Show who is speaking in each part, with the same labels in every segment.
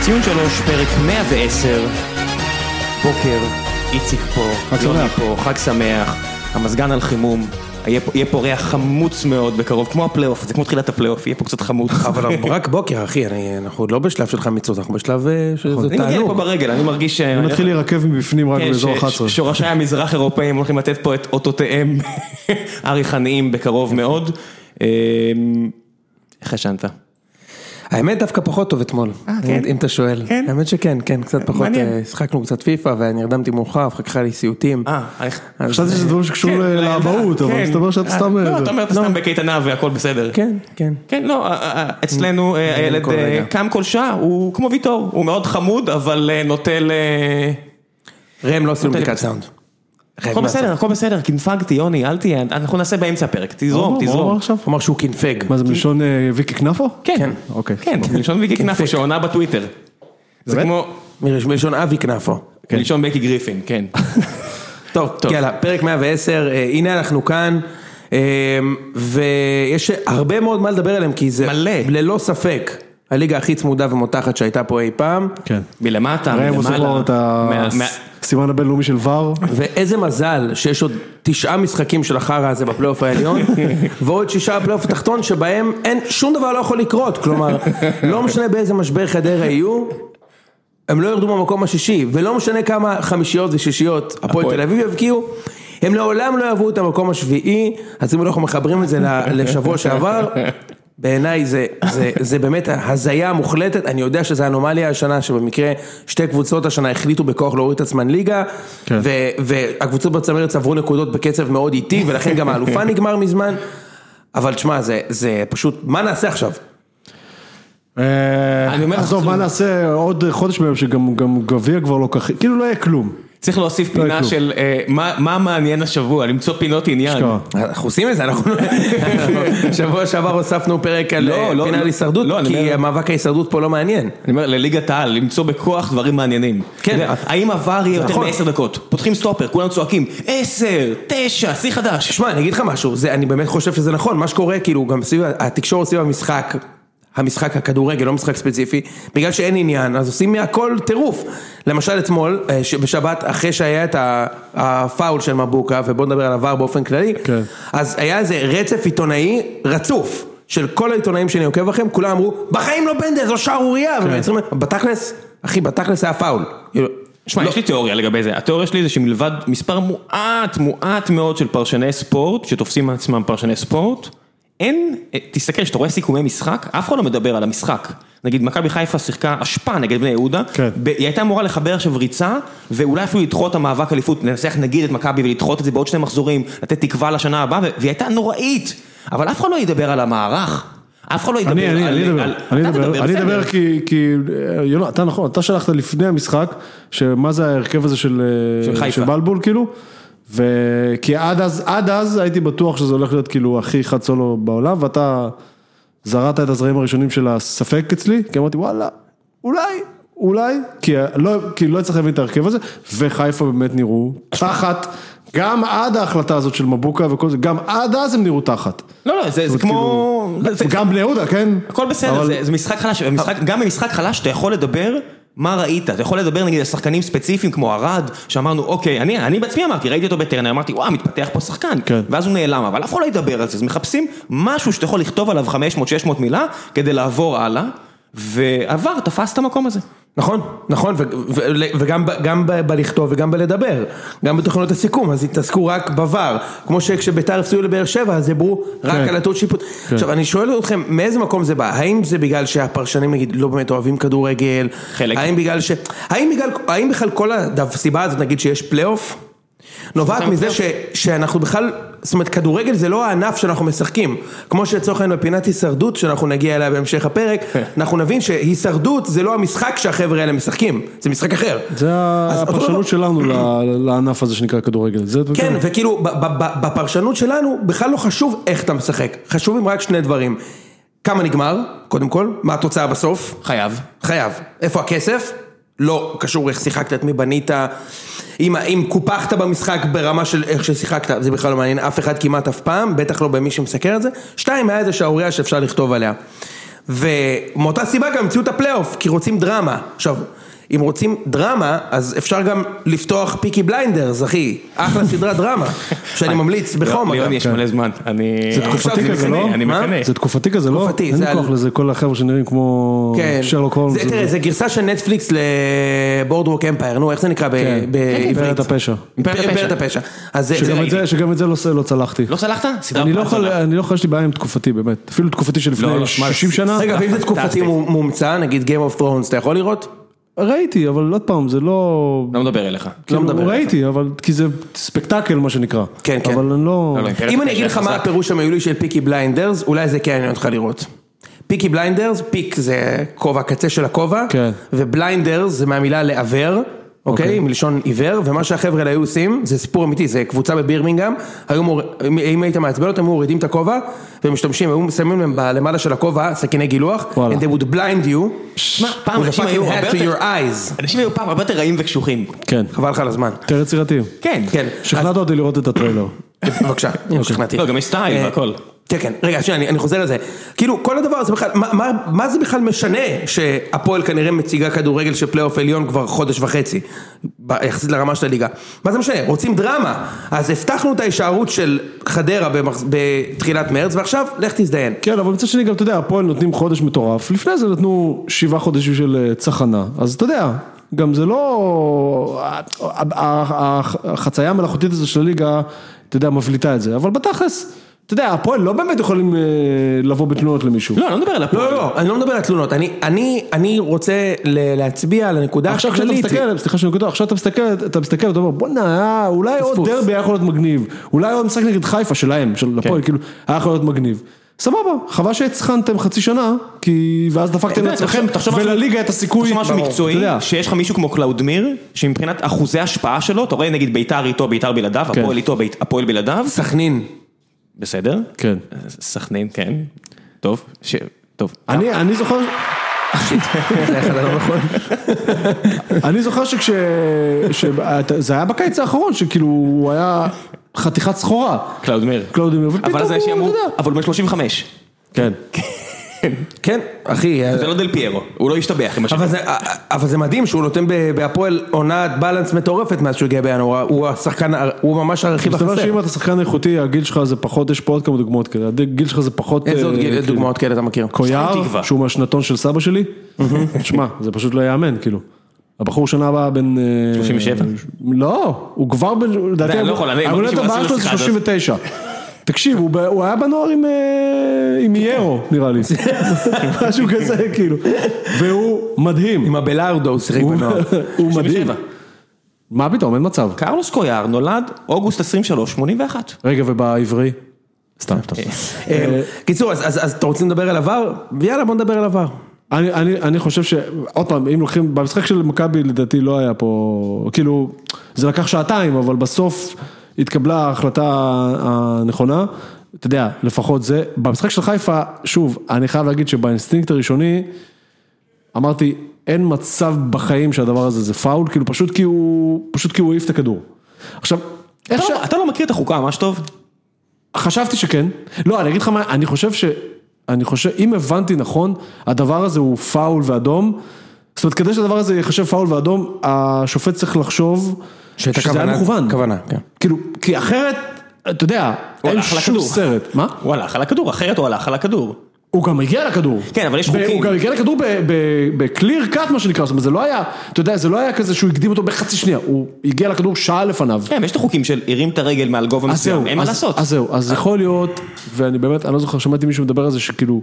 Speaker 1: ציון שלוש, פרק 110, בוקר, איציק פה,
Speaker 2: חג
Speaker 1: יוני
Speaker 2: שמח.
Speaker 1: פה, חג שמח, המזגן על חימום, יהיה פה- יהיה פה ריח חמוץ מאוד בקרוב, כמו הפלייאוף, זה כמו תחילת הפלייאוף, יהיה פה קצת חמוץ.
Speaker 3: אבל אנחנו רק בוקר, אחי, אני- אנחנו עוד לא בשלב של חמיצות, אנחנו בשלב אה, שזה
Speaker 1: אני מגיע לפה
Speaker 3: תענוג.
Speaker 1: ברגל, אני מרגיש ש...
Speaker 2: אני מתחיל להירקב מבפנים רק
Speaker 1: כן,
Speaker 2: באזור
Speaker 1: ש-
Speaker 2: 11.
Speaker 1: ש- שורשי המזרח אירופאים הולכים לתת פה את אותותיהם הריחניים בקרוב מאוד. אמ, איך ישנת?
Speaker 2: אה,
Speaker 3: האמת דווקא פחות טוב אתמול,
Speaker 1: כן?
Speaker 3: אם אתה שואל.
Speaker 1: כן?
Speaker 3: האמת שכן, כן, קצת פחות,
Speaker 1: מעניין.
Speaker 3: אה, שחקנו קצת פיפא ונרדמתי מאוחר, אחר כך היה לי סיוטים.
Speaker 1: אה, איך...
Speaker 3: אז-
Speaker 2: חשבתי שזה דברים שקשור
Speaker 1: כן, לילדה,
Speaker 2: לאבהות, אבל
Speaker 1: כן.
Speaker 2: מסתבר שאת סתם... אה,
Speaker 1: לא, אתה אומר, אתה סתם בקייטנה והכל בסדר.
Speaker 3: כן, כן.
Speaker 1: כן, לא, אה, אה, אצלנו אה, הילד
Speaker 3: כל
Speaker 1: אה,
Speaker 3: רגע.
Speaker 1: קם כל שעה, הוא כמו ויטור, הוא מאוד חמוד, אבל אה, נוטל... אה,
Speaker 3: ראם לא עשינו
Speaker 1: נותן לי
Speaker 3: בדיקת
Speaker 1: פצצה.
Speaker 3: סאונד.
Speaker 1: הכל בסדר, הכל בסדר, קינפגתי, יוני, אל תהיה, אנחנו נעשה באמצע הפרק,
Speaker 2: מה
Speaker 1: תזרום,
Speaker 2: הוא אמר
Speaker 1: תזרום.
Speaker 2: עכשיו?
Speaker 3: הוא אמר שהוא קינפג.
Speaker 2: מה זה מלשון אה, ויקי כנפו?
Speaker 1: כן,
Speaker 2: אוקיי.
Speaker 1: כן, מלשון ויקי כנפו שעונה בטוויטר. זה
Speaker 2: באמת?
Speaker 1: כמו
Speaker 3: מלשון אבי כנפו.
Speaker 1: מלשון בקי גריפין, כן.
Speaker 3: טוב,
Speaker 1: טוב.
Speaker 3: טוב. יאללה, פרק 110, אה, הנה אנחנו כאן, אה, ויש הרבה מאוד מה לדבר עליהם, כי זה
Speaker 1: מלא.
Speaker 3: ללא ספק הליגה הכי צמודה ומותחת שהייתה פה אי פעם.
Speaker 2: כן.
Speaker 1: מלמטה,
Speaker 2: ראם עושה פה
Speaker 1: מלמעלה.
Speaker 2: את
Speaker 1: אה, מה- מה-
Speaker 2: הסימן הבינלאומי של ור.
Speaker 3: ואיזה מזל שיש עוד תשעה משחקים של החרא הזה בפלייאוף העליון, ועוד שישה בפלייאוף התחתון שבהם אין, שום דבר לא יכול לקרות, כלומר, לא משנה באיזה משבר חדרה יהיו, הם לא ירדו במקום השישי, ולא משנה כמה חמישיות ושישיות הפועל
Speaker 1: הפועל.
Speaker 3: תל אביב יבקיעו, הם לעולם לא יעברו את המקום השביעי, אז אם אנחנו מחברים את זה ל- לשבוע שעבר, בעיניי זה, זה, זה באמת הזיה מוחלטת, אני יודע שזו אנומליה השנה, שבמקרה שתי קבוצות השנה החליטו בכוח להוריד את עצמן ליגה,
Speaker 2: כן.
Speaker 3: ו, והקבוצות בצמרת צברו נקודות בקצב מאוד איטי, ולכן גם האלופה נגמר מזמן, אבל תשמע, זה, זה פשוט, מה נעשה עכשיו?
Speaker 2: אה,
Speaker 1: אני אומר לך,
Speaker 2: עזוב,
Speaker 1: זה- לא-
Speaker 2: מה נעשה עוד חודש מהם שגם גם גביע כבר לא כך... כאילו לא יהיה כלום.
Speaker 1: צריך להוסיף
Speaker 2: לא
Speaker 1: פינה
Speaker 2: כלום.
Speaker 1: של אה, מה מה מעניין השבוע, למצוא פינות עניין.
Speaker 2: אשכרה.
Speaker 3: אנחנו עושים את זה, אנחנו... שבוע שעבר הוספנו פרק על
Speaker 1: לא,
Speaker 3: אה,
Speaker 1: לא,
Speaker 3: פינה
Speaker 1: לא,
Speaker 3: על
Speaker 1: לא,
Speaker 3: הישרדות,
Speaker 1: אני אומר-
Speaker 3: כי המאבק ההישרדות פה לא מעניין.
Speaker 1: אני אומר, לליגת העל, למצוא בכוח דברים מעניינים.
Speaker 3: כן.
Speaker 1: אתה יודע, האם עבר יהיה יותר
Speaker 3: נכון.
Speaker 1: מעשר דקות? פותחים סטופר, כולם צועקים, עשר, תשע, שיא חדש.
Speaker 3: שמע, אני אגיד לך משהו, זה, אני באמת חושב שזה נכון, מה שקורה, כאילו, גם סביב, התקשורת סביב המשחק, המשחק הכדורגל, לא משחק ספציפי, בגלל שאין עניין, אז עושים מהכל טירוף. למשל אתמול, אה, ש- בשבת, אחרי שהיה את ה- הפאול של מבוקה, ובואו נדבר על עבר באופן כללי,
Speaker 2: כן.
Speaker 3: אז היה איזה רצף עיתונאי רצוף. של כל העיתונאים שאני עוקב אחריהם, כולם אמרו, בחיים לא פנדל, זו שערורייה, ומייצרים- בתכלס, אחי, בתכלס היה פאול. כאילו,
Speaker 1: שמע,
Speaker 2: לא.
Speaker 1: יש לי תיאוריה לגבי זה. התיאוריה שלי זה שמלבד מספר מועט, מועט מאוד של פרשני ספורט, שתופסים עצמם פרשני ספורט, אין, אה, תסתכל, כשאתה רואה סיכומי משחק, אף אחד לא מדבר על המשחק. נגיד, מכבי חיפה שיחקה אשפה נגד בני יהודה,
Speaker 2: כן.
Speaker 1: ב- היא הייתה אמורה לחבר עכשיו ריצה, ואולי אפילו לדחות את המאבק אליפות, לנצח נגיד את מכבי ולדחות את זה בעוד שני מחזורים, לתת תקווה לשנה הבאה, ו- והיא הייתה נוראית, אבל אף אחד לא ידבר על המערך. אף אחד לא ידבר
Speaker 2: אני,
Speaker 1: על...
Speaker 2: אני, אני
Speaker 1: על-
Speaker 2: אדבר,
Speaker 1: על-
Speaker 2: אני
Speaker 1: אתה
Speaker 2: אדבר,
Speaker 1: תדבר,
Speaker 2: אני
Speaker 1: בסדר.
Speaker 2: אדבר כי, כי, אה, יונה, אתה נכון, אתה שלחת לפני המשחק, שמה זה ההרכב הזה של, אה,
Speaker 1: של חיפה.
Speaker 2: של בלבול כאילו, וכי עד אז, עד אז הייתי בטוח שזה הולך להיות כאילו הכי חד סולו בעולם, ואתה זרעת את הזרעים הראשונים של הספק אצלי, כי אמרתי וואלה, אולי, אולי, כי אה, לא, כי לא הצלחתי להבין את ההרכב הזה, וחיפה באמת נראו תחת, גם עד ההחלטה הזאת של מבוקה וכל זה, גם עד אז הם נראו תחת.
Speaker 1: לא, לא, זה זה
Speaker 2: זאת כאילו,
Speaker 1: כמו... זה- זה-
Speaker 2: גם בני יהודה, כן?
Speaker 1: הכל בסדר,
Speaker 2: אבל-
Speaker 1: זה, זה משחק חלש, ומשחק, גם במשחק חלש אתה יכול לדבר מה ראית, אתה יכול לדבר נגיד על שחקנים ספציפיים כמו ארד, שאמרנו אוקיי, אני, אני בעצמי אמרתי, ראיתי אותו בטרנר, אמרתי וואו, מתפתח פה שחקן,
Speaker 2: כן.
Speaker 1: ואז הוא נעלם, אבל אף אחד לא ידבר על זה, אז מחפשים משהו שאתה יכול לכתוב עליו 500-600 מילה כדי לעבור הלאה, ועבר, תפס את המקום הזה.
Speaker 3: נכון, נכון, ו- ו- ו- וגם ב- גם ב- בלכתוב וגם בלדבר, גם בתוכניות הסיכום, אז התעסקו רק בVAR, כמו שכשביתר הפסידו לבאר שבע, אז דיברו רק
Speaker 2: כן.
Speaker 3: על הטעות שיפוט. עכשיו, אני שואל אתכם, מאיזה מקום זה בא? האם זה בגלל שהפרשנים, נגיד, לא באמת אוהבים כדורגל?
Speaker 1: חלק.
Speaker 3: האם בגלל ש... האם, בגלל, האם בכלל כל הסיבה הזאת, נגיד, שיש פלייאוף? נובעת
Speaker 1: אותם
Speaker 3: מזה ש, שאנחנו בכלל, זאת אומרת כדורגל זה לא הענף שאנחנו משחקים, כמו שלצורך העניין בפינת הישרדות שאנחנו נגיע אליה בהמשך הפרק, אנחנו נבין שהישרדות זה לא המשחק שהחבר'ה האלה משחקים, זה משחק אחר.
Speaker 2: זה
Speaker 3: אז אותו דבר-
Speaker 2: הפרשנות שלנו ל- לענף הזה שנקרא כדורגל. זה-
Speaker 3: כן, וכאילו, ב- ב- ב- בפרשנות שלנו, בכלל לא חשוב איך אתה משחק, חשובים רק שני דברים. כמה נגמר, קודם כל, מה התוצאה בסוף,
Speaker 1: חייב.
Speaker 3: חייב. איפה הכסף? לא קשור איך שיחקת, את מי בנית, אם, אם קופחת במשחק ברמה של איך ששיחקת, זה בכלל לא מעניין אף אחד כמעט אף פעם, בטח לא במי שמסקר את זה. שתיים, היה איזה שערורייה שאפשר לכתוב עליה. ומאותה סיבה גם המציאו את הפלייאוף, כי רוצים דרמה. עכשיו, אם רוצים דרמה, אז אפשר גם לפתוח פיקי בליינדרס, אחי. אחלה סדרת דרמה, שאני ממליץ בחום.
Speaker 1: לירון
Speaker 3: אגב.
Speaker 1: יש מלא זמן, אני...
Speaker 2: כן. זה תקופתי
Speaker 1: אני
Speaker 2: כזה,
Speaker 1: מקנא,
Speaker 2: לא?
Speaker 1: אני
Speaker 3: מה?
Speaker 1: מקנא.
Speaker 2: זה תקופתי כזה, לא?
Speaker 3: תקופתי,
Speaker 2: אין
Speaker 3: זה
Speaker 2: לי כוח
Speaker 3: על-
Speaker 2: לזה, כל החבר'ה שנראים כמו
Speaker 3: כן.
Speaker 2: שרלוק הולמס.
Speaker 3: זה- תראה, זה גרסה של נטפליקס לבורדרוק אמפייר, נו, איך זה נקרא ב- בעברית?
Speaker 2: אימפריית כן. הפשע.
Speaker 1: אימפריית הפשע.
Speaker 3: אימפריית הפשע. אז זה- זה
Speaker 2: שגם את
Speaker 3: ראיתי.
Speaker 2: זה- שגם את זה לא ס- לא צלחתי.
Speaker 1: לא סלחת? סדרה
Speaker 2: אני לא
Speaker 1: פעם
Speaker 2: יכול,
Speaker 1: סלחת.
Speaker 2: אני לא יכול, יש לי בעיה עם תקופתי באמת, אפילו תקופתי
Speaker 1: לא, לא,
Speaker 2: שלפני 60 שנה,
Speaker 3: רגע, ואם זה תקופתי
Speaker 1: פנטסטי.
Speaker 3: מו- מומצא, נגיד Game of Thrones, אתה יכול לראות?
Speaker 2: ראיתי, אבל עוד פעם, זה לא,
Speaker 1: לא מדבר אליך.
Speaker 2: כאילו,
Speaker 3: מדבר אליך.
Speaker 2: ראיתי, אבל כי זה ספקטקל מה שנקרא,
Speaker 3: כן, כן.
Speaker 2: אבל אני לא,
Speaker 1: לא, לא, אימפריית
Speaker 3: אם אני
Speaker 1: הפשע
Speaker 3: אגיד לך מה
Speaker 1: חזק.
Speaker 3: הפירוש המילולי של פיקי בליינדרס, אולי זה כן יעניין אותך לראות. פיקי בליינדרס, פיק זה כובע, קצה של הכובע,
Speaker 2: כן.
Speaker 3: ובליינדרס זה מהמילה לעוור, אוקיי? מלשון עיוור, ומה שהחבר'ה האלה היו עושים, זה סיפור אמיתי, זה קבוצה בבירמינגהם, היו מור... אם- אם היית מעצבן אותם, היו מורידים את הכובע, ומשתמשים, היו שמים להם ב- למעלה של הכובע סכיני גילוח,
Speaker 2: וואלה.
Speaker 3: and they would blind you,
Speaker 1: שמע, פעם
Speaker 3: with a
Speaker 1: אנשים היו
Speaker 3: fucking
Speaker 1: הרבה
Speaker 3: hat to
Speaker 1: יותר...
Speaker 3: your eyes.
Speaker 1: אנשים היו פעם הרבה יותר רעים וקשוחים.
Speaker 2: כן,
Speaker 3: חבל לך על הזמן.
Speaker 2: יותר יצירתיים,
Speaker 1: כן.
Speaker 3: כן.
Speaker 2: שכנעת אותי לראות את הטריילר,
Speaker 3: אז- בבקשה, הנה, שכנעתי.
Speaker 1: לא, גם יש סטייל
Speaker 3: אוקיי. אה,
Speaker 1: והכל.
Speaker 3: כן, כן, רגע, שנייה, אני, אני חוזר לזה. כאילו, כל הדבר הזה בכלל, מה, מה, מה זה בכלל משנה שהפועל כנראה מציגה כדורגל של פלייאוף עליון כבר חודש וחצי, ב- יחסית לרמה של הליגה? מה זה משנה? רוצים דרמה. אז הבטחנו את ההישארות של חדרה במחז... בתחילת מרץ, ועכשיו, לך תזדיין.
Speaker 2: כן אבל מצד שני גם אתה יודע, הפועל נותנים חודש מטורף, לפני זה נתנו שבעה חודשים של אה, צחנה, אז אתה יודע, גם זה לא, ה- ה- ה- החצייה המלאכותית הזו של הליגה, אתה יודע, מבליטה את זה, אבל בתכלס, אתה יודע, הפועל לא באמת יכולים אה, לבוא בתלונות למישהו.
Speaker 1: לא, אני לא מדבר על הפועל.
Speaker 3: לא, לא, לא, אני לא מדבר על תלונות, אני, אני, אני רוצה ל- להצביע על הנקודה
Speaker 2: עכשיו כשאתה
Speaker 3: הכללית.
Speaker 2: מסתכל, סליחה שאני קוטע, עכשיו אתה מסתכל, אתה מסתכל, אתה אומר בואנה, היה- אולי עוד
Speaker 3: פספוס.
Speaker 2: דרבי היה יכול להיות מגניב, אולי עוד משחק נגד חיפה שלהם, של הפועל, כאילו, היה יכול להיות מגניב. סבבה, חבל שהצחנתם חצי שנה, כי ואז דפקתם
Speaker 1: יודע,
Speaker 2: לעצמכם,
Speaker 1: תחשוב- תחשוב משהו-
Speaker 2: ולליגה את הסיכוי,
Speaker 1: תחשוב משהו
Speaker 2: ברור.
Speaker 1: מקצועי,
Speaker 2: אתה יודע,
Speaker 1: שיש לך מישהו כמו קלאודמיר, שמבחינת אחוזי השפעה שלו, אתה רואה נגיד ביתר איתו, ביתר בלעדיו,
Speaker 2: כן.
Speaker 1: הפועל איתו, בית- הפועל בלעדיו,
Speaker 3: סכנין.
Speaker 1: בסדר?
Speaker 2: כן.
Speaker 1: סכנין, כן. טוב, ש... טוב.
Speaker 2: אני אני זוכר,
Speaker 3: זה אחד הלא נכון.
Speaker 2: אני זוכר שכש... ש- זה היה בקיץ האחרון, שכאילו, הוא היה חתיכת סחורה,
Speaker 1: קלאודמיר.
Speaker 2: קלאודימיר,
Speaker 1: אבל אז
Speaker 2: ופתאום
Speaker 1: אנשים
Speaker 2: הוא,
Speaker 1: אמרו,
Speaker 2: אתה יודע,
Speaker 1: אבל הוא אה. בן 35.
Speaker 2: כן,
Speaker 3: כן, אחי,
Speaker 1: זה לא דל פיירו, הוא לא השתבח עם השם.
Speaker 3: אבל זה, אה, אבל זה מדהים שהוא נותן ב- בהפועל עונת בלנס מטורפת מאז שהוא הגיע בינואר, הוא השחקן, הוא ממש הרכיב
Speaker 2: מסתבר
Speaker 3: החסר.
Speaker 2: שאם אתה שחקן איכותי, הגיל שלך זה פחות, יש פה עוד כמה דוגמאות כאלה, הגיל שלך זה פחות...
Speaker 3: איזה עוד
Speaker 2: אה,
Speaker 3: גיל-
Speaker 2: כאילו,
Speaker 3: דוגמאות כאלה אתה מכיר?
Speaker 1: שחקן
Speaker 2: קויאר,
Speaker 1: תקווה.
Speaker 2: שהוא מהשנתון של סבא שלי, שמע, זה פשוט לא ייאמן, כאילו. הבחור שנה הבאה בן... אה,
Speaker 1: 37?
Speaker 2: לא, הוא כבר בן... לדעתי,
Speaker 1: אני לא יכול, אני-
Speaker 2: ההולדת
Speaker 1: מרגיש
Speaker 2: הבאה
Speaker 1: שמנסים
Speaker 2: שלו זה
Speaker 1: לשיחה הזאת.
Speaker 2: 39. תקשיב, הוא ב- הוא היה בנוער עם, אה, עם יארו, נראה לי. משהו כזה, כאילו. והוא מדהים.
Speaker 3: עם הבלארדו הוא שיחק
Speaker 2: הוא-
Speaker 3: בנוער.
Speaker 2: הוא מדהים.
Speaker 1: 37.
Speaker 2: מה פתאום, אין מצב.
Speaker 1: קרלוס קויאר נולד אוגוסט 23, 81.
Speaker 2: רגע, ובעברי? סתם, סתם.
Speaker 3: אה, קיצור, אז- אז אז אתה רוצים לדבר על עבר? יאללה בוא נדבר על עבר.
Speaker 2: אני, אני, אני חושב ש... עוד פעם, אם לוקחים... במשחק של מכבי לדעתי לא היה פה... כאילו, זה לקח שעתיים, אבל בסוף התקבלה ההחלטה הנכונה. אתה יודע, לפחות זה. במשחק של חיפה, שוב, אני חייב להגיד שבאינסטינקט הראשוני, אמרתי, אין מצב בחיים שהדבר הזה זה פאול, כאילו פשוט כי הוא... פשוט כי הוא העיף את הכדור. עכשיו, איך
Speaker 1: אתה
Speaker 2: ש...
Speaker 1: לא- אתה לא מכיר את החוקה, ממש טוב.
Speaker 2: חשבתי שכן. לא, אני אגיד לך מה, אני חושב ש... אני חושב, אם הבנתי נכון, הדבר הזה הוא פאול ואדום. זאת אומרת, כדי שהדבר הזה ייחשב פאול ואדום, השופט צריך לחשוב
Speaker 3: שהייתה
Speaker 2: שזה היה
Speaker 3: כוונה-
Speaker 2: מכוון.
Speaker 3: כוונה, כן.
Speaker 2: כאילו, כי אחרת, אתה יודע,
Speaker 1: הוא
Speaker 2: אין
Speaker 1: הלך
Speaker 2: שום
Speaker 1: לכדור.
Speaker 2: סרט. מה?
Speaker 1: הוא הלך על הכדור, אחרת הוא הלך על הכדור.
Speaker 2: הוא גם הגיע לכדור.
Speaker 1: כן, אבל יש
Speaker 2: והוא
Speaker 1: חוקים.
Speaker 2: גם הגיע לכדור בקליר קאט, מה שנקרא, זאת אומרת, זה לא היה, אתה יודע, זה לא היה כזה שהוא הקדים אותו בחצי שנייה, הוא הגיע לכדור שעה לפניו.
Speaker 1: כן, יש את החוקים של הרים את הרגל מעל גובה
Speaker 2: אז זהו,
Speaker 1: מסוים, אין מה
Speaker 2: אז-
Speaker 1: לעשות.
Speaker 2: אז זהו, אז יכול להיות, ואני באמת, אני לא זוכר, שמעתי מישהו מדבר על זה שכאילו...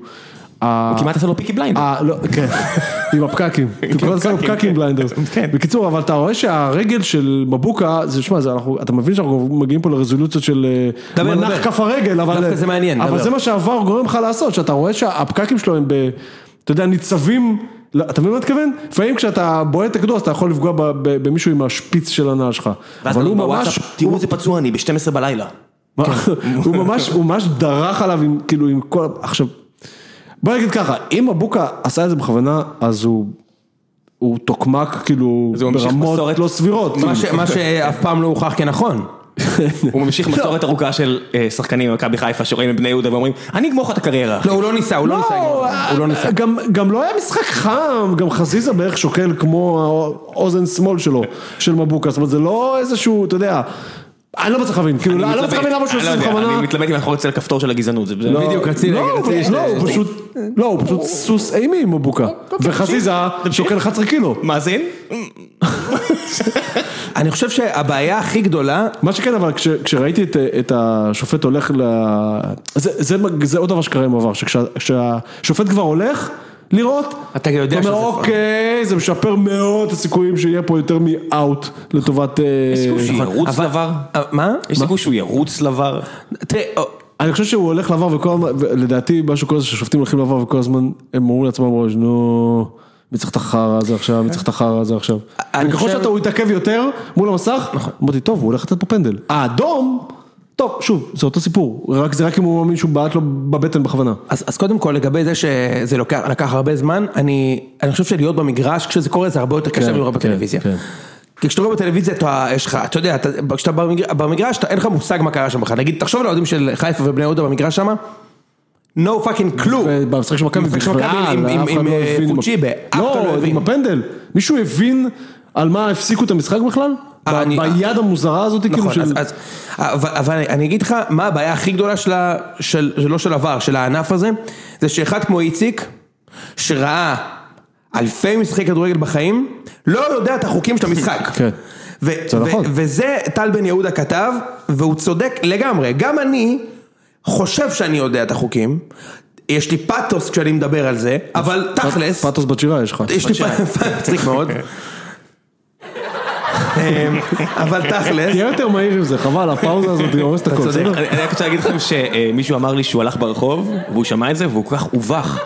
Speaker 2: ה-
Speaker 1: כמעט עשה לו פיקי בליינד.
Speaker 2: אה, לא, כן, עם הפקקים, אתה קורא לזה
Speaker 1: הפקקים,
Speaker 2: פקקים
Speaker 1: כן.
Speaker 2: בליינדרס.
Speaker 1: כן.
Speaker 2: בקיצור, אבל אתה רואה שהרגל של מבוקה, זה, שמע, זה אנחנו- אתה מבין שאנחנו מגיעים פה לרזולוציות של אה,
Speaker 3: דבר,
Speaker 2: מנח
Speaker 3: דבר.
Speaker 2: כף הרגל, אבל... אה,
Speaker 3: דווקא זה מעניין,
Speaker 2: אבל
Speaker 3: דבר.
Speaker 2: זה מה שהעבר גורם לך לעשות, שאתה רואה שהפקקים שלו הם ב... אתה יודע, ניצבים, לא, אתה מבין מה אני מתכוון? לפעמים כשאתה בועט את הכדור, אז אתה יכול לפגוע ב- ב- במישהו עם השפיץ של הנעל שלך.
Speaker 1: ואז
Speaker 2: אבל הוא ממש...
Speaker 1: בוואטסאפ, תראו איזה פצוע אני, ב-12 בלילה.
Speaker 2: מה?
Speaker 3: כן.
Speaker 2: הוא ממש, הוא ממש דרך עליו עם, כאילו, עם כל, עכשיו, בוא נגיד ככה, אם אבוקה עשה את זה בכוונה, אז הוא, הוא תוקמק, כאילו,
Speaker 1: הוא ממשיך
Speaker 2: ברמות
Speaker 1: מסורת.
Speaker 3: כאילו.
Speaker 2: לא סבירות.
Speaker 3: מה ש- מה שאף פעם לא הוכח כנכון.
Speaker 1: הוא ממשיך מסורת
Speaker 2: לא.
Speaker 1: ארוכה של אה, שחקנים במכבי חיפה שרואים את בני יהודה ואומרים, אני אגמור לך את הקריירה.
Speaker 3: לא, הוא לא ניסה, הוא לא ניסה. לגמור. הוא לא ניסה.
Speaker 2: גם, גם לא היה משחק חם, גם חזיזה בערך שוקל כמו האוזן שמאל שלו, של מבוקה, זאת אומרת זה לא איזשהו, אתה יודע, אני לא מצליח להבין, כאילו,
Speaker 1: אני
Speaker 2: אני לא מצליח
Speaker 1: מתלבט.
Speaker 2: להבין למה שהוא
Speaker 1: אני לא
Speaker 2: עושה
Speaker 1: יודע,
Speaker 2: בכוונה.
Speaker 1: אני מתלמד אם אנחנו אצל הכפתור של הגזענות, זה
Speaker 2: לא,
Speaker 3: בדיוק, רציתי
Speaker 2: לא,
Speaker 3: להגיד,
Speaker 2: הוא-
Speaker 3: רציתי
Speaker 2: לא,
Speaker 3: להגיד.
Speaker 2: הוא פשוט, לא, הוא פשוט סוס אימים מבוקה, וחזיזה שוקל 11 קילו.
Speaker 1: מאזין?
Speaker 3: אני חושב שהבעיה הכי גדולה,
Speaker 2: מה שכן, אבל כש, כשראיתי את, את השופט הולך ל... זה, זה, זה עוד דבר שקרה עם עבר, שכשהשופט כבר הולך לראות,
Speaker 3: אתה יודע
Speaker 2: אתה אומר,
Speaker 3: שזה פאול.
Speaker 2: אוקיי, זה משפר מאוד את הסיכויים שיהיה פה יותר מאאוט לטובת... אה,
Speaker 1: סיכוי שהוא ירוץ
Speaker 3: אוקיי. אבל-
Speaker 1: לבר?
Speaker 3: אה, מה?
Speaker 1: יש סיכוי שהוא ירוץ לבר?
Speaker 3: תראה, אה,
Speaker 2: אני חושב שהוא הולך לעבר וכל הזמן, לדעתי משהו כזה ששופטים הולכים לעבר וכל הזמן הם אומרים לעצמם בראש, נו, מי צריך את החרא הזה עכשיו, מי צריך את החרא הזה עכשיו.
Speaker 3: אני
Speaker 2: וככל
Speaker 3: חושב- נכון.
Speaker 2: שאתה הוא יתעכב יותר מול המסך, אמרתי, טוב, הוא הולך לתת פה פנדל. האדום, טוב, שוב, זה אותו סיפור, רק זה רק אם הוא מאמין שהוא בעט לו בבטן בכוונה.
Speaker 3: אז, אז קודם כל לגבי זה שזה לוקח, לקח הרבה זמן, אני, אני חושב שלהיות במגרש כשזה קורה זה הרבה יותר קשה
Speaker 2: כן,
Speaker 3: מלראות
Speaker 2: כן,
Speaker 3: בטלוויזיה.
Speaker 2: כן.
Speaker 3: כי כשאתה רואה בטלוויזיה אתה, יש לך, אתה יודע, אתה, כשאתה במגר, במגרש אתה, אין לך מושג מה קרה שם בכלל, נגיד תחשוב על האוהדים של חיפה ובני יהודה במגרש שם, no fucking clue.
Speaker 2: במשחק של מכבי
Speaker 3: במשחק של
Speaker 2: בכלל,
Speaker 3: מכבי עם- עם-
Speaker 2: אף אחד
Speaker 3: עם,
Speaker 2: לא
Speaker 3: אה,
Speaker 2: הבין.
Speaker 3: פוצ'יבה, אף אחד לא
Speaker 2: לא,
Speaker 3: הבין.
Speaker 2: עם הפנדל, מישהו הבין על מה הפסיקו את המשחק בכלל?
Speaker 3: אה, אני-
Speaker 2: ביד המוזרה הזאת, כאילו,
Speaker 3: נכון,
Speaker 2: של...
Speaker 3: אז, אז, אבל, אבל אני אגיד לך מה הבעיה הכי גדולה של, ה- של, של לא של עבר, של הענף הזה, זה שאחד כמו איציק, שראה אלפי משחקי כדורגל בחיים, לא יודע את החוקים של המשחק.
Speaker 2: כן.
Speaker 3: ו-
Speaker 2: זה
Speaker 3: ו-
Speaker 2: נכון.
Speaker 3: וזה טל בן יהודה כתב, והוא צודק לגמרי. גם אני חושב שאני יודע את החוקים, יש לי פאתוס כשאני מדבר על זה, אבל תכלס...
Speaker 2: פ- פתוס בת שירה יש לך.
Speaker 1: אה,
Speaker 3: יש לי פאתוס, מצחיק מאוד. אמ, אבל תכלס...
Speaker 2: תהיה יותר מהיר עם זה, חבל, הפאוזה הזאת היא הורסת הכל, בסדר?
Speaker 1: אני אני רק רוצה להגיד לכם שמישהו אמר לי שהוא הלך ברחוב והוא שמע את זה והוא כל כך הובך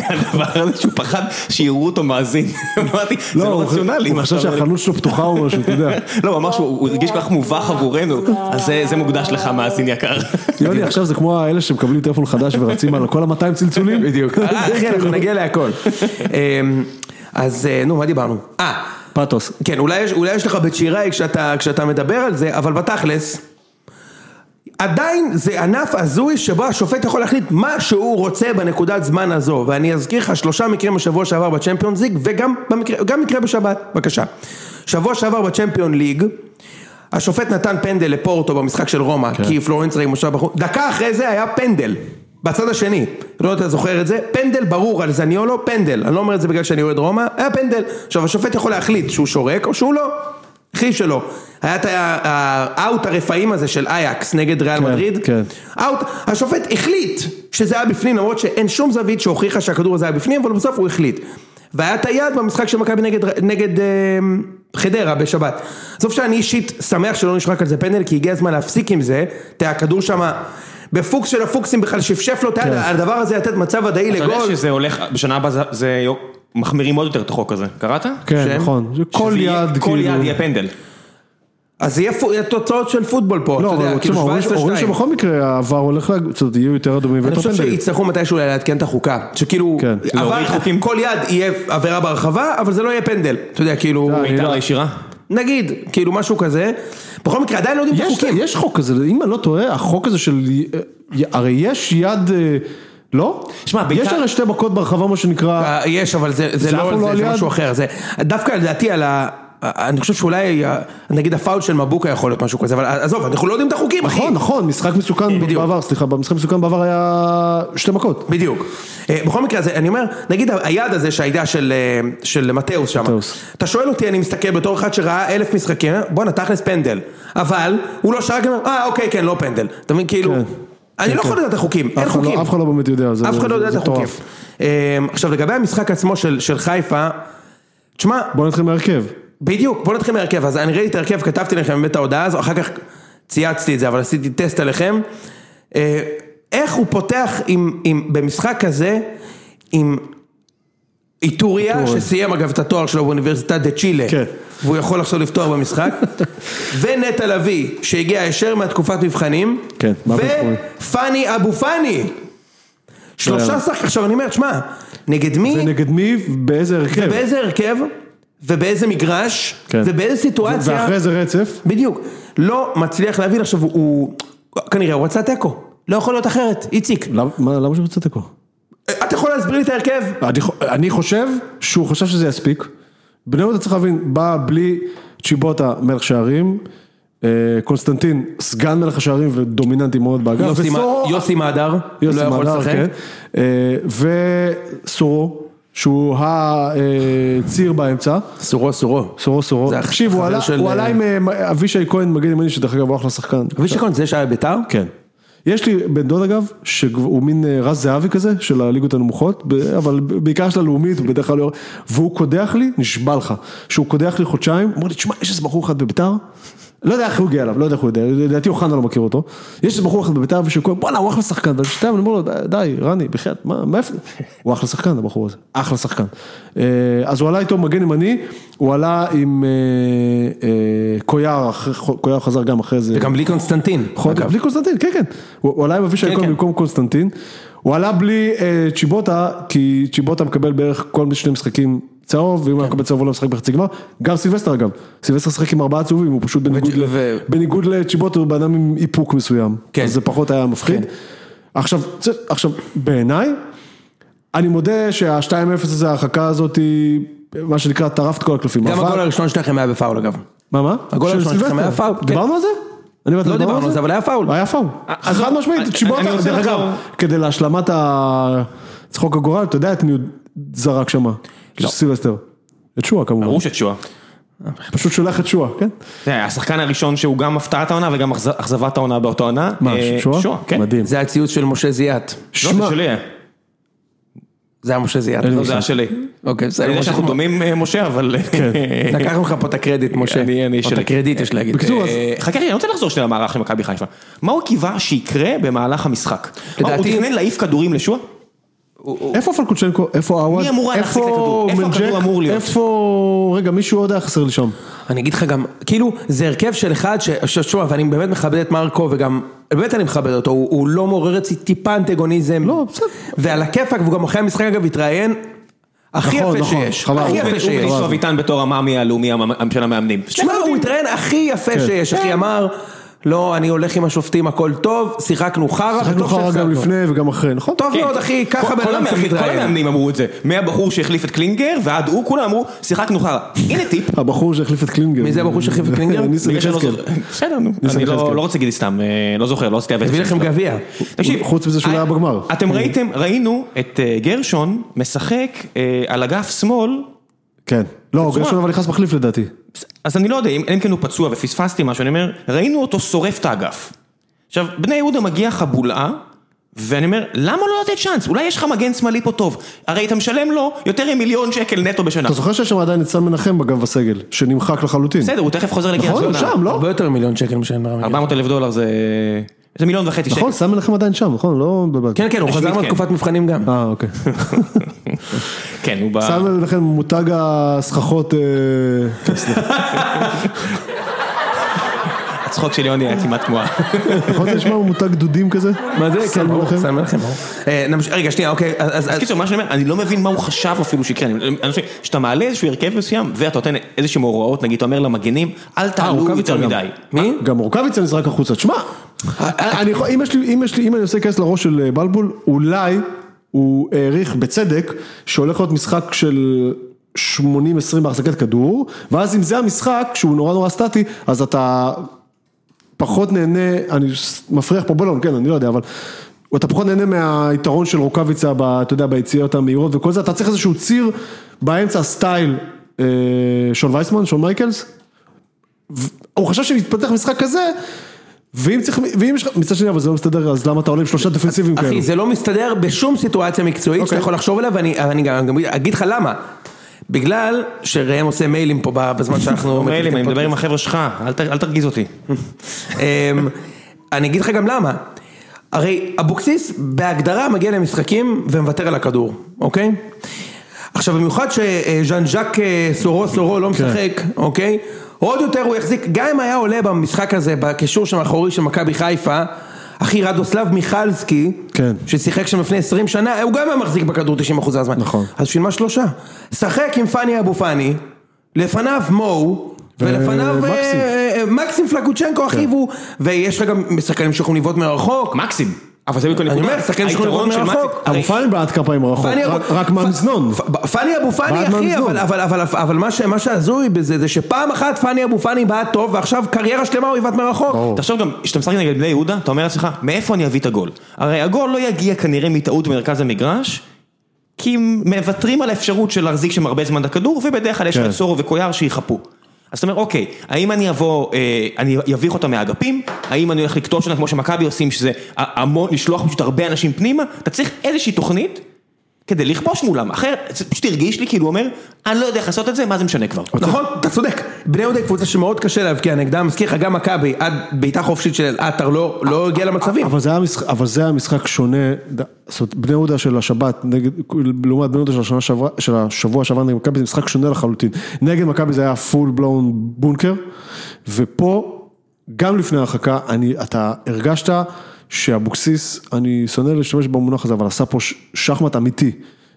Speaker 1: מהדבר הזה שהוא פחד שיראו אותו מאזין. אמרתי, זה לא
Speaker 2: הוא-
Speaker 1: רציונלי.
Speaker 2: הוא
Speaker 1: מה
Speaker 2: חשב
Speaker 1: שאתה אומר לי."
Speaker 2: שהחנות שלו פתוחה או משהו, אתה יודע.
Speaker 1: לא, הוא אמר שהוא הוא הרגיש כל כך מובך עבורנו, אז זה- זה מוקדש לך מאזין יקר.
Speaker 2: יוני עכשיו זה כמו האלה שמקבלים טלפון חדש ורצים על כל ה-200 צלצולים.
Speaker 3: בדיוק. אחי, כן, אנחנו נגיע להכל. אמ, אז אה, נו, מה דיברנו? אה,
Speaker 2: פאתוס.
Speaker 3: כן, אולי יש, אולי יש לך בית שיראי כשאתה, כשאתה מדבר על זה, אבל בתכלס, עדיין זה ענף הזוי שבו השופט יכול להחליט מה שהוא רוצה בנקודת זמן הזו, ואני אזכיר לך שלושה מקרים בשבוע שעבר בצ'מפיון ליג, וגם במקרה, גם מקרה בשבת, בבקשה. שבוע שעבר בצ'מפיון ליג, השופט נתן פנדל לפורטו במשחק של רומא, כן. כי פלורנס ראי מושב בחוץ, דקה אחרי זה היה פנדל, בצד השני, לא יודע אם אתה זוכר את זה, פנדל ברור על זניולו, פנדל, אני לא אומר את זה בגלל שאני אוהד רומא, היה פנדל, עכשיו השופט יכול להחליט שהוא שורק או שהוא לא, אחי שלו, היה את ה- האאוט הרפאים הזה של אייקס נגד ריאל
Speaker 2: כן,
Speaker 3: מדריד,
Speaker 2: כן.
Speaker 3: אאוט, השופט החליט שזה היה בפנים למרות שאין שום זווית שהוכיחה שהכדור הזה היה בפנים אבל בסוף הוא החליט. והיה את היד במשחק של מכבי נגד, נגד אה, חדרה בשבת. עזוב שאני אישית שמח שלא נשחק על זה פנדל כי הגיע הזמן להפסיק עם זה, אתה יודע, הכדור שם בפוקס של הפוקסים בכלל שפשף לו את
Speaker 2: כן.
Speaker 3: היד, הדבר הזה לתת מצב ודאי
Speaker 1: אתה יודע
Speaker 3: לגול.
Speaker 1: שזה הולך, בשנה הבאה זה- זה יו- מחמירים עוד יותר את החוק הזה, קראת?
Speaker 2: כן,
Speaker 3: שם?
Speaker 2: נכון. זה כל
Speaker 1: שזה יהיה-
Speaker 2: יד, כאילו.
Speaker 1: כל יד יהיה פנדל.
Speaker 3: אז זה יהיה פו- תוצאות של פוטבול פה,
Speaker 2: לא,
Speaker 3: אתה
Speaker 2: אבל
Speaker 3: יודע, כאילו
Speaker 2: תשמע, אומרים ש-
Speaker 3: 17-2.
Speaker 2: אומרים שבכל מקרה העבר הולך, לה- זאת אומרת, יהיו יותר אדומים
Speaker 3: אני
Speaker 2: ויותר
Speaker 3: חושב
Speaker 2: פנדלים.
Speaker 3: שיצטרכו מתישהו אולי לעדכן את החוקה, שכאילו,
Speaker 2: כן.
Speaker 3: עבר-
Speaker 1: להוריד חוקים.
Speaker 3: כל יד יהיה עבירה ברחבה, אבל זה לא יהיה פנדל, אתה יודע, כאילו,
Speaker 2: די. אני
Speaker 1: בעיטה
Speaker 2: לא-
Speaker 1: ישירה.
Speaker 3: נגיד, כאילו משהו כזה, בכל מקרה עדיין לא יודעים את
Speaker 2: יש-
Speaker 1: כן,
Speaker 3: החוקים,
Speaker 2: יש חוק כזה, אם אני לא טועה, החוק הזה של... הרי יש יד... אה, לא?
Speaker 1: שמע,
Speaker 2: יש
Speaker 1: בעיקר-
Speaker 2: הרי שתי מכות ברחבה, מה שנקרא...
Speaker 3: אה, יש, אבל זה- זה
Speaker 2: זה
Speaker 3: לא
Speaker 2: אף
Speaker 3: על
Speaker 2: פעם לא
Speaker 3: זה,
Speaker 2: על
Speaker 3: זה
Speaker 2: יד.
Speaker 3: משהו אחר, זה דווקא לדעתי על ה... אני חושב שאולי, אה, נגיד הפאול של מבוקה יכול להיות משהו כזה, אבל עזוב, אנחנו לא יודעים את החוקים, אחי.
Speaker 2: נכון, נכון, משחק מסוכן
Speaker 3: בדיוק.
Speaker 2: בעבר, סליחה, במשחק מסוכן בעבר היה שתי מכות.
Speaker 3: בדיוק. אה, בכל מקרה, זה- אני אומר, נגיד ה- היד הזה שהייתה של, אה, של מתאוס שם,
Speaker 2: מתאוס.
Speaker 3: אתה שואל אותי, אני מסתכל בתור אחד שראה אלף משחקים, בואנה, תכלס פנדל, אבל הוא לא שרק, אה, אוקיי, כן, לא פנדל. אתה מבין, כאילו,
Speaker 2: כן.
Speaker 3: אני לא יכול לדעת את החוקים, אין
Speaker 2: אף אחד לא-
Speaker 3: חוקים.
Speaker 2: אף אחד לא באמת יודע, זה
Speaker 3: אף אחד לא
Speaker 2: זה-
Speaker 3: יודע את
Speaker 2: זה
Speaker 3: החוקים.
Speaker 2: מטורף.
Speaker 3: אה, עכשיו, לגבי המשחק עצמו של של חיפה, תשמע,
Speaker 2: בוא נתחיל מהרכב.
Speaker 3: בדיוק, בוא נתחיל מהרכב, אז אני ראיתי את ההרכב, כתבתי לכם באמת את ההודעה הזו, אחר כך צייצתי את זה, אבל עשיתי טסט עליכם. אה, איך הוא פותח עם, עם, במשחק כזה, עם איטוריה,
Speaker 2: איטורי.
Speaker 3: שסיים אגב את התואר שלו באוניברסיטת דה צ'ילה,
Speaker 2: כן.
Speaker 3: והוא יכול עכשיו לפתוח במשחק, ונטע לביא, שהגיע ישר מהתקופת מבחנים,
Speaker 2: כן, מהבית חולים.
Speaker 3: ופאני אבו פאני, שלושה
Speaker 2: לא.
Speaker 3: שחקנים, עכשיו אני אומר, שמע, נגד מי?
Speaker 2: ונגד מי, באיזה הרכב.
Speaker 3: באיזה הרכב? ובאיזה מגרש,
Speaker 2: כן.
Speaker 3: ובאיזה סיטואציה.
Speaker 2: ואחרי זה רצף.
Speaker 3: בדיוק. לא מצליח להבין, עכשיו הוא- הוא... כנראה הוא רצה תיקו. לא יכול להיות אחרת, איציק.
Speaker 2: למה מה- למה שהוא רוצה תיקו?
Speaker 3: אתה יכול להסביר לי את ההרכב?
Speaker 2: אני חו- אני חושב שהוא חשב שזה יספיק. בני יהודה צריך להבין, בא בלי צ'יבוטה מלך שערים, אה, קונסטנטין סגן מלך השערים ודומיננטי מאוד באגף,
Speaker 3: יוסי מ-
Speaker 2: וסורו-
Speaker 3: יוסי מהדר,
Speaker 2: לא, יוסי
Speaker 3: לא יכול
Speaker 2: מדר,
Speaker 3: לשחק.
Speaker 2: כן. אה, וסורו, שהוא הציר באמצע.
Speaker 3: סורו, סורו.
Speaker 2: סורו סורו,
Speaker 3: זה הח-
Speaker 2: תקשיב הוא
Speaker 3: החבר
Speaker 2: עלה-
Speaker 3: של-
Speaker 2: הוא עלה עם אה, מ- אבישי כהן מגן ימני שדרך אגב הוא אחלה שחקן.
Speaker 3: אבישי כהן זה שהיה בביתר?
Speaker 2: כן. יש לי בן דוד אגב, שהוא מין אה, רז זהבי כזה, של הליגות הנמוכות, ב- אבל ב- בעיקר של הלאומית, הוא בדרך כלל לא... והוא קודח לי, נשבע לך, שהוא קודח לי חודשיים, הוא אומר לי, תשמע, יש איזה בחור אחד בביתר, לא יודע איך הוא הגיע אליו, לא יודע איך הוא יודע, לדעתי אוחנה לא מכיר אותו, יש איזה בחור אחד בביתר ושהוא קורא, בואנה, הוא אחלה שחקן, ואני שתיים, אני אומר לו, "די, די, רני, בחייאת, מה, מה איפה? הוא אחלה שחקן, הבחור הזה, אחלה שחקן. אה, אז הוא עלה איתו מגן ימני, הוא עלה עם אה, אה, קויאר, אחרי- קויאר חזר גם אחרי זה.
Speaker 3: וגם בלי קונסטנטין.
Speaker 2: נכון,
Speaker 3: אגב.
Speaker 2: בלי קונסטנטין, כן, כן. הוא הוא עלה עם אבישי
Speaker 3: כן,
Speaker 2: כהן
Speaker 3: כן.
Speaker 2: במקום קונסטנטין. הוא עלה בלי אה, צ'יבוטה, כי צ'יבוטה מקבל בערך כל שני משחקים צהוב, ואם הוא היה
Speaker 3: כן.
Speaker 2: מקבל צהוב הוא לא משחק בחצי גמר. גם סילבסטר אגב. סילבסטר שחק עם ארבעה צהובים, הוא פשוט בניגוד ל-
Speaker 3: ו-
Speaker 2: בניגוד לצ'יבוטה, הוא בן אדם עם איפוק מסוים.
Speaker 3: כן.
Speaker 2: אז זה פחות היה מפחיד. עכשיו, צריך- עכשיו, בעיניי, אני מודה שה-2-0 הזה, ההרחקה הזאת, היא, מה שנקרא, טרף את כל הקלפים.
Speaker 3: גם
Speaker 2: אבל-
Speaker 3: הגול הראשון שלכם היה בפאול אגב.
Speaker 2: מה, מה?
Speaker 3: הגול
Speaker 2: של
Speaker 3: הראשון שלכם
Speaker 2: סילבסטר.
Speaker 3: היה פאול, כן.
Speaker 2: דיברנו על זה? אני ואתה
Speaker 3: לא דיברנו על זה, אבל היה פאול. אה,
Speaker 2: היה פאול. חד משמעית,
Speaker 1: אני-
Speaker 2: צ'יבוטה,
Speaker 1: אני רוצה
Speaker 2: דרך אגב,
Speaker 1: לחזור.
Speaker 2: כדי להשלמת הצחוק הגורל, אתה יודע את מי הוא זרק שמה?
Speaker 3: לא.
Speaker 2: של סילבסטר. את שואה כמובן.
Speaker 1: ברור שתשועה.
Speaker 2: פשוט שולח את שואה, כן?
Speaker 1: זה השחקן הראשון שהוא גם הפתעת העונה וגם אכז- אכזבת העונה באותה עונה.
Speaker 2: מה,
Speaker 1: אה,
Speaker 2: שואה?
Speaker 1: שואה, כן. לא,
Speaker 2: מדהים.
Speaker 3: זה לא, היה ציוץ של משה זיאת.
Speaker 1: זה שלי. היה.
Speaker 3: זה היה משה זיאת.
Speaker 1: לא, זה
Speaker 2: כן.
Speaker 1: היה שלי.
Speaker 3: אוקיי,
Speaker 1: אני
Speaker 3: בסדר.
Speaker 2: לא
Speaker 1: יודע
Speaker 3: משה-
Speaker 1: שאנחנו דומים, אה, משה, אבל...
Speaker 3: לקחנו לך פה את הקרדיט, משה.
Speaker 1: אני- אני
Speaker 3: או את
Speaker 1: שלי.
Speaker 3: הקרדיט, יש להגיד.
Speaker 2: בקיצור, אז-
Speaker 1: אה, חכה, רגע, אני רוצה לחזור שנייה למערך של מכבי חיפה. מה הוא קיווה שיקרה במהלך המשחק? מה, הוא
Speaker 3: לדעתי-
Speaker 1: תכנן להעיף כדורים לשועה?
Speaker 2: איפה פלקוצ'נקו? איפה עווד?
Speaker 1: מי אמור היה להחזיק את
Speaker 2: איפה
Speaker 1: הכדור? איפה הכדור
Speaker 2: מנג'ק?
Speaker 1: אמור להיות?
Speaker 2: איפה... רגע, מישהו עוד היה חסר לי שם.
Speaker 3: אני אגיד לך גם, כאילו, זה הרכב של אחד ש... ש- שוב, ואני באמת מכבד את מרקו, וגם, באמת אני מכבד אותו, הוא, הוא לא מעורר אצלי טיפה אנטגוניזם.
Speaker 2: לא, בסדר.
Speaker 3: ועל הכיפאק, והוא גם אחרי המשחק אגב התראיין, הכי
Speaker 2: נכון,
Speaker 3: יפה
Speaker 2: נכון,
Speaker 3: שיש.
Speaker 2: חבל,
Speaker 3: הכי
Speaker 2: הוא-
Speaker 3: יפה
Speaker 1: הוא
Speaker 3: שיש.
Speaker 1: וניסו אביטן בתור המאמי הלאומי המ- של המאמנים.
Speaker 3: תשמע, הוא התראיין הכי
Speaker 2: כן.
Speaker 3: יפה שיש, אחי אמר, לא, אני הולך עם השופטים, הכל טוב, שיחקנו חרא,
Speaker 2: שיחקנו
Speaker 3: וטוב
Speaker 2: חרא גם
Speaker 3: שהפסדנו."
Speaker 2: לפני וגם אחרי, נכון?
Speaker 3: טוב
Speaker 1: כן.
Speaker 3: מאוד, אחי,
Speaker 1: כל-
Speaker 3: ככה בן
Speaker 1: כל
Speaker 3: אדם צריך
Speaker 1: המאמנים- כל
Speaker 3: להתראיין.
Speaker 1: המאמנים אמרו את זה. מהבחור שהחליף את קלינגר ועד הוא, כולם אמרו, שיחקנו חרא. הנה טיפ.
Speaker 2: הבחור שהחליף את קלינגר.
Speaker 3: מי זה הבחור שהחליף את קלינגר? אוקיי.
Speaker 2: ניסן
Speaker 1: בגלל שאני לא
Speaker 2: יחזקאל.
Speaker 1: זוכר. בסדר, נו.
Speaker 2: ניסן
Speaker 1: אני
Speaker 2: יחזקאל.
Speaker 1: לא לא רוצה להגיד סתם, אה, לא זוכר, לא עשיתי
Speaker 3: הביא לכם גביע.
Speaker 1: תקשיב, אה,
Speaker 2: חוץ מזה שהוא לא היה בגמר.
Speaker 1: אתם ראיתם, ראינו את אה, גרשון משחק אה, על אגף שמאל,
Speaker 2: כן. לא,
Speaker 1: בצורה-
Speaker 2: גרשון אבל נכנס מחליף לדעתי.
Speaker 1: אז אני לא יודע, אם אם כן הוא פצוע ופספסתי משהו, אני אומר, ראינו אותו שורף את האגף. עכשיו, בני יהודה מגיע חבולאה, ואני אומר, למה לא לתת צ'אנס? אולי יש לך מגן שמאלי פה טוב. הרי אתה משלם לו יותר ממיליון שקל נטו בשנה.
Speaker 3: נכון.
Speaker 2: אתה זוכר שיש שם עדיין את סן מנחם בגב בסגל, שנמחק לחלוטין.
Speaker 1: בסדר, הוא תכף חוזר לקריית
Speaker 2: נכון, הוא
Speaker 1: שמונה.
Speaker 2: שם, לא?
Speaker 3: הרבה יותר ממיליון שקל משלם רמי.
Speaker 1: 400 אלף דולר זה... זה מיליון וחצי שקל.
Speaker 2: נכון, סן מנחם עדיין שם, נכון? לא בבעיה.
Speaker 3: כן, כן, הוא
Speaker 1: רשמית,
Speaker 3: חזר
Speaker 1: כן.
Speaker 3: מתקופת מבחנים גם.
Speaker 2: אה, אוקיי.
Speaker 1: כן, הוא ב...
Speaker 3: אה.
Speaker 2: סן מנחם מותג הסככות... אה, כן, סליחה.
Speaker 1: הצחוק של יוני היה כמעט כמו... ה-
Speaker 2: נכון זה נשמע מותג דודים כזה?
Speaker 3: מה זה?
Speaker 2: סן
Speaker 3: כן, ברור.
Speaker 2: מנחם?
Speaker 3: סן מנחם, ברור. אה, נמשיך- רגע, שנייה, אוקיי, אז- אז...
Speaker 1: אז קיצור, מה שאני אומר, אני לא מבין מה הוא חשב אפילו שיקרה. אני אני חושב שאתה מעלה איזשהו הרכב מסוים, ואתה נותן איזשהם הוראות, נגיד, אתה אומר למגנים,
Speaker 3: אה,
Speaker 1: אל תעלו
Speaker 2: רוקאביצה
Speaker 1: יותר
Speaker 2: גם.
Speaker 1: מדי.
Speaker 3: מי?
Speaker 2: אה, גם רוקאביצה נזרק החוצה. תשמע, אני יכול- אם יש לי- אם יש לי- אם אני עושה כנס לראש של אה, בלבול, אולי הוא העריך בצדק שהולך להיות משחק של 80-20 בהחזקת כדור, ואז אם זה המשחק, שהוא נורא נורא סטטי, אז אתה פחות נהנה, אני ס- מפריח פה בלון, כן, אני לא יודע, אבל... אתה פחות נהנה מהיתרון של רוקאביצה, ב- אתה יודע, ביציאות המהירות וכל זה, אתה צריך איזשהו ציר באמצע סטייל אה, שון וייסמן, שון מייקלס, הוא חשב שמתפתח משחק כזה, ואם צריך, ואם יש לך, מצד שני אבל זה לא מסתדר, אז למה אתה עולה עם שלושה דפנסיבים
Speaker 1: כאילו.
Speaker 2: כאלה?
Speaker 3: אחי, זה לא מסתדר בשום סיטואציה מקצועית שאתה
Speaker 2: אוקיי.
Speaker 3: יכול לחשוב עליה, ואני אבל אני גם גם אגיד לך למה. בגלל שראם עושה מיילים פה ב- בזמן שאנחנו...
Speaker 1: מילא, אני
Speaker 3: מקליטים
Speaker 1: מדבר עם החבר'ה שלך, אל ת- אל תרגיז אותי.
Speaker 3: פודקאסט. אמ, אני אגיד לך גם למה. הרי אבוקסיס בהגדרה מגיע למשחקים ומוותר על הכדור, אוקיי? עכשיו במיוחד שז'אן ז'אק אה, סורו סורו לא
Speaker 2: כן.
Speaker 3: משחק, אוקיי? עוד יותר הוא יחזיק, גם אם היה עולה במשחק הזה, בקישור שמאחורי של מכבי חיפה, אחי רדוסלב מיכלסקי,
Speaker 2: כן.
Speaker 3: ששיחק שם לפני 20 שנה, הוא גם היה מחזיק בכדור 90% מהזמן.
Speaker 2: נכון.
Speaker 3: אז בשביל מה שלושה? שחק עם פאני אבו פאני, לפניו מו, ולפניו אה,
Speaker 2: ומקסים.
Speaker 3: אה, אה, מקסים
Speaker 2: כן.
Speaker 3: פלקוצ'נקו אחיו הוא, ויש לך גם שחקנים שיכולים לבעוט מרחוק.
Speaker 1: מקסים. אבל זה בדיוק
Speaker 3: אני אומר, שחקן שיכול
Speaker 1: היתרון
Speaker 3: לבעוט
Speaker 1: של
Speaker 3: מרחוק.
Speaker 1: מקסים-
Speaker 2: אבו פאני בעט כפיים רחוק,
Speaker 3: פאני
Speaker 2: רק-
Speaker 3: אבו-
Speaker 2: רק
Speaker 3: פ-
Speaker 2: מהמזנון.
Speaker 3: פ- פאני אבו פאני
Speaker 2: בעט
Speaker 3: אחי,
Speaker 2: מהמזנון.
Speaker 3: אבל- אבל- אבל- אבל- אבל מה ש- מה שהזוי בזה, זה שפעם אחת פאני אבו פאני בעט טוב, ועכשיו קריירה שלמה הוא יבעט מרחוק.
Speaker 2: ברור.
Speaker 1: תחשוב גם, כשאתה משחק נגד בני יהודה, אתה אומר לעצמך, מאיפה אני אביא את הגול? הרי הגול לא יגיע כנראה מטעות במרכז המגרש, כי הם מוותרים על האפשרות של להחזיק שם הרבה זמן את הכדור, ובדרך כלל יש לך
Speaker 2: כן.
Speaker 1: את סורו וקויאר שיחפו. אז אתה אומר, אוקיי, האם אני אבוא, אה, אני אביך אותם מהאגפים? האם אני הולך לקטוש אותם כמו שמכבי עושים, שזה ה- המון, לשלוח פשוט הרבה אנשים פנימה? אתה צריך איזושהי תוכנית כדי לכבוש מולם, אחרת זה פשוט הרגיש לי כאילו הוא אומר, אני לא יודע איך לעשות את זה, מה זה משנה כבר?
Speaker 3: נכון, אתה צודק. בני יהודה היא קבוצה שמאוד קשה להבקיע נגדה, מזכיר לך גם מכבי, עד בעיטה חופשית של עטר לא לא הגיע למצבים.
Speaker 2: אבל זה היה משחק, אבל זה היה משחק שונה, ד- זאת אומרת, בני יהודה של השבת, נגד, לעומת בני יהודה של, השנה שעברה, של השבוע שעבר נגד מכבי, זה משחק שונה לחלוטין. נגד מכבי זה היה פול בלון בונקר, ופה, גם לפני ההרחקה, אני, אתה הרגשת שאבוקסיס, אני שונא להשתמש במונח הזה, אבל עשה פה ש- שחמט אמיתי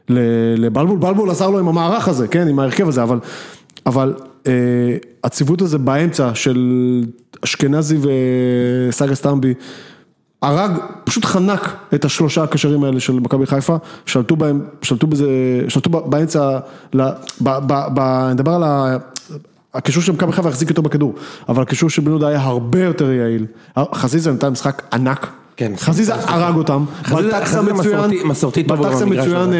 Speaker 2: ל- לבלבול, בלבול עזר לו עם המערך הזה, כן, עם ההרכב הזה, אבל, אבל אה, הציוות הזה באמצע של אשכנזי וסאגה סטמבי, הרג, פשוט חנק את השלושה הקשרים האלה של מכבי חיפה, שלטו בהם, שלטו בזה, שלטו ב- באמצע, ל- ב- ב- ב- אני מדבר על ה... הקישור של מכבי חיפה החזיק יותר בכדור, אבל הקישור של בן יהודה היה הרבה יותר יעיל. חזיזה נתן משחק ענק.
Speaker 3: כן,
Speaker 2: חזיזה הרג אותם.
Speaker 3: חזיזה-
Speaker 2: בלטקסה
Speaker 3: חזיזה
Speaker 2: מצוין.
Speaker 3: מסורתי- מסורתי טוב
Speaker 2: בלטקסה
Speaker 3: במגרש
Speaker 2: מצוין, אה,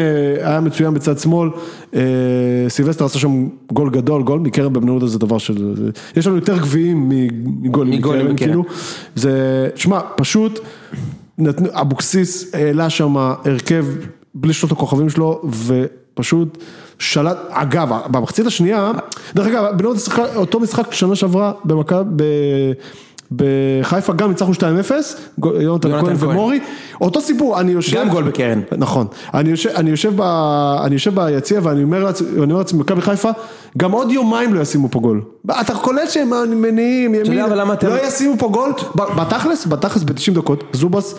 Speaker 2: היה מצוין בצד שמאל. אה, סילבסטר עשה שם גול גדול, גול מקרן בבני יהודה זה דבר של... זה- יש לנו יותר גביעים מגולים
Speaker 3: מגולים כן.
Speaker 2: מקרן,
Speaker 3: מקרן.
Speaker 2: כאילו. זה, שמע, פשוט, נתנו, אבוקסיס העלה שם הרכב בלי שלושת הכוכבים שלו, ופשוט שלט, אגב, במחצית השנייה, דרך אגב, בני יהודה שיחקה אותו משחק שנה שעברה במכבי, ב... בחיפה גם ניצחנו 2-0, גול- יונתן
Speaker 3: יונתן
Speaker 2: כהן
Speaker 3: כהן.
Speaker 2: ומורי, אותו סיפור, אני יושב...
Speaker 3: גם גול בקרן.
Speaker 2: נכון. אני יושב, אני יושב, ב, אני יושב ביציע ואני אומר לעצ- אני אומר לעצמי, מכבי חיפה, גם עוד יומיים לא ישימו פה גול. אתה קולט שהם מניעים,
Speaker 3: יודע,
Speaker 2: ימין,
Speaker 3: אבל למה אתם-
Speaker 2: לא ישימו פה גול, ב- בתכלס, בתכלס ב-90 דקות, זובס,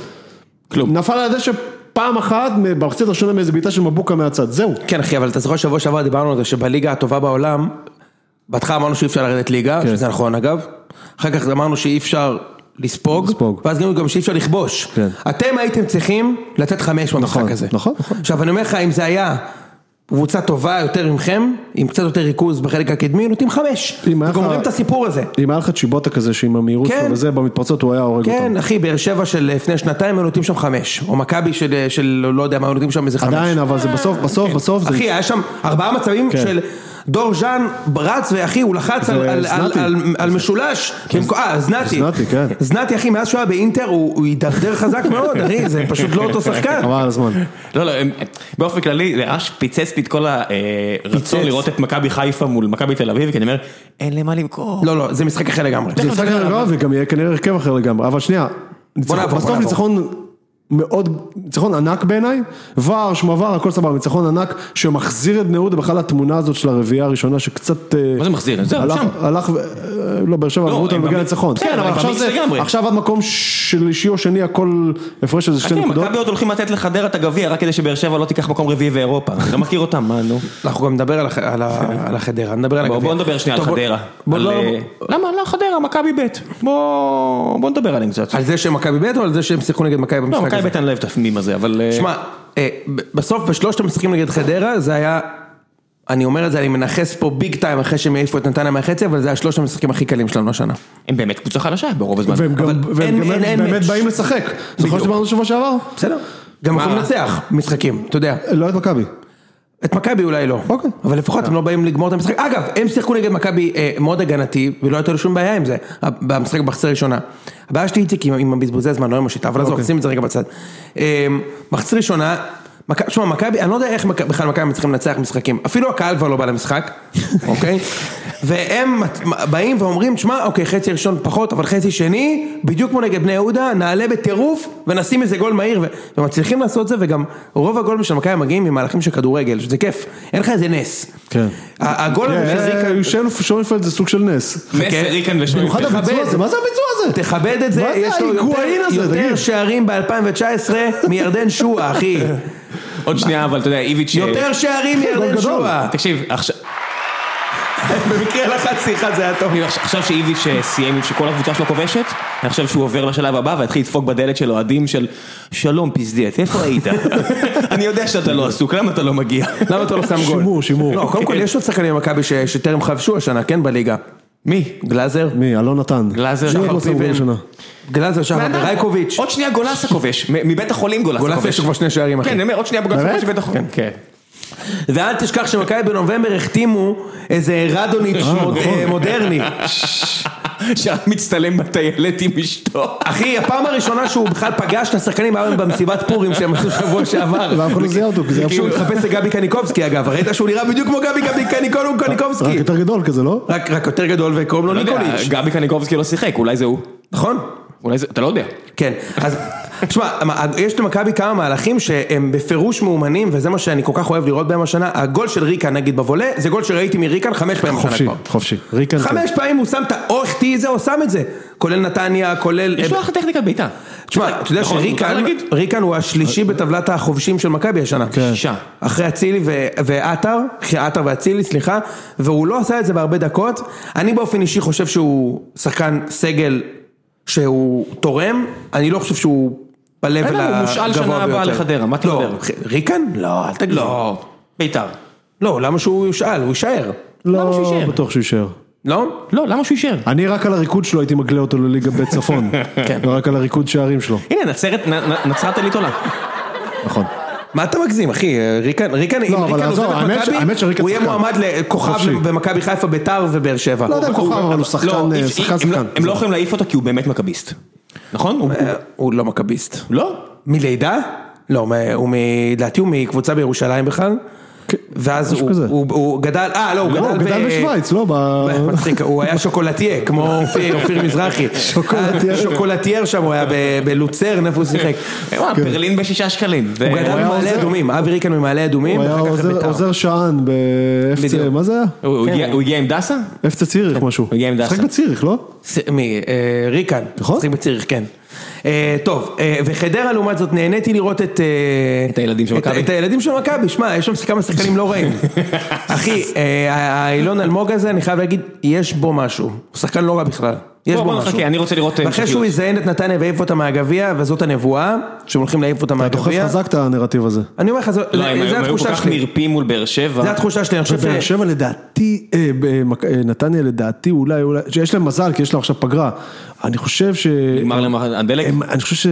Speaker 1: כלום.
Speaker 2: נפל על הדשא פעם אחת במחצית הראשונה מאיזה בעיטה של מבוקה מהצד, זהו.
Speaker 3: כן אחי, אבל אתה זוכר שבוע שעבר דיברנו על זה שבליגה הטובה בעולם, בהתחלה אמרנו שאי אפשר לרדת ליגה,
Speaker 2: כן.
Speaker 3: שזה נכון אגב, אחר כך אמרנו שאי אפשר לספוג,
Speaker 2: לספוג.
Speaker 3: ואז גם גם שאי אפשר לכבוש.
Speaker 2: כן.
Speaker 3: אתם הייתם צריכים לתת חמש במשחק
Speaker 2: נכון,
Speaker 3: הזה.
Speaker 2: נכון, נכון.
Speaker 3: עכשיו אני אומר לך, אם זה היה קבוצה טובה יותר ממכם, עם קצת יותר ריכוז בחלק הקדמי, נותנים חמש.
Speaker 2: אם היה לך-
Speaker 3: וגומרים את הסיפור הזה.
Speaker 2: אם היה לך צ'יבוטה כזה שעם המהירות
Speaker 3: כן.
Speaker 2: שלו וזה, במתפרצות הוא היה הורג אותם.
Speaker 3: כן, אחי, באר שבע של לפני שנתיים היו נותנים שם חמש, או מכבי של, של לא יודע מה, היו נותנים שם איזה חמש.
Speaker 2: עדיין, אבל זה בסוף, בסוף, בסוף, זה...
Speaker 3: אחי, היה שם ארבעה מצבים
Speaker 2: כן.
Speaker 3: של דור ז'אן רץ, ואחי, הוא לחץ על- על- על-
Speaker 2: זנתי.
Speaker 3: על על משולש. במקום- אה, זנתי.
Speaker 2: כן. זנתי, כן.
Speaker 3: זנתי, אחי, מאז שהוא היה באינטר, הוא הוא הידרדר חזק מאוד, אחי, זה פשוט לא אותו שחקן.
Speaker 2: חבל על הזמן.
Speaker 1: לא, לא, הם- באופן כללי, זה אש פיצץ לי את כל הרצון
Speaker 3: פיצץ.
Speaker 1: לראות את מכבי חיפה מול מכבי תל אביב, כי אני אומר, אין למה למכור.
Speaker 3: לא, לא, זה משחק אחר לגמרי.
Speaker 2: זה משחק אחר לגמרי וגם יהיה כנראה הרכב אחר לגמרי, אבל שנייה, ניצחון-
Speaker 3: נעבור, בוא
Speaker 2: בסוף
Speaker 3: נעבור.
Speaker 2: ניצחון מאוד, ניצחון ענק בעיניי, ור, שמבר, הכל סבבה, ניצחון ענק שמחזיר את בני יהודה בכלל לתמונה הזאת של הרביעייה הראשונה שקצת... אה,
Speaker 1: מה זה מחזיר? זהו,
Speaker 2: הלך-
Speaker 1: שם.
Speaker 2: הלך, ו- אה, לא, באר שבע עברו אותנו
Speaker 1: הם
Speaker 2: בגלל
Speaker 1: במי-
Speaker 2: ניצחון.
Speaker 1: כן,
Speaker 2: כן, אבל
Speaker 1: הם
Speaker 2: עכשיו
Speaker 1: במיקס
Speaker 2: זה,
Speaker 1: לגמרי.
Speaker 2: עכשיו עד מקום שלישי או שני הכל הפרש איזה שתי
Speaker 1: כן,
Speaker 2: נקודות.
Speaker 1: מכבי עוד הולכים לתת לחדרה את הגביע רק כדי שבאר שבע לא תיקח מקום רביעי באירופה. אני לא מכיר אותם, מה נו.
Speaker 3: אנחנו גם נדבר על הח- על ה- על החדרה, נדבר על
Speaker 1: בוא
Speaker 3: הגביע.
Speaker 1: בוא נדבר שנייה על
Speaker 3: טוב, בוא-
Speaker 1: חדרה.
Speaker 3: בוא
Speaker 1: על,
Speaker 3: לא-
Speaker 1: אה, למה? לא, חדרה, מכבי ב'. בוא בוא נדבר עליהם קצת.
Speaker 3: על זה שהם מכבי ב' או על זה שהם שיחקו נגד מכבי
Speaker 1: לא,
Speaker 3: במשחק
Speaker 1: מכבי ב'
Speaker 3: הזה?
Speaker 1: אני לא אוהב את הפנים הזה, אבל... אה,
Speaker 3: שמע, אה, ב- בסוף בשלושת המשחקים נגד חדרה, זה היה... אני אומר את זה, אני מנכס פה ביג טיים אחרי שהם העיפו את נתניה מהחצי, אבל זה היה שלושת המשחקים הכי קלים שלנו השנה.
Speaker 1: הם באמת קבוצה חלשה ברוב הזמן.
Speaker 2: והם
Speaker 3: אבל
Speaker 2: גם והם
Speaker 3: אין-
Speaker 2: גם
Speaker 3: אין- אין
Speaker 2: באמת
Speaker 3: מאץ'.
Speaker 2: באים לשחק. זוכר
Speaker 3: בדיוק.
Speaker 2: שדיברנו שבוע שעבר?
Speaker 3: בסדר. גם יכולים לנצח משחקים, אתה יודע.
Speaker 2: לא את מכבי.
Speaker 3: את מכבי אולי לא.
Speaker 2: אוקיי.
Speaker 3: אבל לפחות הם לא באים לגמור את המשחק. אגב, הם שיחקו נגד מכבי אה, מאוד הגנתי, ולא הייתה לו שום בעיה עם זה, ה- במשחק בחצי הראשונה. הבעיה שלי איציק עם- עם הבזבוזי זמן, לא עם השיטה, אבל עזוב,
Speaker 2: אוקיי.
Speaker 3: שים את זה רגע בצד. אה, מחצי ראשונה, מכ- שמע, מכבי, אני לא יודע איך מכ- בכלל מכבי צריכים לנצח משחקים. אפילו הקהל כבר לא בא למשחק, אוקיי? והם מת- באים ואומרים, שמע, אוקיי, חצי ראשון פחות, אבל חצי שני, בדיוק כמו נגד בני יהודה, נעלה בטירוף ונשים איזה גול מהיר, ו- ומצליחים לעשות זה, וגם רוב הגולים של מכבי מגיעים ממהלכים של כדורגל, שזה כיף, אין לך איזה נס.
Speaker 2: כן.
Speaker 3: ה-
Speaker 1: אה,
Speaker 3: הגול הזה של ריקה,
Speaker 2: שוינפלד אה, זה סוג של נס.
Speaker 1: מסר, ריקן ושוינפלד.
Speaker 2: במיוחד הביצוע הזה, מה זה הביצוע הזה?
Speaker 3: תכבד את זה,
Speaker 2: מה זה
Speaker 3: יש לו יותר-
Speaker 2: ההיגואין הזה,
Speaker 3: יותר
Speaker 2: תגיד?
Speaker 3: שערים ב-2019 מירדן שועה, אחי.
Speaker 1: עוד שנייה, אבל אתה יודע, איביץ'... אה,
Speaker 3: יותר שערים
Speaker 2: גול
Speaker 3: מירדן
Speaker 2: גדול.
Speaker 3: שועה.
Speaker 1: תקשיב, עכשיו...
Speaker 3: במקרה לחצתי אחד זה היה טוב.
Speaker 1: אני חושב- כאילו, עכשיו שאיביץ' אה, סיים שכל הקבוצה שלו כובשת, אני חושב שהוא עובר לשלב הבא ויתחיל לדפוק בדלת של אוהדים של שלום פזדיאט, איפה היית? אני יודע שאתה לא עסוק, למה אתה לא מגיע?
Speaker 3: למה אתה לא שם גול?
Speaker 2: שימור, שימור.
Speaker 3: לא, קודם כל יש עוד שחקנים במכבי ש- שטרם חבשו השנה, כן בליגה.
Speaker 1: מי?
Speaker 3: גלאזר?
Speaker 2: מי? אלון נתן.
Speaker 1: גלאזר,
Speaker 2: שוב
Speaker 1: שחר
Speaker 2: לא שם גול
Speaker 3: פיבן.
Speaker 2: השנה.
Speaker 3: גלאזר שחר ורייקוביץ'.
Speaker 1: עוד שנייה גולסה כובש, מ- מבית החולים גולסה כובש.
Speaker 3: גולאסה יש לו כבר שני שערים אחי.
Speaker 1: כן, אני אומר, עוד שנייה גולסה כובש מבית החולים. כן.
Speaker 3: ואל תשכח שמכבי בנובמבר החתימו איזה רדוניץ'
Speaker 2: נכון.
Speaker 3: מוד- אה, מודרני.
Speaker 1: שרק מצטלם בטיילת עם אשתו.
Speaker 3: אחי, הפעם הראשונה שהוא בכלל פגש את השחקנים היה במסיבת פורים שהם עשו שבוע שעבר.
Speaker 2: ואף אחד לא זיהה אותו, כי זה היה
Speaker 3: כשהוא התחפש לגבי קניקובסקי אגב, ראית שהוא נראה בדיוק כמו גבי גבי קניקולו
Speaker 2: רק
Speaker 3: קניקובסקי.
Speaker 2: יותר גדול כזה, לא?
Speaker 3: רק רק יותר גדול וקוראים לו ניקוליץ',
Speaker 1: לא גבי קניקובסקי לא שיחק, אולי זה הוא.
Speaker 3: נכון?
Speaker 1: אולי זה, אתה לא יודע.
Speaker 3: כן, אז תשמע, מה, יש למכבי כמה מהלכים שהם בפירוש מאומנים, וזה מה שאני כל כך אוהב לראות בהם השנה. הגול של ריקן נגיד בבולה, זה גול שראיתי מריקן חמש פעמים השנה
Speaker 2: חופשי,
Speaker 3: כבר.
Speaker 2: חופשי.
Speaker 1: כן,
Speaker 2: ריקן.
Speaker 3: חמש פעמים הוא שם את או החטיא את זה או שם את זה, כולל נתניה, כולל...
Speaker 1: יש לו אחלה טכניקת בעיטה.
Speaker 3: תשמע, אתה יודע
Speaker 1: נכון, מותר
Speaker 3: שריקן
Speaker 1: להגיד? אה, כן.
Speaker 3: ריקן הוא השלישי בטבלת החובשים של מכבי השנה.
Speaker 1: שישה.
Speaker 3: אחרי אצילי ו- ועטר, אחרי עטר ואצילי, סליחה, והוא לא עשה את זה בהרבה דקות. אני באופן אישי חושב שהוא שחקן סגל שהוא תורם, אני לא חושב שהוא
Speaker 1: אין,
Speaker 3: בלב הגבוה
Speaker 1: הוא
Speaker 3: ביותר.
Speaker 1: מושאל שנה הבאה לחדרה, מה אתה
Speaker 3: לא,
Speaker 1: מדבר?
Speaker 3: ח- ריקן? לא, אל תגיד.
Speaker 1: לא, בית"ר.
Speaker 3: לא, למה שהוא יושאל? הוא יישאר.
Speaker 1: למה שהוא
Speaker 2: לא
Speaker 1: יישאר?
Speaker 2: בטוח שהוא יישאר.
Speaker 3: לא?
Speaker 1: לא, למה שהוא יישאר?
Speaker 2: אני רק על הריקוד שלו הייתי מגלה אותו לליגה בית צפון. ורק על הריקוד שערים שלו.
Speaker 1: הנה, נצרת, נ- נ- נצרת עילית עולה.
Speaker 2: נכון.
Speaker 3: מה אתה מגזים אחי, ריקן,
Speaker 1: לא,
Speaker 3: ריקן, אם
Speaker 2: אבל
Speaker 3: ריקן
Speaker 2: עזוב,
Speaker 3: עוזב את
Speaker 2: האמת ש-
Speaker 3: מכבי,
Speaker 2: האמת שריקן
Speaker 3: הוא יהיה
Speaker 2: שחקן.
Speaker 3: מועמד לכוכב
Speaker 2: חופשי.
Speaker 3: במכבי חיפה, ביתר ובאר שבע.
Speaker 2: לא יודע אם כוכב, אבל הוא
Speaker 1: לא,
Speaker 2: שחקן,
Speaker 1: אי-
Speaker 2: אה,
Speaker 1: אי-
Speaker 2: שחקן
Speaker 1: הם לא-
Speaker 2: שחקן.
Speaker 1: הם לא יכולים להעיף אותו כי הוא באמת מכביסט. נכון? הוא- הוא-
Speaker 3: הוא לא מכביסט.
Speaker 1: לא?
Speaker 3: מלידה? לא, מ- הוא מ... לדעתי הוא מקבוצה בירושלים בכלל. ואז
Speaker 2: כן, משהו
Speaker 3: הוא,
Speaker 2: כזה.
Speaker 3: הוא, הוא גדל, אה לא, הוא
Speaker 2: לא,
Speaker 3: גדל, אה,
Speaker 2: הוא גדל בשוויץ, אה. לא? ב-
Speaker 3: מצחיק, הוא היה שוקולטייה, כמו אופיר, אופיר מזרחי. אה,
Speaker 2: שוקולטייר.
Speaker 3: שוקולטייר שם, הוא היה ב- בלוצרן, איפה הוא שיחק.
Speaker 1: וואלה, ברלין אה, בשישה שקלים. זה-
Speaker 3: הוא גדל
Speaker 2: היה
Speaker 3: במעלה
Speaker 2: עוזר.
Speaker 3: אדומים, אבי ריקן ממעלה אדומים,
Speaker 2: הוא היה
Speaker 3: ואחר כך
Speaker 2: עוזר-
Speaker 3: לביתר.
Speaker 2: עוזר שען ב-FC,
Speaker 3: בדיוק.
Speaker 2: מה זה היה?
Speaker 1: הוא- הוא
Speaker 3: כן.
Speaker 1: הגיע- הוא הגיע עם דסה?
Speaker 2: FC ציריך משהו.
Speaker 1: כן. הגיע עם דסה.
Speaker 2: משחק בציריך, לא?
Speaker 3: ס- מי? אה, ריקן.
Speaker 2: נכון.
Speaker 3: שיחק בציריך, כן. אה, טוב, אה, וחדרה לעומת זאת נהניתי לראות את... אה,
Speaker 1: את הילדים של
Speaker 3: את-
Speaker 1: מכבי.
Speaker 3: את הילדים של מכבי, שמע, יש שם כמה שחקנים לא רעים. אחי, אה, האילון אלמוג הזה, אני חייב להגיד, יש בו משהו. הוא שחקן לא רע בכלל. יש
Speaker 1: בוא,
Speaker 3: בו
Speaker 1: בוא
Speaker 3: משהו.
Speaker 1: נחכה, אני רוצה לראות, אה,
Speaker 3: ואחרי שהוא
Speaker 1: המשכיות.
Speaker 3: יזיין את נתניה ויעיף אותה מהגביע, וזאת הנבואה, שהם הולכים להעיף אותה
Speaker 2: אתה דוחף
Speaker 3: מהגביע.
Speaker 2: חזק את הנרטיב הזה.
Speaker 3: אני אומר לך, זו-
Speaker 1: לא, הם הם
Speaker 3: זה
Speaker 1: היו כל
Speaker 3: התחושה
Speaker 1: כך
Speaker 3: שלי.
Speaker 1: נרפים מול באר שבע.
Speaker 3: זה התחושה שלי, אני חושב
Speaker 2: ובאר
Speaker 3: ש...
Speaker 2: שבע לדעתי, אה, במק- אה, נתניה לדעתי אולי, אולי, שיש להם מזל כי יש להם עכשיו פגרה. אני חושב ש...
Speaker 1: נגמר להם הדלק.
Speaker 2: הם- אני חושב ש...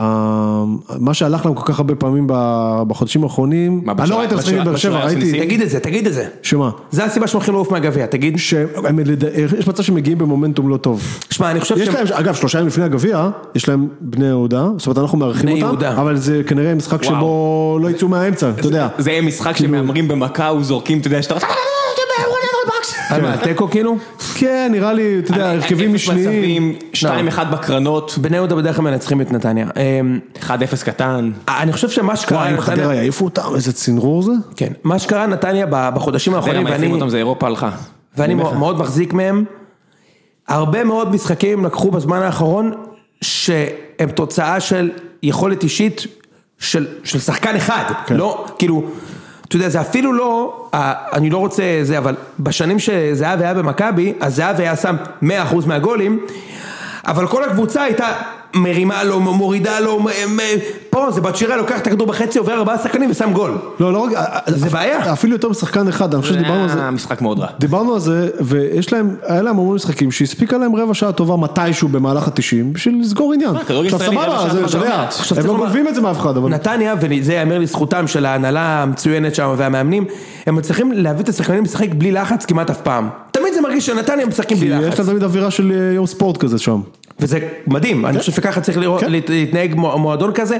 Speaker 2: אה, מה שהלך להם כל כך הרבה פעמים ב- בחודשים האחרונים,
Speaker 1: מה,
Speaker 2: אני
Speaker 1: בשוער-
Speaker 2: לא ראיתי את המשחק
Speaker 1: בשוער-
Speaker 2: מבאר שבע,
Speaker 1: בשוער של
Speaker 2: ראיתי,
Speaker 1: ניסים?
Speaker 3: תגיד את זה, תגיד את זה.
Speaker 2: שמה?
Speaker 3: זה הסיבה שהם הולכים לעוף מהגביע, תגיד.
Speaker 2: שהם, לד- אה, יש מצב שהם מגיעים במומנטום לא טוב.
Speaker 3: שמע, אני חושב
Speaker 2: יש להם, אגב, שלושה ימים לפני הגביע, יש להם בני יהודה, זאת אומרת אנחנו
Speaker 3: בני
Speaker 2: מארחים אותם,
Speaker 3: יהודה.
Speaker 2: אבל זה כנראה משחק
Speaker 1: וואו.
Speaker 2: שבו לא יצאו מהאמצע, אתה יודע.
Speaker 1: זה יהיה משחק שמהמרים במכאו, זורקים, אתה יודע, שאתה...
Speaker 3: על מה, תיקו כאילו?
Speaker 2: כן, נראה לי, אתה יודע, הרכבים
Speaker 1: אפס
Speaker 2: משניים.
Speaker 1: מצבים, 2-1 בקרנות,
Speaker 3: בני יהודה בדרך כלל מנצחים את נתניה. אמ,
Speaker 1: 1-0 קטן.
Speaker 3: אני חושב שמה שקרה
Speaker 2: וואי, כן, אם חדרה יעיפו אותם, איזה צנרור זה.
Speaker 3: כן, מה שקרה נתניה ב- בחודשים
Speaker 1: אתה יודע,
Speaker 3: האחרונים,
Speaker 1: מה
Speaker 3: ואני,
Speaker 1: יפים אותם זה אירופה הלכה.
Speaker 3: ואני מאוד- מאוד מחזיק מהם, הרבה מאוד משחקים לקחו בזמן האחרון, שהם תוצאה של יכולת אישית של, של שחקן אחד, לא, כאילו, אתה יודע, זה אפילו לא, ה- אני לא רוצה זה, אבל בשנים שזהבי היה במכבי, אז זהבי היה שם 100% מהגולים, אבל כל הקבוצה הייתה מרימה לו, מורידה לו, מ- מ- פה זה בת שירה לוקח את הכדור בחצי, עובר ארבעה שחקנים ושם גול.
Speaker 2: לא, לא רק,
Speaker 3: זה בעיה.
Speaker 2: אפילו יותר משחקן אחד, אני חושב שדיברנו על זה.
Speaker 1: זה היה משחק מאוד רע.
Speaker 2: דיברנו על זה, ויש להם, היה להם המון משחקים שהספיקה להם רבע שעה טובה מתישהו במהלך התשעים, בשביל לסגור עניין.
Speaker 1: אה, כדורגל
Speaker 2: עכשיו
Speaker 1: ישראלי, רבע
Speaker 2: סבבה,
Speaker 1: שעה
Speaker 2: זה,
Speaker 1: טובה
Speaker 2: אתה
Speaker 1: זה לא
Speaker 2: יודע,
Speaker 1: מעט.
Speaker 3: עכשיו,
Speaker 2: הם
Speaker 3: צריך
Speaker 2: לא
Speaker 3: לומר-
Speaker 2: גונבים את זה מאף אחד, אבל
Speaker 3: נתניה, וזה ייאמר לזכותם של ההנהלה המצוינת שם והמאמנים, הם מצליחים להביא את השחקנים לשחק בלי לחץ כמעט אף פעם. תמיד זה מרגיש שנתניה משחקים
Speaker 2: כי
Speaker 3: בלי
Speaker 2: יש
Speaker 3: לחץ.
Speaker 2: להם תמיד אווירה של אה, יום ספורט כזה שם.
Speaker 3: וזה מדהים, אני חושב שככה צריך לראות-
Speaker 2: כן.
Speaker 3: להת- להתנהג מוע- מועדון כזה.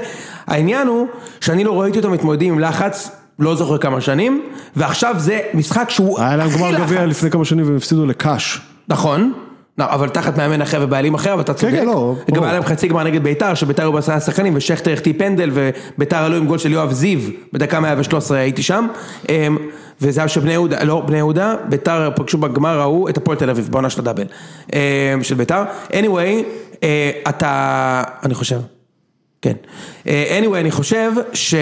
Speaker 3: העניין הוא שאני לא ראיתי אותם מתמודדים עם לחץ. לא זוכר כמה שנים, ועכשיו זה משחק שהוא
Speaker 2: היה להם
Speaker 3: הכי
Speaker 2: גמר
Speaker 3: לחץ.
Speaker 2: גביע לפני כמה שנים והם הפסידו לקאש.
Speaker 3: נכון, לא, אבל תחת מאמן אחר ובעלים אחר, אבל אתה צודק.
Speaker 2: כן, לא,
Speaker 3: גם
Speaker 2: ברור.
Speaker 3: היה להם חצי גמר נגד ביתר, שביתר היו בעשרה שחקנים, ושכטר החטיא פנדל, וביתר עלו עם גול של יואב זיו, בדקה 113 הייתי שם. אמ, וזה היה שבני יהודה, לא, בני יהודה, ביתר פגשו בגמר ההוא את הפועל תל אביב, בעונה של הדאבל, אמ, של ביתר. anyway, אה, אתה, אני חושב, כן. אה, anyway, אני חושב ש...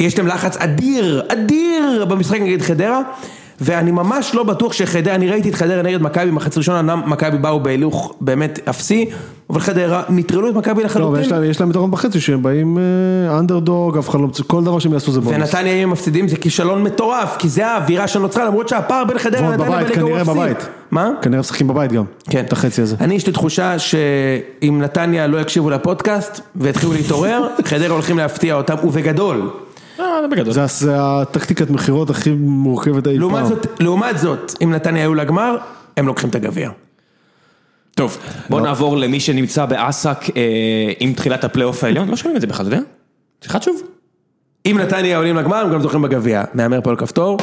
Speaker 3: יש להם לחץ אדיר, אדיר, במשחק נגד חדרה, ואני ממש לא בטוח שחדרה, אני ראיתי את חדרה נגד מכבי מחצי ראשון, אמנם מכבי באו בהילוך באמת אפסי, אבל חדרה נטרלו את מכבי
Speaker 2: לא, אבל
Speaker 3: לחלוטין.
Speaker 2: יש להם- יש להם יתרון בחצי שהם באים אה, אנדרדוג, אף אחד לא מצ... כל דבר שהם יעשו זה בונוס.
Speaker 3: ונתניה אם הם מפסידים זה כישלון מטורף, כי זה האווירה שנוצרה, למרות שהפער בין חדרה
Speaker 2: ועוד
Speaker 3: לנתניה
Speaker 2: בבית,
Speaker 3: בליגה הוא
Speaker 2: כנראה
Speaker 3: אפסי.
Speaker 2: בבית.
Speaker 3: מה?
Speaker 2: כנראה משחקים בבית גם.
Speaker 3: כן.
Speaker 2: את החצי הזה.
Speaker 3: אני יש לי תחושה שאם נתניה לא יקשיבו לפודקאסט ויתחילו להתעורר, חדרה הולכים להפתיע אותם, ובגדול.
Speaker 1: אה, זה בגדול.
Speaker 2: זה הס- הטקטיקת מכירות הכי מורכבת אי
Speaker 3: לעומת
Speaker 2: פעם.
Speaker 3: זאת, לעומת זאת, אם נתניה היו לגמר, הם לוקחים את הגביע.
Speaker 1: טוב, בוא נעבור למי שנמצא באסק אה, עם תחילת הפלייאוף העליון, לא שומעים את זה בכלל, אתה יודע? סליחה שוב.
Speaker 3: אם נתניה עולים לגמר, הם גם זוכים בגביע. מהמר פה על כפתור.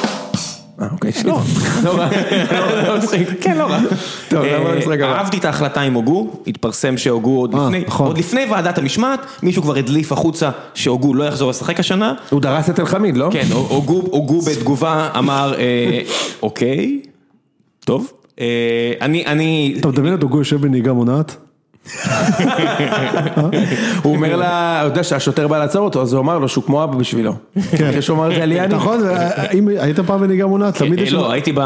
Speaker 3: אה, אוקיי, לא. לא רע. לא, לא מצחיק.
Speaker 1: כן, לא רע.
Speaker 3: טוב, לא נעבור
Speaker 1: אה,
Speaker 3: למשחק הבא.
Speaker 1: אהבתי את ההחלטה עם הוגו, התפרסם שהוגו עוד
Speaker 2: אה,
Speaker 1: לפני,
Speaker 2: נכון.
Speaker 1: עוד לפני ועדת המשמעת, מישהו כבר הדליף החוצה שהוגו לא יחזור לשחק השנה.
Speaker 3: הוא דרס את אלחמיד, לא?
Speaker 1: כן, הוגו הוגו בתגובה אמר, אה, אוקיי, טוב. אה, אני, אני,
Speaker 2: אתה מדמיין את דוגו יושב בנהיגה מונעת?
Speaker 3: הוא אומר לה, הוא יודע שהשוטר בא לעצור אותו, אז הוא אמר לו שהוא כמו אבא בשבילו. כן. אחרי שהוא אמר את זה על יאני.
Speaker 2: נכון, אה, אם היית פעם בנהיגה מונעת, תמיד
Speaker 1: אה,
Speaker 2: יש...
Speaker 1: לא, הייתי ב...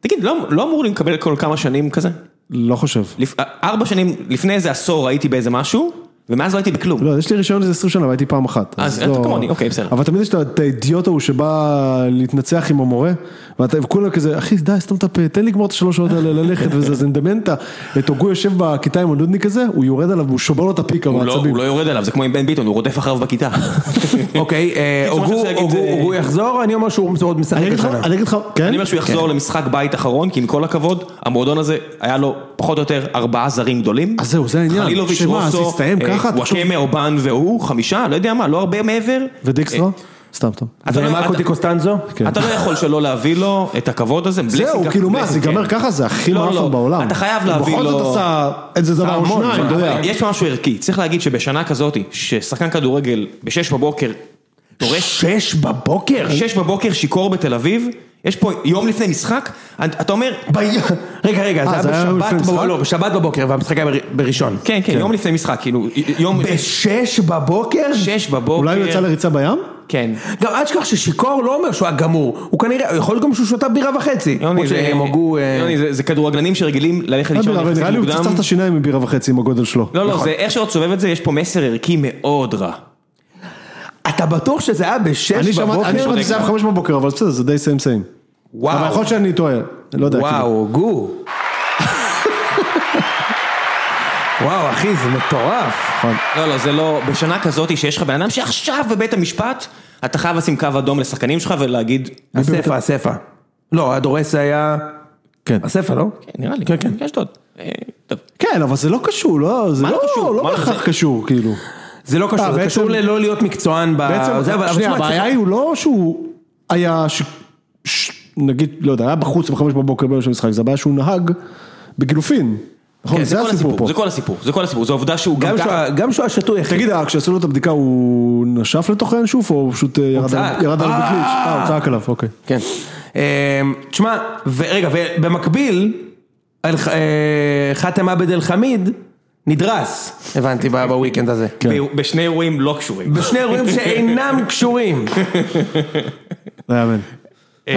Speaker 1: תגיד, לא לא אמור לי לקבל כל כמה שנים כזה?
Speaker 2: לא חושב.
Speaker 1: לפ- אה, ארבע שנים, לפני איזה עשור הייתי באיזה משהו, ומאז לא הייתי בכלום.
Speaker 2: לא, יש לי רישיון איזה 20 שנה והייתי פעם אחת. לא-
Speaker 1: אז אתה כמוני, אוקיי, בסדר.
Speaker 2: אבל תמיד יש את ה- את האידיוט ההוא שבא להתנצח עם המורה, ואתה- וכולם כזה, אחי, די, סתום את הפה, תן לי לגמור את השלוש שעות האלה ללכת וזה, אז אני מדמיין את ה- את הוגו יושב בכיתה עם הנודניק הזה, הוא יורד עליו והוא שובר לו את הפיק
Speaker 1: הוא לא-
Speaker 2: המעצבים.
Speaker 1: הוא לא יורד עליו, זה כמו עם בן ביטון, הוא רודף אחריו בכיתה.
Speaker 2: כן?
Speaker 3: אוקיי, אה,
Speaker 1: קיצור,
Speaker 3: הוגו-
Speaker 1: אני רוצה להגיד,
Speaker 3: הוגו-
Speaker 1: אה,
Speaker 3: הוגו יחזור, אני אומר שהוא עוד משחק
Speaker 2: אני אגיד לך,
Speaker 3: השנה.
Speaker 2: אני אגיד לך, כן?
Speaker 1: לא- אני אומר שהוא יחזור למשחק בית אחרון, כי עם כל הכבוד, המועדון הזה, היה לו פחות או יותר ארבעה זרים גדולים.
Speaker 2: אז אה, זהו, זה העניין.
Speaker 1: חלילוביץ',
Speaker 2: שמה, אז
Speaker 1: רוסו,
Speaker 2: הסתיים
Speaker 1: אה,
Speaker 2: ככה, תחשוב-
Speaker 1: וואקמה, אובן והוא, חמישה, לא יודע מה, לא הרבה מעבר. אה.
Speaker 2: ודיקסטרה? סתם, סתם.
Speaker 1: אתה לא-
Speaker 3: ומרקו
Speaker 1: אתה-
Speaker 3: די אה, קוסטנזו?
Speaker 2: כן.
Speaker 1: אתה לא יכול שלא להביא לו את הכבוד הזה.
Speaker 2: זהו,
Speaker 1: בלסינג-
Speaker 2: כאילו מה, זה
Speaker 1: בלסינג,
Speaker 2: ייגמר
Speaker 1: כן.
Speaker 2: ככה, זה הכי
Speaker 1: לא,
Speaker 2: מאפן
Speaker 1: לא.
Speaker 2: בעולם.
Speaker 1: אתה חייב
Speaker 2: הוא
Speaker 1: להביא
Speaker 2: בכל
Speaker 1: לו-
Speaker 2: זאת עשה איזה דבר או
Speaker 3: המון,
Speaker 2: שניים, אתה
Speaker 3: אבל
Speaker 2: יודע.
Speaker 1: יש משהו ערכי, צריך להגיד שבשנה כזאת, ששחקן כדורגל בשש בבוקר, דורש
Speaker 3: שש בבוקר?
Speaker 2: כן.
Speaker 1: שש בבוקר שיכור בתל אביב, יש פה יום לפני משחק, אתה אתה אומר,
Speaker 3: רגע, רגע,
Speaker 2: אה,
Speaker 3: זה היה
Speaker 2: יום
Speaker 3: בשבת
Speaker 2: לפני
Speaker 3: בבוקר,
Speaker 2: המשחק?
Speaker 3: לא, בשבת בבוקר, והמשחק היה בר- בראשון.
Speaker 1: כן, כן, יום לפני משחק, כאילו, י- יום
Speaker 3: בשש בבוקר?
Speaker 1: שש בבוקר,
Speaker 2: אולי הוא יצא לריצה בים?
Speaker 1: כן,
Speaker 3: גם אל תשכח ששיכור לא אומר שהוא היה גמור, הוא כנראה, יכול להיות גם שהוא שותה בירה וחצי.
Speaker 1: יוני,
Speaker 3: כמו
Speaker 1: זה-
Speaker 3: שהם הוגו, אה,
Speaker 1: יוני, זה- זה כדורגלנים שרגילים ללכת לישון
Speaker 2: אה, אבל נראה
Speaker 1: יחסית
Speaker 2: לי הוא צחצח
Speaker 1: מוקדם,
Speaker 2: את השיניים עם בירה וחצי עם הגודל שלו.
Speaker 1: לא, לא, זה איך שלא תסובב את זה, יש פה מסר ערכי מאוד רע,
Speaker 3: אתה בטוח שזה היה
Speaker 2: אני
Speaker 3: בשש
Speaker 2: שמעתי אני
Speaker 3: בבוקר?
Speaker 2: שמעתי שזה היה בחמש בבוקר, אבל בסדר, זה די סיים סיים.
Speaker 3: וואו.
Speaker 2: אבל יכול להיות שאני טועה, לא יודע. כאילו.
Speaker 3: וואו, הוגו. וואו, אחי, זה מטורף.
Speaker 2: נכון.
Speaker 1: לא, לא, זה לא, בשנה כזאת שיש לך בן אדם שעכשיו בבית המשפט, אתה חייב לשים קו אדום לשחקנים שלך ולהגיד,
Speaker 3: אספה, אספה. לא, הדורס היה...
Speaker 2: כן.
Speaker 3: אספה, לא?
Speaker 1: "כן, נראה לי, כן, כן, אשדוד, אה, טוב,
Speaker 2: כן, אבל זה לא קשור, לא, זה
Speaker 1: מה לא
Speaker 2: לא
Speaker 1: קשור?
Speaker 2: לא
Speaker 1: מה
Speaker 2: בהכרח
Speaker 1: זה-
Speaker 2: קשור, כאילו.
Speaker 3: זה לא
Speaker 2: אה,
Speaker 3: קשור, זה
Speaker 2: בעצם-
Speaker 3: קשור ללא להיות מקצוען ב... זה, אבל-
Speaker 2: בעצם,
Speaker 3: אבל
Speaker 2: שנייה,
Speaker 3: תשמע,
Speaker 2: הבעיה
Speaker 3: צריך-
Speaker 2: היא הוא לא שהוא היה, ש- ש- נגיד, לא יודע, היה בחוץ בחמש בבוקר ביום של משחק, זה הבעיה שהוא נהג בגילופין. נכון,
Speaker 1: כן,
Speaker 2: זה
Speaker 1: זה כל
Speaker 2: הסיפור פה.
Speaker 1: הסיפור, זה כל הסיפור, זה כל הסיפור, זו עובדה שהוא גם
Speaker 3: גם
Speaker 1: ככה,
Speaker 3: שהוא- גם שהוא היה שתוי, אחי.
Speaker 2: תגיד, אה, כשעשו לו את הבדיקה הוא נשף לתוך הינשוף או פשוט אה, ירד עליו
Speaker 3: צעק.
Speaker 2: ירד עליו
Speaker 3: אה!
Speaker 2: בגליץ'? אה, הוא צעק עליו, אוקיי.
Speaker 3: כן. אמ, תשמע, ורגע, ובמקביל, אל- אה, חאתם עבד אל חמיד נדרס, הבנתי, ב- בוויקנד הזה.
Speaker 1: ב- בשני אירועים לא קשורים.
Speaker 3: בשני אירועים שאינם קשורים.
Speaker 2: לא יאמן.
Speaker 1: אה,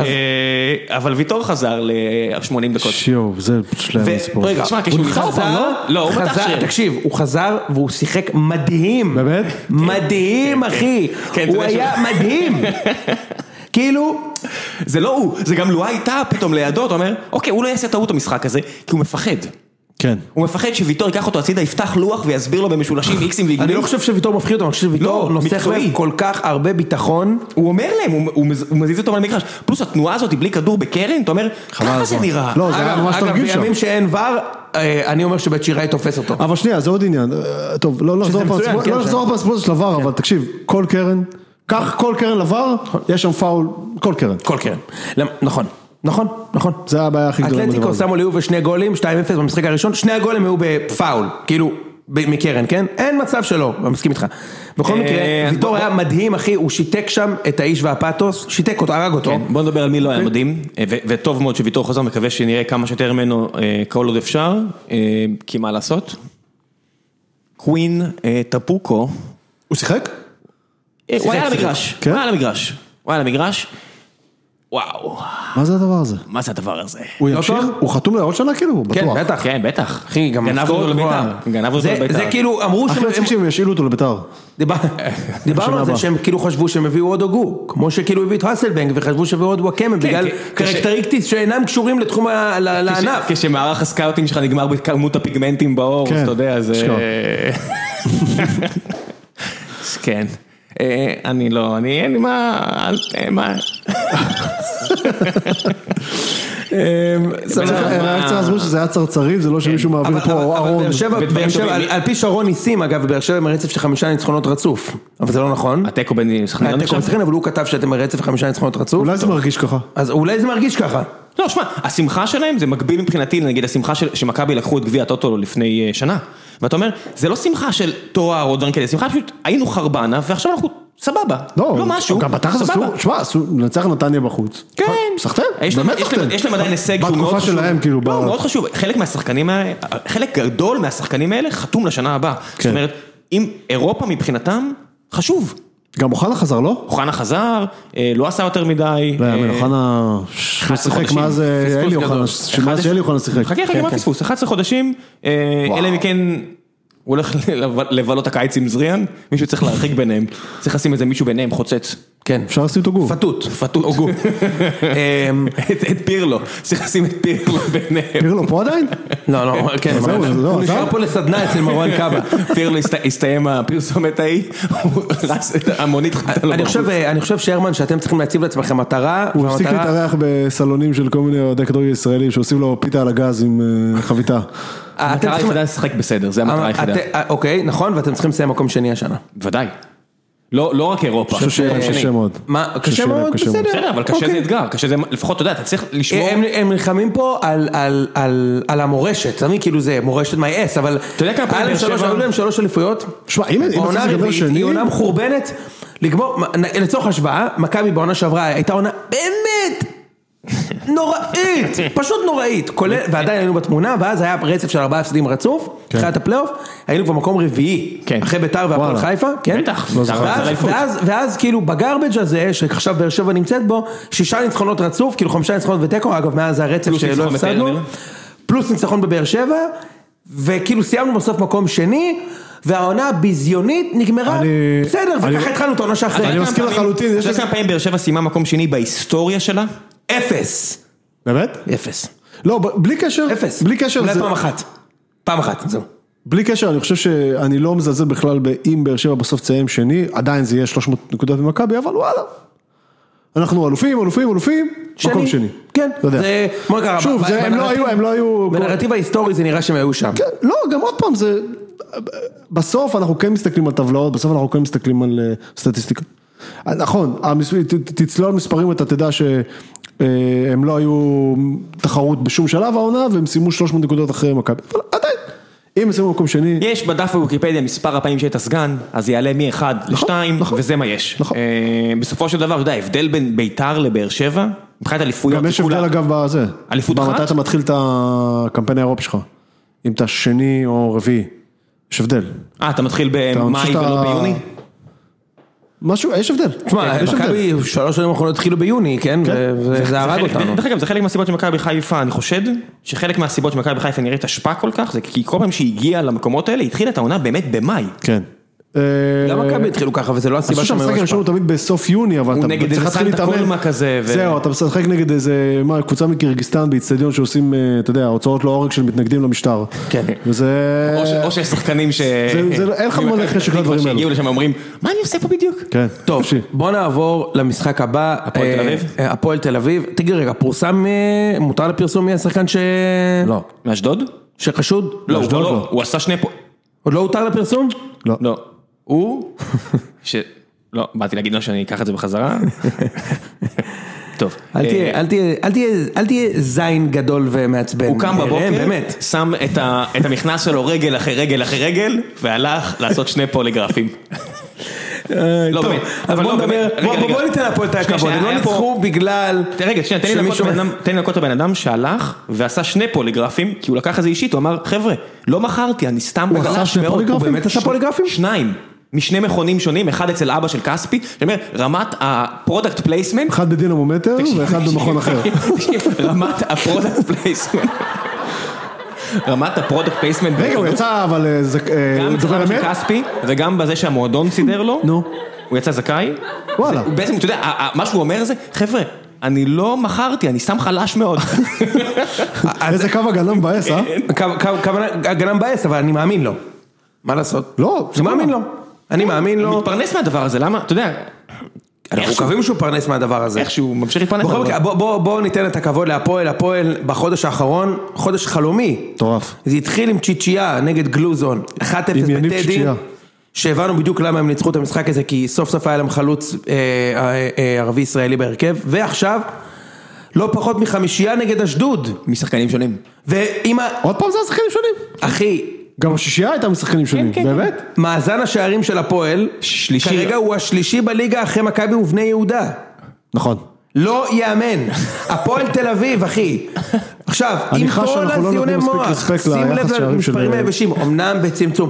Speaker 1: אבל ויטור חזר ל-80 דקות.
Speaker 2: שיוב, זה שלהם הסיפור.
Speaker 1: רגע, תשמע, כשהוא
Speaker 3: הוא
Speaker 1: נכנס
Speaker 3: חזר,
Speaker 1: פעם, לא? לא, הוא פתח
Speaker 3: חזר-
Speaker 1: שריר.
Speaker 3: תקשיב, הוא חזר והוא שיחק מדהים.
Speaker 2: באמת?
Speaker 3: מדהים, אחי.
Speaker 1: כן, אתה
Speaker 3: הוא
Speaker 1: יודע
Speaker 3: היה
Speaker 1: ש-
Speaker 3: מדהים. כאילו,
Speaker 1: זה לא הוא, זה גם לואי טאה פתאום לידו, אתה אומר, אוקיי, הוא לא יעשה טעות במשחק הזה, כי הוא מפחד.
Speaker 2: כן.
Speaker 1: הוא מפחד שוויטור ייקח אותו הצידה, יפתח לוח ויסביר לו במשולשים איקסים
Speaker 3: אני
Speaker 1: ועיגולים.
Speaker 3: לא חושב שוויטור מפחיד אותו, אני חושב שוויטור
Speaker 1: לא,
Speaker 3: נוסח
Speaker 1: מקצועי.
Speaker 3: להם כל כך הרבה ביטחון.
Speaker 1: הוא אומר להם, הוא- הוא מז- הוא מזיז אותו מהמגרש. פלוס התנועה הזאת בלי כדור בקרן, אתה אומר, ככה זה נראה.
Speaker 2: לא, זה היה
Speaker 3: אגב,
Speaker 2: ממש
Speaker 3: אגב,
Speaker 2: תרגיל שם.
Speaker 3: בימים שאין ור, אה, אני אומר שבית שיראי תופס אותו.
Speaker 2: אבל שנייה, זה עוד עניין. אה, טוב, לא לחזור
Speaker 3: מצוין,
Speaker 2: פעם-
Speaker 3: כן,
Speaker 2: לא
Speaker 3: כן.
Speaker 2: לחזור פעם לסיפור הזה של עבר, אבל תקשיב, כל קרן, קח כל קרן לבר, יש שם פאול, כל קרן.
Speaker 3: כל קרן. למ- נכון, נכון, נכון.
Speaker 2: זה הבעיה הכי גדולה בדבר
Speaker 3: אתלטיקו
Speaker 2: הזה.
Speaker 3: שמו ליובה שני גולים, 2-0 במשחק הראשון, שני הגולים היו בפאול, כאילו, ב- מקרן, כן? אין מצב שלא, אני מסכים איתך. בכל
Speaker 1: אה,
Speaker 3: מקרה,
Speaker 1: אז
Speaker 3: ויטור היה מדהים, אחי, הוא שיתק שם את האיש והפאתוס, שיתק אותו, הרג אותו.
Speaker 1: בוא נדבר על מי לא היה מדהים, אה, ו- וטוב מאוד שוויטור חזר, מקווה שנראה כמה שיותר ממנו אה, כל עוד אפשר, אה, כי מה לעשות? קווין אה, טפוקו.
Speaker 2: הוא שיחק?
Speaker 1: הוא היה על המגרש,
Speaker 2: כן?
Speaker 1: הוא היה על המגרש, הוא היה על המגרש. וואו,
Speaker 2: מה זה הדבר הזה?
Speaker 1: מה זה הדבר הזה?
Speaker 2: הוא
Speaker 3: לא
Speaker 2: ימשיך?
Speaker 3: טוב?
Speaker 2: הוא חתום לעוד שנה כאילו? הוא
Speaker 3: כן,
Speaker 2: בטוח.
Speaker 3: בטח.
Speaker 1: כן, בטח.
Speaker 3: אחי, גם
Speaker 1: גנב
Speaker 3: משכורת
Speaker 1: אותו
Speaker 3: גבוהה.
Speaker 1: לבית"ר. גנב אותו
Speaker 3: זה-
Speaker 1: לבית"ר.
Speaker 3: זה כאילו, אמרו
Speaker 2: הכי מצחיק
Speaker 3: שהם...
Speaker 2: שהם ישאילו אותו לביתר.
Speaker 3: דיבר- דיברנו
Speaker 2: לא בשנה
Speaker 3: על זה
Speaker 2: הבאה.
Speaker 3: שהם כאילו חשבו שהם הביאו עוד הוגו, כמו שכאילו הביאו את האסלבנג וחשבו שהביאו עוד וואקמה, בגלל
Speaker 1: כי-
Speaker 3: קרקטריקטיס שאינם קשורים לתחום ה- ל-
Speaker 1: כש-
Speaker 3: לענף.
Speaker 1: כשמערך הסקאוטינג שלך נגמר בכמות הפיגמנטים בעור, אז
Speaker 2: כן,
Speaker 1: אתה יודע, זה...
Speaker 2: אשכרה.
Speaker 1: אז כן. אה, אני לא, אני אין לי מה... אל ת... מה... אמ, סבבה.
Speaker 2: רק צריך להסביר שזה היה צרצרים, זה לא שמישהו מעביר
Speaker 3: אבל-
Speaker 2: פה
Speaker 3: אבל- אבל
Speaker 2: ארון.
Speaker 3: באר שבע-
Speaker 1: ודברים
Speaker 3: באר שבע,
Speaker 1: טובים.
Speaker 3: על- על פי שרון ניסים אגב, באר שבע עם רצף של חמישה ניצחונות רצוף, אבל זה לא נכון.
Speaker 1: התיקו בין סכנין
Speaker 3: אתם
Speaker 1: עכשיו?
Speaker 3: מצליחים, אבל הוא כתב שאתם ברצף חמישה ניצחונות רצוף,
Speaker 2: אולי זה מרגיש ככה.
Speaker 3: אז אולי זה מרגיש ככה.
Speaker 1: לא, שמע, השמחה שלהם זה מקביל מבחינתי לנגיד השמחה של, שמכבי לקחו את גביע הטוטו לפני אה, שנה. ואתה אומר, זה לא שמחה של תואר או דברים כאלה, שמחה פשוט, היינו חרבנה ועכשיו אנחנו סבבה.
Speaker 2: לא,
Speaker 1: משהו,
Speaker 2: גם בתכלס
Speaker 1: סבבה.
Speaker 2: אסור, שמע, אסור, לנצח נתניה בחוץ.
Speaker 1: כן.
Speaker 2: סחטן,
Speaker 1: יש להם-
Speaker 2: באמת
Speaker 1: יש להם-
Speaker 2: סחטן.
Speaker 1: יש להם עדיין הישג שהוא מאוד
Speaker 2: בתקופה
Speaker 1: חשוב.
Speaker 2: שלהם, כאילו,
Speaker 1: לא,
Speaker 2: ב-
Speaker 1: הוא מאוד חשוב. חלק מהשחקנים האלה, חלק גדול מהשחקנים האלה חתום לשנה הבאה. זאת
Speaker 2: כן.
Speaker 1: אומרת, אם אירופה מבחינתם, חשוב.
Speaker 2: גם אוחנה חזר, לא?
Speaker 1: אוחנה חזר, אה, לא עשה יותר מדי.
Speaker 2: לא יאמן,
Speaker 1: אה,
Speaker 2: אוחנה... שהוא שיחק
Speaker 1: חודשים.
Speaker 2: מאז אה,
Speaker 3: פספוס
Speaker 2: אלי
Speaker 3: גדול.
Speaker 2: אוחנה, מאז
Speaker 1: 11
Speaker 2: שאלי אוחנה שיחק.
Speaker 1: חכה, חכה,
Speaker 2: כן,
Speaker 1: מה
Speaker 2: כן.
Speaker 1: פספוס? 11 חודשים, אה,
Speaker 2: וואו.
Speaker 1: אלא אם כן הוא הולך לב- לבלות הקיץ עם זריאן, מישהו צריך להרחיק ביניהם. צריך לשים איזה מישהו ביניהם חוצץ.
Speaker 3: כן.
Speaker 2: אפשר לשים אותו גוף.
Speaker 3: פתות. אמ,
Speaker 1: פטוט. הוגו. את את פירלו, צריך לשים את פירלו ביניהם.
Speaker 2: פירלו פה עדיין?
Speaker 3: לא, לא, כן,
Speaker 2: זהו,
Speaker 3: אבל-
Speaker 2: זה לא,
Speaker 3: הוא נשאר
Speaker 2: עזב.
Speaker 3: פה לסדנה אצל מרואן קאבה.
Speaker 1: פירלו הסת- הסתיים הפרסומת ההיא, הוא רץ את המונית חטאה לו
Speaker 3: אני
Speaker 1: בחוץ.
Speaker 3: חושב, אה, אני חושב שהרמן, שאתם צריכים להציב לעצמכם מטרה,
Speaker 2: הוא הפסיק
Speaker 3: והמטרה-
Speaker 2: להתארח בסלונים של כל מיני אוהדי כדורגל ישראלים שעושים לו פיתה על הגז עם אה, חביתה.
Speaker 3: אתם
Speaker 1: המטרה
Speaker 3: צריכים-
Speaker 1: היחידה לשחק בסדר, זה המטרה היחידה.
Speaker 3: אתם- אה, אוקיי, נכון, ואתם צריכים לסיים מקום שני השנה. אה,
Speaker 1: ודאי. לא לא רק אירופה.
Speaker 2: אני חושב
Speaker 1: מקום
Speaker 2: שהם
Speaker 1: שני.
Speaker 2: אה, קשה מאוד.
Speaker 3: מה,
Speaker 2: קשה
Speaker 3: קשה מאוד,
Speaker 2: להם, קשה מאוד.
Speaker 3: בסדר.
Speaker 1: בסדר, אבל קשה
Speaker 3: אוקיי.
Speaker 1: זה אתגר, קשה זה, לפחות אתה יודע, אתה צריך לשמור.
Speaker 3: הם, הם נלחמים פה על, על, על, על המורשת, אתה מבין? כאילו זה מורשת מי אס, אבל...
Speaker 1: אתה יודע כמה פעמים
Speaker 3: היה להם
Speaker 1: באר
Speaker 3: שלוש-
Speaker 1: שבע-
Speaker 3: היו להם שלוש אליפויות?
Speaker 2: שמע, אם- אם אתה
Speaker 3: בעונה
Speaker 2: צריך לדבר
Speaker 3: הרביעית,
Speaker 2: שני-
Speaker 3: היא עונה מחורבנת, לגמור, לצורך השוואה, מכבי בעונה שעברה הייתה עונה באמת נוראית, פשוט נוראית, כולל, ועדיין היינו בתמונה, ואז היה רצף של ארבעה הפסדים רצוף,
Speaker 2: כן.
Speaker 3: תחילת הפלייאוף, היינו כבר מקום רביעי,
Speaker 1: כן.
Speaker 3: אחרי ביתר והפועל
Speaker 2: וואלה.
Speaker 3: חיפה, כן?
Speaker 1: בטח,
Speaker 2: לא
Speaker 1: אתה
Speaker 2: זוכר.
Speaker 1: רוצה
Speaker 3: ואז,
Speaker 1: אליפות.
Speaker 3: ואז, ואז כאילו בגרבג' הזה, שעכשיו באר שבע נמצאת בו, שישה ניצחונות רצוף, כאילו חמישה ניצחונות ותיקו, אגב מאז הרצף
Speaker 1: פלוס
Speaker 3: שלא
Speaker 1: ניצחון
Speaker 3: הפסדנו,
Speaker 1: בטרנר.
Speaker 3: פלוס ניצחון בבאר שבע, וכאילו סיימנו בסוף מקום שני, והעונה הביזיונית נגמרה,
Speaker 2: אני-
Speaker 3: בסדר,
Speaker 2: אני-
Speaker 3: וככה התחלנו את העונה
Speaker 1: אתה
Speaker 3: שאחרי,
Speaker 1: יודע
Speaker 2: אני מסכים
Speaker 1: כמה פעמים-
Speaker 2: לחלוטין, יש
Speaker 1: אתה יודע
Speaker 2: לזה-
Speaker 1: כמה פעמים באר שבע סיימה מקום שני בהיסטוריה שלה?
Speaker 3: אפס,
Speaker 2: באמת?
Speaker 3: אפס,
Speaker 2: לא, ב- בלי קשר,
Speaker 3: אפס,
Speaker 2: בלי קשר,
Speaker 3: אולי
Speaker 2: זה-
Speaker 3: פעם אחת, פעם אחת, זהו,
Speaker 2: בלי קשר, אני חושב שאני לא מזלזל בכלל באם באר שבע בסוף תסיים שני, עדיין זה יהיה 300 נקודות ממכבי, אבל וואלה. אנחנו אלופים, אלופים, אלופים, מקום שני.
Speaker 3: כן,
Speaker 2: אתה יודע.
Speaker 3: זה, כמו שקרה,
Speaker 2: שוב,
Speaker 3: ב-
Speaker 2: זה- הם לא
Speaker 3: בנרטיב-
Speaker 2: היו, הם לא היו...
Speaker 3: בנרטיב ההיסטורי זה נראה שהם היו שם,
Speaker 2: כן, לא, גם עוד פעם, זה... בסוף אנחנו כן מסתכלים על טבלאות, בסוף אנחנו כן מסתכלים על אה, סטטיסטיקה. אה, נכון, המס... ת- ת- תצלול מספרים אתה תדע שהם לא היו תחרות בשום שלב העונה והם סיימו 300 נקודות אחרי מכבי, אבל עדיין, אם הם סיימו במקום שני,
Speaker 1: יש בדף בוויקיפדיה מספר הפעמים שהיית סגן, אז יעלה מ-1 ל-2,
Speaker 2: נכון.
Speaker 1: וזה מה יש.
Speaker 2: נכון.
Speaker 1: אה, בסופו של דבר, אתה יודע, ההבדל בין ביתר לבאר שבע, מבחינת אליפויות,
Speaker 2: גם יש
Speaker 1: זה כולה-
Speaker 2: הבדל אגב בזה.
Speaker 1: אליפות אחת?
Speaker 2: במתי אתה מתחיל את הקמפיין האירופי שלך, אם אתה שני או רביעי, יש הבדל.
Speaker 1: אה, אתה מתחיל
Speaker 2: אתה
Speaker 1: במאי
Speaker 2: פשוט
Speaker 1: ולא
Speaker 2: ה-
Speaker 1: ביוני?
Speaker 2: משהו, יש הבדל.
Speaker 3: תשמע,
Speaker 2: יש הבדל.
Speaker 3: כן, מכבי שלוש שנים האחרונות התחילו ביוני, כן? וזה הרג
Speaker 1: חלק-
Speaker 3: אותנו.
Speaker 1: דרך אגב, זה חלק מהסיבות שמכבי חיפה, אני חושד, שחלק מהסיבות שמכבי חיפה נראית אשפה כל כך, זה כי כל פעם שהיא הגיעה למקומות האלה, היא התחילה את העונה באמת במאי.
Speaker 2: כן.
Speaker 1: לא,
Speaker 3: גם מכבי התחילו ככה, וזה לא
Speaker 2: עשו
Speaker 3: הסיבה
Speaker 2: שם
Speaker 3: שהם
Speaker 2: משחק
Speaker 3: היו
Speaker 2: הראשון
Speaker 3: אשפה.
Speaker 2: הוא תמיד בסוף יוני, אבל
Speaker 1: הוא
Speaker 2: אתה
Speaker 1: נגד
Speaker 2: צריך
Speaker 1: איזה
Speaker 2: להתחיל
Speaker 1: סנטה
Speaker 2: להתאמן.
Speaker 1: קולמה כזה, ו-
Speaker 2: זהו, אתה משחק נגד איזה, מה, קבוצה מקרגיסטן באיצטדיון שעושים, אה, אתה יודע, הוצאות להורג של מתנגדים למשטר.
Speaker 3: כן.
Speaker 2: וזה...
Speaker 1: או ש- או שיש שחקנים ש...
Speaker 2: אה, זה- זה- אין לך מה
Speaker 1: ממכבי
Speaker 2: לחשק
Speaker 1: פתח תקווה
Speaker 2: לדברים האלו.
Speaker 1: שהגיעו לשם ואומרים, מה אני עושה פה בדיוק?
Speaker 2: כן.
Speaker 3: טוב,
Speaker 2: חופשי.
Speaker 3: בוא נעבור למשחק הבא.
Speaker 1: הפועל תל
Speaker 3: אה,
Speaker 1: אביב?
Speaker 3: אה, הפועל תל אביב. תגיד רגע, פורסם, אה, מותר לפרסום מי השחקן ש...
Speaker 2: לא.
Speaker 1: מאשדוד?
Speaker 3: שחשוד?
Speaker 1: לא, הוא
Speaker 2: מאשדוד
Speaker 1: לא-
Speaker 2: לא.
Speaker 1: הוא עשה שני פה...
Speaker 3: עוד לא הותר לפרסום?
Speaker 2: לא.
Speaker 1: לא. הוא? ש... לא, באתי להגיד לו שאני אקח את זה בחזרה. טוב.
Speaker 3: אל תהיה-
Speaker 1: אה,
Speaker 3: אל תהיה- אל תהיה- אל תהיה זין גדול ומעצבן.
Speaker 1: הוא קם
Speaker 3: ראם,
Speaker 1: בבוקר,
Speaker 3: באמת.
Speaker 1: שם את ה- את המכנס שלו רגל אחרי רגל אחרי רגל, והלך לעשות שני פוליגרפים. לא,
Speaker 3: טוב,
Speaker 1: באמת.
Speaker 3: אז
Speaker 1: אבל
Speaker 3: בוא
Speaker 1: לא,
Speaker 3: נדבר,
Speaker 1: באמת. רגע,
Speaker 3: בוא-
Speaker 1: רגע.
Speaker 3: בוא ניתן להפועל את
Speaker 1: שנייה,
Speaker 3: הכבוד,
Speaker 1: שנייה,
Speaker 3: הם לא
Speaker 1: היה פה-
Speaker 3: ניצחו בגלל...
Speaker 1: תראה, רגע, שנייה, תן לי
Speaker 3: שמישהו-
Speaker 1: לנקות את הבן אדם- תן לי לנקות את הבן אדם שהלך ועשה שני פוליגרפים, כי הוא לקח את זה אישית, הוא אמר, חבר'ה, לא מכרתי, אני סתם...
Speaker 2: עשה
Speaker 1: גלש
Speaker 2: שני
Speaker 1: מאוד."
Speaker 2: פוליגרפים?
Speaker 1: הוא באמת עשה
Speaker 2: ש-
Speaker 1: פוליגרפים? שניים. משני מכונים שונים, אחד אצל אבא של כספי, שאומר, רמת הפרודקט פלייסמנט,
Speaker 2: אחד בדינמומטר אה, ואחד במכון אחר.
Speaker 1: רמת הפרודקט פלייסמנט. רמת הפרודקט פלייסמנט.
Speaker 2: רגע, הוא יצא אבל אה, זק- אה,
Speaker 1: גם
Speaker 2: דובר
Speaker 1: אצל
Speaker 2: אמת?
Speaker 1: של כספי, וגם בזה שהמועדון סידר לו.
Speaker 2: נו.
Speaker 1: הוא יצא זכאי.
Speaker 2: וואלה.
Speaker 1: זה- הוא בעצם, אתה יודע, ה- ה- מה שהוא אומר זה, חבר'ה, אני לא מכרתי, אני סתם חלש מאוד.
Speaker 2: איזה קו הגנה מבאס, אה?
Speaker 3: כו- כו- כוונה- הגנה מבאס, אבל אני מאמין לו. מה לעשות?
Speaker 2: לא,
Speaker 3: אני
Speaker 2: סבבה.
Speaker 3: מאמין לו. אני
Speaker 1: כן.
Speaker 3: מאמין לו.
Speaker 1: מתפרנס מהדבר הזה, למה? אתה יודע,
Speaker 3: אנחנו
Speaker 1: איכשהו-
Speaker 3: מקווים שהוא פרנס מהדבר הזה.
Speaker 1: איך שהוא ממשיך להתפרנס.
Speaker 3: בכל
Speaker 1: אבל-
Speaker 3: מקרה, בוא- בוא- בואו ניתן את הכבוד להפועל, הפועל בחודש האחרון, חודש חלומי.
Speaker 2: מטורף.
Speaker 3: זה התחיל עם צ'יצ'יה נגד גלוזון, 1-0
Speaker 2: עם יניב
Speaker 3: בטדי,
Speaker 2: צ'יצ'יה.
Speaker 3: שהבנו בדיוק למה הם ניצחו את המשחק הזה, כי סוף סוף היה להם חלוץ אה, אה, אה, ערבי ישראלי בהרכב, ועכשיו לא פחות מחמישייה נגד אשדוד,
Speaker 1: משחקנים שונים.
Speaker 3: ואם, ה-
Speaker 2: עוד פעם זה השחקנים שונים?
Speaker 3: אחי,
Speaker 2: גם השישייה הייתה משחקנים שונים,
Speaker 1: כן,
Speaker 2: באמת?
Speaker 3: מאזן השערים של הפועל,
Speaker 1: שלישי.
Speaker 3: כרגע הוא השלישי בליגה אחרי מכבי ובני יהודה.
Speaker 2: נכון.
Speaker 3: לא יאמן, הפועל תל אביב אחי, עכשיו
Speaker 2: אני
Speaker 3: עם
Speaker 2: חש
Speaker 3: כל
Speaker 2: שאנחנו לא
Speaker 3: הזיוני
Speaker 2: נותנים מספיק
Speaker 3: מוח,
Speaker 2: רספקט
Speaker 3: שים
Speaker 2: ליחס
Speaker 3: לב
Speaker 2: שערים של-
Speaker 3: למספרים היבשים, אמנם בצמצום,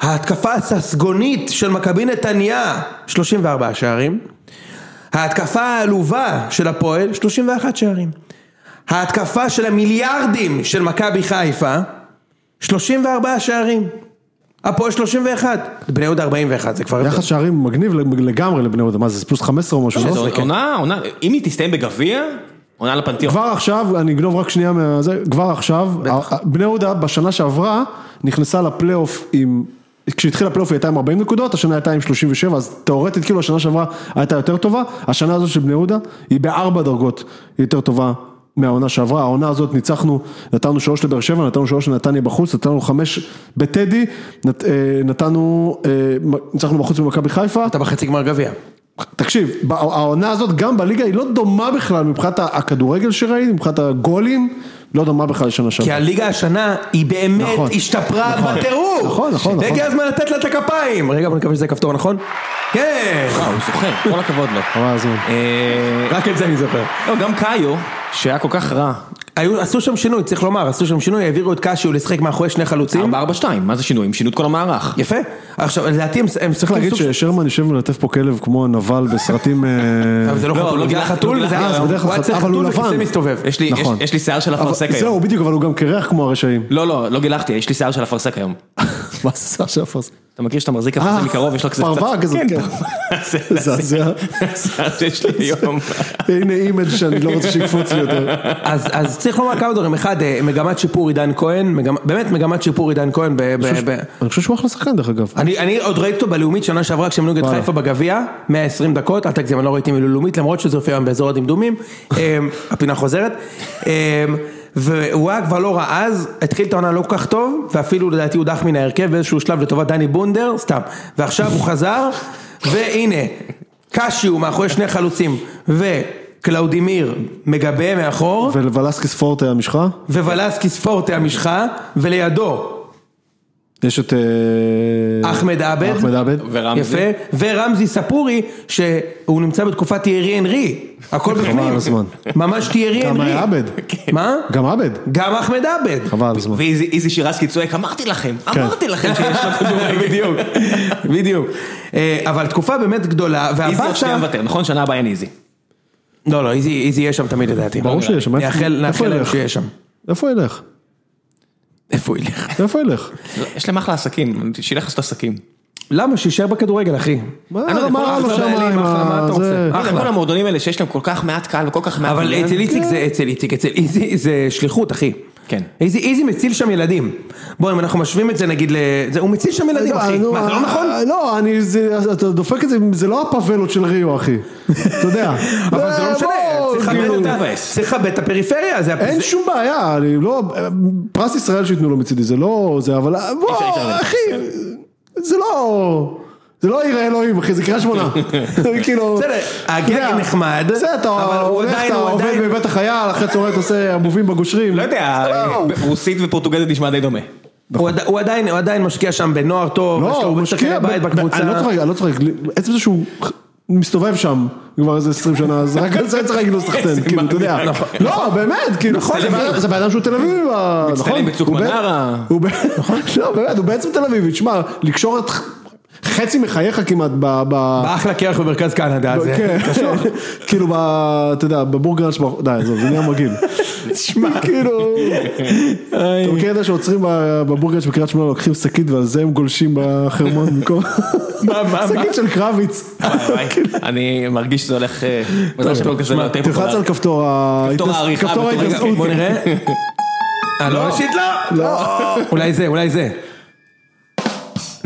Speaker 3: ההתקפה הססגונית של מכבי נתניה, 34 שערים, ההתקפה העלובה של הפועל, 31 שערים, ההתקפה של המיליארדים של מכבי חיפה, 34 שערים, הפועל 31, בני יהודה 41, זה כבר...
Speaker 2: יחס שערים מגניב לגמרי לבני יהודה, מה זה, זה פלוס 15 או משהו,
Speaker 1: זו
Speaker 2: לא?
Speaker 1: עונה, עונה, אם היא תסתיים בגביע, עונה לפנתיאון.
Speaker 2: כבר עכשיו, אני אגנוב רק שנייה מהזה, כבר עכשיו, ה- ה- בני יהודה בשנה שעברה נכנסה לפלייאוף עם, כשהתחיל הפלייאוף היא הייתה עם 40 נקודות, השנה הייתה עם 37, אז תאורטית כאילו השנה שעברה הייתה יותר טובה, השנה הזאת של בני יהודה היא בארבע דרגות יותר טובה. מהעונה שעברה, העונה הזאת ניצחנו, נתנו שלוש לבאר שבע, נתנו שלוש לנתניה בחוץ, נתנו חמש בטדי, נת, אה, נתנו, אה, מ- ניצחנו בחוץ במכבי חיפה,
Speaker 3: אתה בחצי גמר גביע.
Speaker 2: תקשיב, בע- העונה הזאת גם בליגה היא לא דומה בכלל מבחינת ה- הכדורגל שראיתי, מבחינת הגולים, לא דומה בכלל
Speaker 3: כי
Speaker 2: לשנה שעברה.
Speaker 3: הליגה השנה היא באמת
Speaker 2: נכון.
Speaker 3: השתפרה בטירוף.
Speaker 2: נכון, נכון, נכון.
Speaker 3: והגיע הזמן לתת לה את הכפיים. רגע, בוא נקווה שזה הכפתור הנכון. כן.
Speaker 1: וואו, הוא זוכר, כל הכבוד לו.
Speaker 2: חבל על הזמן.
Speaker 1: אה,
Speaker 3: רק את זה אני זוכר.
Speaker 1: לא, גם קאיו, שהיה כל כך רע,
Speaker 3: היו- עשו שם שינוי, צריך לומר, עשו שם שינוי, העבירו את קשיו לשחק מאחורי שני חלוצים.
Speaker 1: 4-4-2, מה זה שינויים? שינו את כל המערך.
Speaker 3: יפה. עכשיו, לדעתי הם הם
Speaker 2: צריך
Speaker 3: משחקים
Speaker 2: להגיד
Speaker 3: סוג...
Speaker 2: ששרמן יושב ולטף פה כלב כמו הנבל בסרטים... אה,
Speaker 3: אבל זה לא
Speaker 1: לא,
Speaker 3: חתול,
Speaker 1: לא
Speaker 3: זה היה
Speaker 1: גילח-
Speaker 3: חתול,
Speaker 1: לא
Speaker 3: וזה
Speaker 1: גילח-
Speaker 3: היה
Speaker 1: אה, זה
Speaker 2: בדרך
Speaker 3: הוא
Speaker 2: כלל
Speaker 3: היה צריך
Speaker 2: חתול,
Speaker 3: חתול
Speaker 2: אבל הוא
Speaker 3: וכיסא
Speaker 2: לבן.
Speaker 3: מסתובב.
Speaker 1: יש לי-
Speaker 2: נכון.
Speaker 1: יש- יש לי שיער של
Speaker 2: אבל-
Speaker 1: אפרסק היום.
Speaker 2: זהו, בדיוק, אבל הוא גם קרח כמו הרשעים.
Speaker 1: לא, לא, לא גילחתי, יש לי שיער של אפרסק היום.
Speaker 2: מה זה שיער של אפרסק?
Speaker 1: אתה מכיר שאתה מחזיק אפרסק
Speaker 2: אה,
Speaker 1: מקרוב, יש לך כזה
Speaker 2: פרווה כזאת, כן.
Speaker 1: זה-
Speaker 2: מזעזע.
Speaker 1: זה השיער שיש לי היום.
Speaker 2: הנה אימג' שאני לא רוצה שיקפוץ לי יותר.
Speaker 3: אז אז צריך לומר כמה דברים. אחד, אה, מגמת שיפור עידן כהן, מגמ- באמת מגמת שיפור עידן כהן. ב- ב- ב-
Speaker 2: אני חושב שהוא אחלה שחקן דרך אגב.
Speaker 3: אני, אני עוד ראיתי אותו בלאומית שנה שעברה כשהם נגד
Speaker 2: וואלה.
Speaker 3: חיפה בגביע, 120 דקות, אל תגזים, אני לא ראיתי מלאומית, למרות שזה הופיע היום באזור הדמדומים, אמ, הפינה חוזרת. אמ, והוא היה כבר לא רע אז, התחיל את העונה לא כל כך טוב, ואפילו לדעתי הוא דח מן ההרכב באיזשהו שלב לטובת דני בונדר, סתם. ועכשיו הוא חזר, והנה, קשיו מאחורי שני חלוצים, וקלאודימיר מגבה מאחור,
Speaker 2: ולוולסקיס פורטה המשחה,
Speaker 3: ווולסקיס פורטה המשחה, ולידו
Speaker 2: יש את... אה,
Speaker 3: אחמד עבד.
Speaker 2: אחמד עבד.
Speaker 1: ורמזי.
Speaker 3: יפה, ורמזי ספורי, שהוא נמצא בתקופת תיארי אנרי, הכל בפנים.
Speaker 2: על הזמן.
Speaker 3: ממש תיארי
Speaker 2: גם
Speaker 3: אנרי.
Speaker 2: היה עבד.
Speaker 3: מה?
Speaker 2: גם עבד.
Speaker 3: גם אחמד עבד.
Speaker 2: חבל על הזמן.
Speaker 1: ואיזי איזי שירסקי צועק, אמרתי לכם,
Speaker 2: כן.
Speaker 1: אמרתי לכם שיש לו כדורגל.
Speaker 3: בדיוק, בדיוק. אה, אבל תקופה באמת גדולה,
Speaker 1: איזי עוד שנייה
Speaker 3: והבאסה...
Speaker 1: מוותר, נכון? שנה הבאה אין איזי.
Speaker 3: לא, לא, איזי איזי יהיה שם תמיד לדעתי.
Speaker 2: ברור שיש שם.
Speaker 3: נאחל נאחל
Speaker 2: איפה- איפה
Speaker 3: להם
Speaker 2: ילך?
Speaker 3: שיהיה שם.
Speaker 2: איפה ילך?
Speaker 3: איפה הוא ילך?
Speaker 2: איפה ילך?
Speaker 1: לא, יש להם אחלה עסקים, שילך לעשות עסקים.
Speaker 3: למה? שיישאר בכדורגל, אחי.
Speaker 2: מה
Speaker 1: אני לא יודע,
Speaker 2: מה
Speaker 1: כל
Speaker 2: רע לו
Speaker 1: הקבוצות
Speaker 2: שם
Speaker 1: האלה עם
Speaker 2: עם
Speaker 3: אחלה, מה אתה
Speaker 2: ה... זה- כן,
Speaker 3: רוצה?
Speaker 1: לא יודע,
Speaker 3: אחלה.
Speaker 1: כל המועדונים האלה שיש להם כל כך מעט קהל וכל כך מעט...
Speaker 3: אבל
Speaker 1: עניין.
Speaker 3: אצל איציק זה, אצל איציק, אצל איזי זה שליחות אחי.
Speaker 1: כן.
Speaker 3: איזי, איזי מציל שם ילדים. בוא, אם אנחנו משווים את זה נגיד ל... זה, הוא מציל שם ילדים אחי.
Speaker 2: נו,
Speaker 3: מה, זה לא נכון?
Speaker 2: אה, לא, אני, זה- אתה דופק את זה, זה לא הפאבלות של ריו, אחי. אתה יודע.
Speaker 3: אבל זה לא
Speaker 2: אה,
Speaker 3: משנה,
Speaker 2: בוא,
Speaker 3: צריך לכבד
Speaker 2: כאילו,
Speaker 1: הוא
Speaker 3: אותה,
Speaker 1: מבאס.
Speaker 3: צריך לכבד את הפריפריה, זה הפ-
Speaker 2: אין
Speaker 3: זה-
Speaker 2: שום בעיה, אני לא... פרס ישראל שייתנו לו מצידי, זה לא... זה, אבל... אה, בוא,
Speaker 1: אי אפשר לתת
Speaker 2: אחי, זה לא... זה לא עיר האלוהים, אחי, זה קריית שמונה. כאילו...
Speaker 3: בסדר, הגג
Speaker 2: אתה יודע,
Speaker 3: נחמד,
Speaker 2: זה, אתה
Speaker 3: אבל הוא
Speaker 2: הולך,
Speaker 3: עדיין-
Speaker 2: אתה
Speaker 3: הוא
Speaker 2: עובד
Speaker 3: עדיין-
Speaker 2: בבית החייל, אחרי צהריים אתה עושה עמובים בגושרים.
Speaker 1: לא יודע,
Speaker 2: אה,
Speaker 1: רוסית ופורטוגזית נשמע די דומה.
Speaker 3: אה, הוא עד- הוא עדיין- הוא עדיין משקיע שם בנוער טוב, יש לו
Speaker 2: לא, הוא
Speaker 3: הרבה שחקני
Speaker 2: משקיע
Speaker 3: בית
Speaker 2: ב- ב-
Speaker 3: בקבוצה.
Speaker 2: אני לא צוחק, אני לא צוחק, עצם זה שהוא מסתובב שם כבר איזה 20 שנה, אז רק על זה צריך להגיד לו סחטיין, כאילו, אתה יודע.
Speaker 1: נכון.
Speaker 2: לא, באמת, כאילו, זה
Speaker 1: מצטלם
Speaker 2: בן- זה בן אדם שהוא תל אביבי, נכון?
Speaker 1: מצטלם בצוק
Speaker 2: הוא בן-
Speaker 1: מנרה.
Speaker 2: הוא בן- לא, באמת, הוא בעצם תל אביבי, שמע, לקשור את... חצי מחייך כמעט ב... ב...
Speaker 3: אחלה קרח במרכז קנדה, זה
Speaker 2: כן, כאילו, ב- אתה יודע, בבורגראנץ', מאחור- די, עזוב, זה נהיה מגעיל. תשמע, כאילו, אתה מכיר את זה שעוצרים ב- בבורגראנץ' בקריית שמונה, לוקחים שקית ועל זה הם גולשים בחרמון במקום,
Speaker 3: מה, מה, מה?
Speaker 2: שקית של קרביץ.
Speaker 1: וואי, וואי. אני מרגיש שזה הולך... אה, מזל שהפודקאסט הזה לא יותר
Speaker 2: תלחץ על
Speaker 1: פופולרי.
Speaker 2: כפתור ה-
Speaker 1: כפתור העריכה
Speaker 2: כפתור
Speaker 1: בתור-
Speaker 2: ההתנשאות.
Speaker 3: בוא נראה. אה, לא, ראשית לא. אולי זה, אולי זה.
Speaker 2: כן.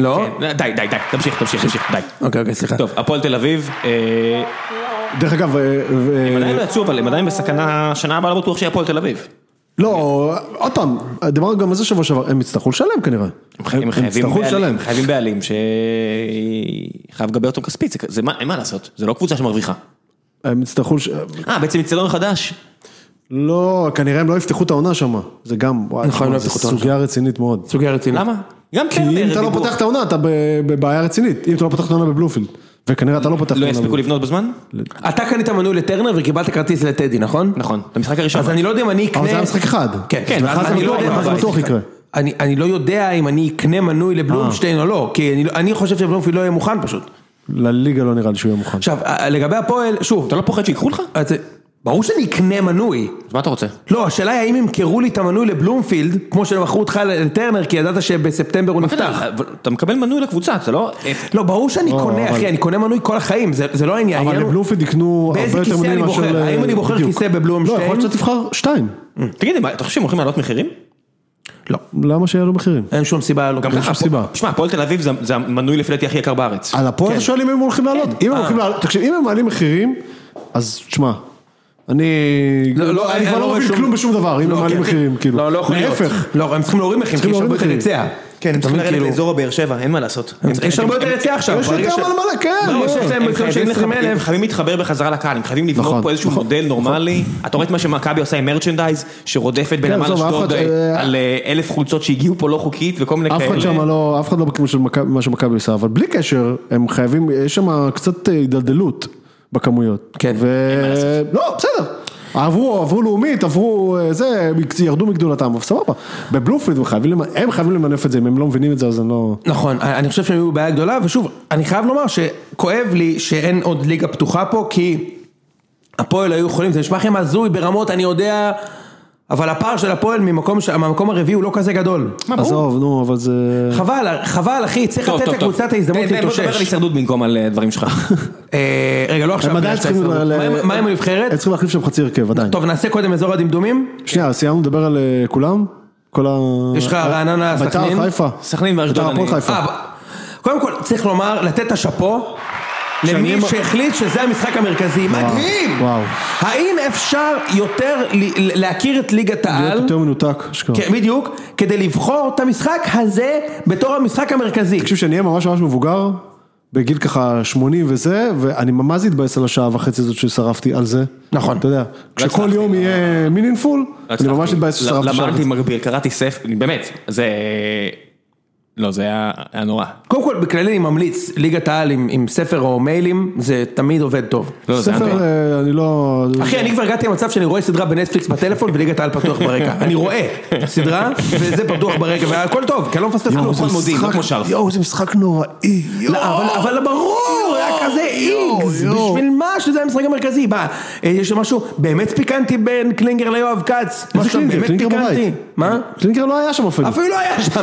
Speaker 3: לא?
Speaker 1: כן, די, די, די, תמשיך, תמשיך, תמשיך, די.
Speaker 3: אוקיי, אוקיי, סליחה.
Speaker 1: טוב, הפועל תל אביב, אה,
Speaker 2: דרך אגב, אה, ו-
Speaker 1: הם עדיין לא יצאו, אבל הם עדיין בסכנה, שנה הבאה לא בטוח שיהיה הפועל תל אביב.
Speaker 2: לא, עוד פעם, דיברנו גם על זה שבוע שעבר, הם יצטרכו לשלם כנראה.
Speaker 1: הם חייבים
Speaker 2: יצטרכו לשלם.
Speaker 1: בעלים, חייבים בעלים שחייב לגבי אותם כספית, זה כ- זה מה, אין מה לעשות, זה לא קבוצה שמרוויחה.
Speaker 2: הם יצטרכו, לש-
Speaker 1: אה, בעצם אצטדיון חדש.
Speaker 2: כן. לא, כנראה הם לא יפתחו את העונה שם, זה גם, וואי,
Speaker 3: נכון, לא
Speaker 2: זו
Speaker 3: יפתחו את העונה
Speaker 2: סוגיה רצינית מאוד.
Speaker 3: סוגיה רצינית.
Speaker 1: למה? גם כן, אה,
Speaker 2: כי
Speaker 1: טרנר
Speaker 2: אם אתה לא
Speaker 1: דיברו-
Speaker 2: פותח את העונה, אתה ב- בבעיה רצינית. אם אתה לא פותח את העונה בבלומפילד, וכנראה אתה לא פותח את
Speaker 1: לא
Speaker 2: העונה
Speaker 1: יספיקו
Speaker 2: בבלומפילד.
Speaker 1: לבנות בזמן?
Speaker 3: אתה קנית מנוי לטרנר וקיבלת כרטיס לטדי, נכון?
Speaker 1: נכון, במשחק הראשון.
Speaker 3: אז אני לא יודע אם אני אקנה...
Speaker 2: אבל זה היה משחק אחד.
Speaker 3: כן,
Speaker 1: כן,
Speaker 2: ואחר
Speaker 1: ואז
Speaker 2: כך
Speaker 1: אני
Speaker 3: לא
Speaker 2: בטוח-
Speaker 3: יודע
Speaker 2: אחר
Speaker 3: מה
Speaker 2: כך
Speaker 3: זה
Speaker 2: בטוח יקרה.
Speaker 3: אני, אני לא יודע אם אני אקנה מנוי לבלומשטיין או לא, כי אני, לא- אני חושב שבלומפילד לא יהיה מוכן פשוט.
Speaker 2: לליגה לא נראה לי שהוא יהיה מוכן.
Speaker 3: עכשיו, ה- לגבי הפועל, שוב,
Speaker 1: אתה לא פוחד שיקחו לך?
Speaker 3: אז, ברור שאני אקנה מנוי.
Speaker 1: אז מה אתה רוצה?
Speaker 3: לא, השאלה היא האם ימכרו לי את המנוי לבלומפילד, כמו שמכרו אותך לטרנר, כי ידעת שבספטמבר הוא נפתח.
Speaker 1: אבל אתה מקבל מנוי לקבוצה, אתה לא...
Speaker 3: לא, ברור שאני
Speaker 2: לא,
Speaker 3: קונה,
Speaker 2: אבל-
Speaker 3: אחי, אני קונה מנוי כל החיים, זה זה לא העניין.
Speaker 2: אבל
Speaker 3: העניין הוא-
Speaker 2: לבלומפילד יקנו
Speaker 3: באיזה
Speaker 2: הרבה יותר
Speaker 3: כיסא
Speaker 2: מנויים
Speaker 3: אני
Speaker 2: מאשר...
Speaker 3: בוחר? האם אני בוחר
Speaker 2: בדיוק.
Speaker 3: כיסא בבלומשטיין?
Speaker 2: לא, יכול להיות שתבחר שתיים.
Speaker 1: תגיד, מה, אתה חושב שהם הולכים לעלות מחירים?
Speaker 3: לא.
Speaker 2: למה שיעלו מחירים?
Speaker 3: אין שום סיבה, לא.
Speaker 2: ככה. שום סיבה.
Speaker 1: שמע, הפועל תל אביב זה- זה המנוי לפי דעתי הכי יקר בארץ.
Speaker 2: על הפועל אתה שואל אם הם הולכים לעלות.
Speaker 3: כן.
Speaker 2: אם הם
Speaker 3: אה.
Speaker 2: הולכים לעלות, תקשיב, אם הם מעלים מחירים, אז תשמע, אני...
Speaker 3: לא, לא,
Speaker 2: אני
Speaker 3: אני
Speaker 2: כבר
Speaker 3: לא
Speaker 2: לא
Speaker 3: רואה
Speaker 2: מבין
Speaker 3: שום-
Speaker 2: כלום בשום דבר, אם
Speaker 3: לא,
Speaker 2: הם מעלים
Speaker 3: כן.
Speaker 2: מחירים, כאילו.
Speaker 3: לא, לא יכול להיות.
Speaker 2: להפך.
Speaker 3: לא, הם צריכים להוריד מחירים, כי יש
Speaker 2: להוריד
Speaker 3: הרבה יותר
Speaker 2: מחירים.
Speaker 3: היצע.
Speaker 1: כן, הם צריכים לרדת
Speaker 3: כאילו-
Speaker 1: לאזור הבאר-שבע, אין מה לעשות. הם-
Speaker 3: יש
Speaker 1: הם-
Speaker 3: הרבה יותר
Speaker 1: הם-
Speaker 3: יציאה עכשיו.
Speaker 2: יש יותר מלא מלא, כן.
Speaker 3: לא,
Speaker 2: לא.
Speaker 3: יש להם
Speaker 1: הם
Speaker 3: מקום של
Speaker 1: חייבים
Speaker 3: 20
Speaker 1: לחבר- הם
Speaker 3: אלף.
Speaker 1: חייבים להתחבר בחזרה לקהל, הם חייבים לבנות
Speaker 2: נכון,
Speaker 1: פה איזשהו
Speaker 2: נכון,
Speaker 1: מודל נורמלי. אתה רואה את מה שמכבי עושה עם מרצ'נדייז, שרודפת בנמל
Speaker 2: עזוב, אף
Speaker 1: אשדוד
Speaker 2: אחד-
Speaker 1: אה,
Speaker 2: אה,
Speaker 1: על אה, אלף חולצות שהגיעו פה לא חוקית וכל מיני
Speaker 2: אף
Speaker 1: כאלה.
Speaker 2: אחד שם לא, אף אחד לא בכיוון של מכבי- מה שמכבי עושה, אבל בלי קשר, הם חייבים, יש שם קצת אה, הידלדלות בכמויות.
Speaker 3: כן,
Speaker 2: ו- לא, בסדר. עברו, עברו לאומית, עברו אה, זה, ירדו מגדולתם, אבל סבבה. בבלומפילד הם חייבים למ- הם חייבים למנף את זה, אם הם לא מבינים את זה אז אני לא...
Speaker 3: נכון, אני אני חושב שהם היו בעיה גדולה, ושוב, אני חייב לומר שכואב לי שאין עוד ליגה פתוחה פה, כי הפועל היו יכולים, זה נשמע לכם הזוי ברמות, אני יודע, אבל הפער של הפועל ממקום ש- מהמקום הרביעי הוא לא כזה גדול.
Speaker 1: מה, ברור.
Speaker 2: עזוב, נו, אבל זה...
Speaker 3: חבל, חבל אחי, צריך
Speaker 1: טוב,
Speaker 3: לתת
Speaker 1: טוב, טוב.
Speaker 3: לקבוצה את ההזדמנות
Speaker 1: תן- תן, בוא נדבר על
Speaker 3: להתאושש.
Speaker 1: הישרדות במקום על אה, דברים שלך.
Speaker 3: אה, רגע, לא עכשיו.
Speaker 2: הם עדיין
Speaker 3: בגלל
Speaker 2: צריכים...
Speaker 3: שההישרדות.
Speaker 2: ל- אה,
Speaker 3: מה עם- מה עם
Speaker 2: הם
Speaker 3: הנבחרת?
Speaker 2: צריכים להחליף שם חצי הרכב, עדיין.
Speaker 3: טוב, נעשה קודם אזור הדמדומים.
Speaker 2: שנייה, סיימנו לדבר על אה, כולם? כל ה...
Speaker 3: יש לך רעננה,
Speaker 2: בית"ר,
Speaker 3: סכנין?
Speaker 2: חיפה.
Speaker 1: סכנין ואשדוד,
Speaker 2: בית"ר,
Speaker 1: אני-
Speaker 2: הפועל חיפה.
Speaker 3: אה, ב- קודם כל, צריך לומר, לתת את השאפו למי
Speaker 2: שאני-
Speaker 3: שהחליט שזה המשחק המרכזי. מדהים!
Speaker 2: וואו.
Speaker 3: האם אפשר יותר ל- ל- להכיר את ליגת
Speaker 2: להיות
Speaker 3: העל?
Speaker 2: יותר מנותק, אשכרה.
Speaker 3: כן, בדיוק, כדי לבחור את המשחק הזה בתור המשחק המרכזי.
Speaker 2: תקשיב, שאני אהיה ממש ממש מבוגר, בגיל ככה 80 וזה, ואני ממש אתבאס על השעה וחצי הזאת ששרפתי על זה.
Speaker 3: נכון.
Speaker 2: אתה יודע, כשכל
Speaker 1: הצלחתי.
Speaker 2: יום יהיה מינינפול, אני ממש אתבאס ששרפתי שעה
Speaker 1: למדתי
Speaker 2: וחצי.
Speaker 1: מגביל, קראתי ספר, באמת, זה... לא, זה היה היה נורא.
Speaker 3: קודם כל, בכללי אני ממליץ, ליגת העל עם עם ספר או מיילים, זה תמיד עובד טוב.
Speaker 1: לא, זה היה
Speaker 2: ספר,
Speaker 1: נורא.
Speaker 2: אה, אני לא...
Speaker 3: אחי, אני כבר הגעתי למצב שאני רואה סדרה בנטפליקס בטלפון וליגת העל פתוח ברקע. אני רואה סדרה, וזה פתוח ברקע, והכל טוב, כי אני לא מפספס
Speaker 2: יואו,
Speaker 3: כלום.
Speaker 2: זה
Speaker 1: נכון, מודיעין, לא
Speaker 2: משחק-
Speaker 1: כמו שרף.
Speaker 2: יואו, זה משחק נוראי.
Speaker 3: לא, אבל, אבל ברור, היה כזה איקס,
Speaker 2: יואו.
Speaker 3: בשביל מה שזה המשחק המרכזי? מה, אה, יש שם משהו באמת פיקנטי בין קלינגר ליואב כץ? משהו שם
Speaker 2: קלינגר?
Speaker 3: באמת
Speaker 2: קלינגר
Speaker 3: פיקנטי?
Speaker 2: בבית.
Speaker 3: מה?
Speaker 2: קלינגר לא היה שם אפילו.
Speaker 3: אפילו לא היה שם,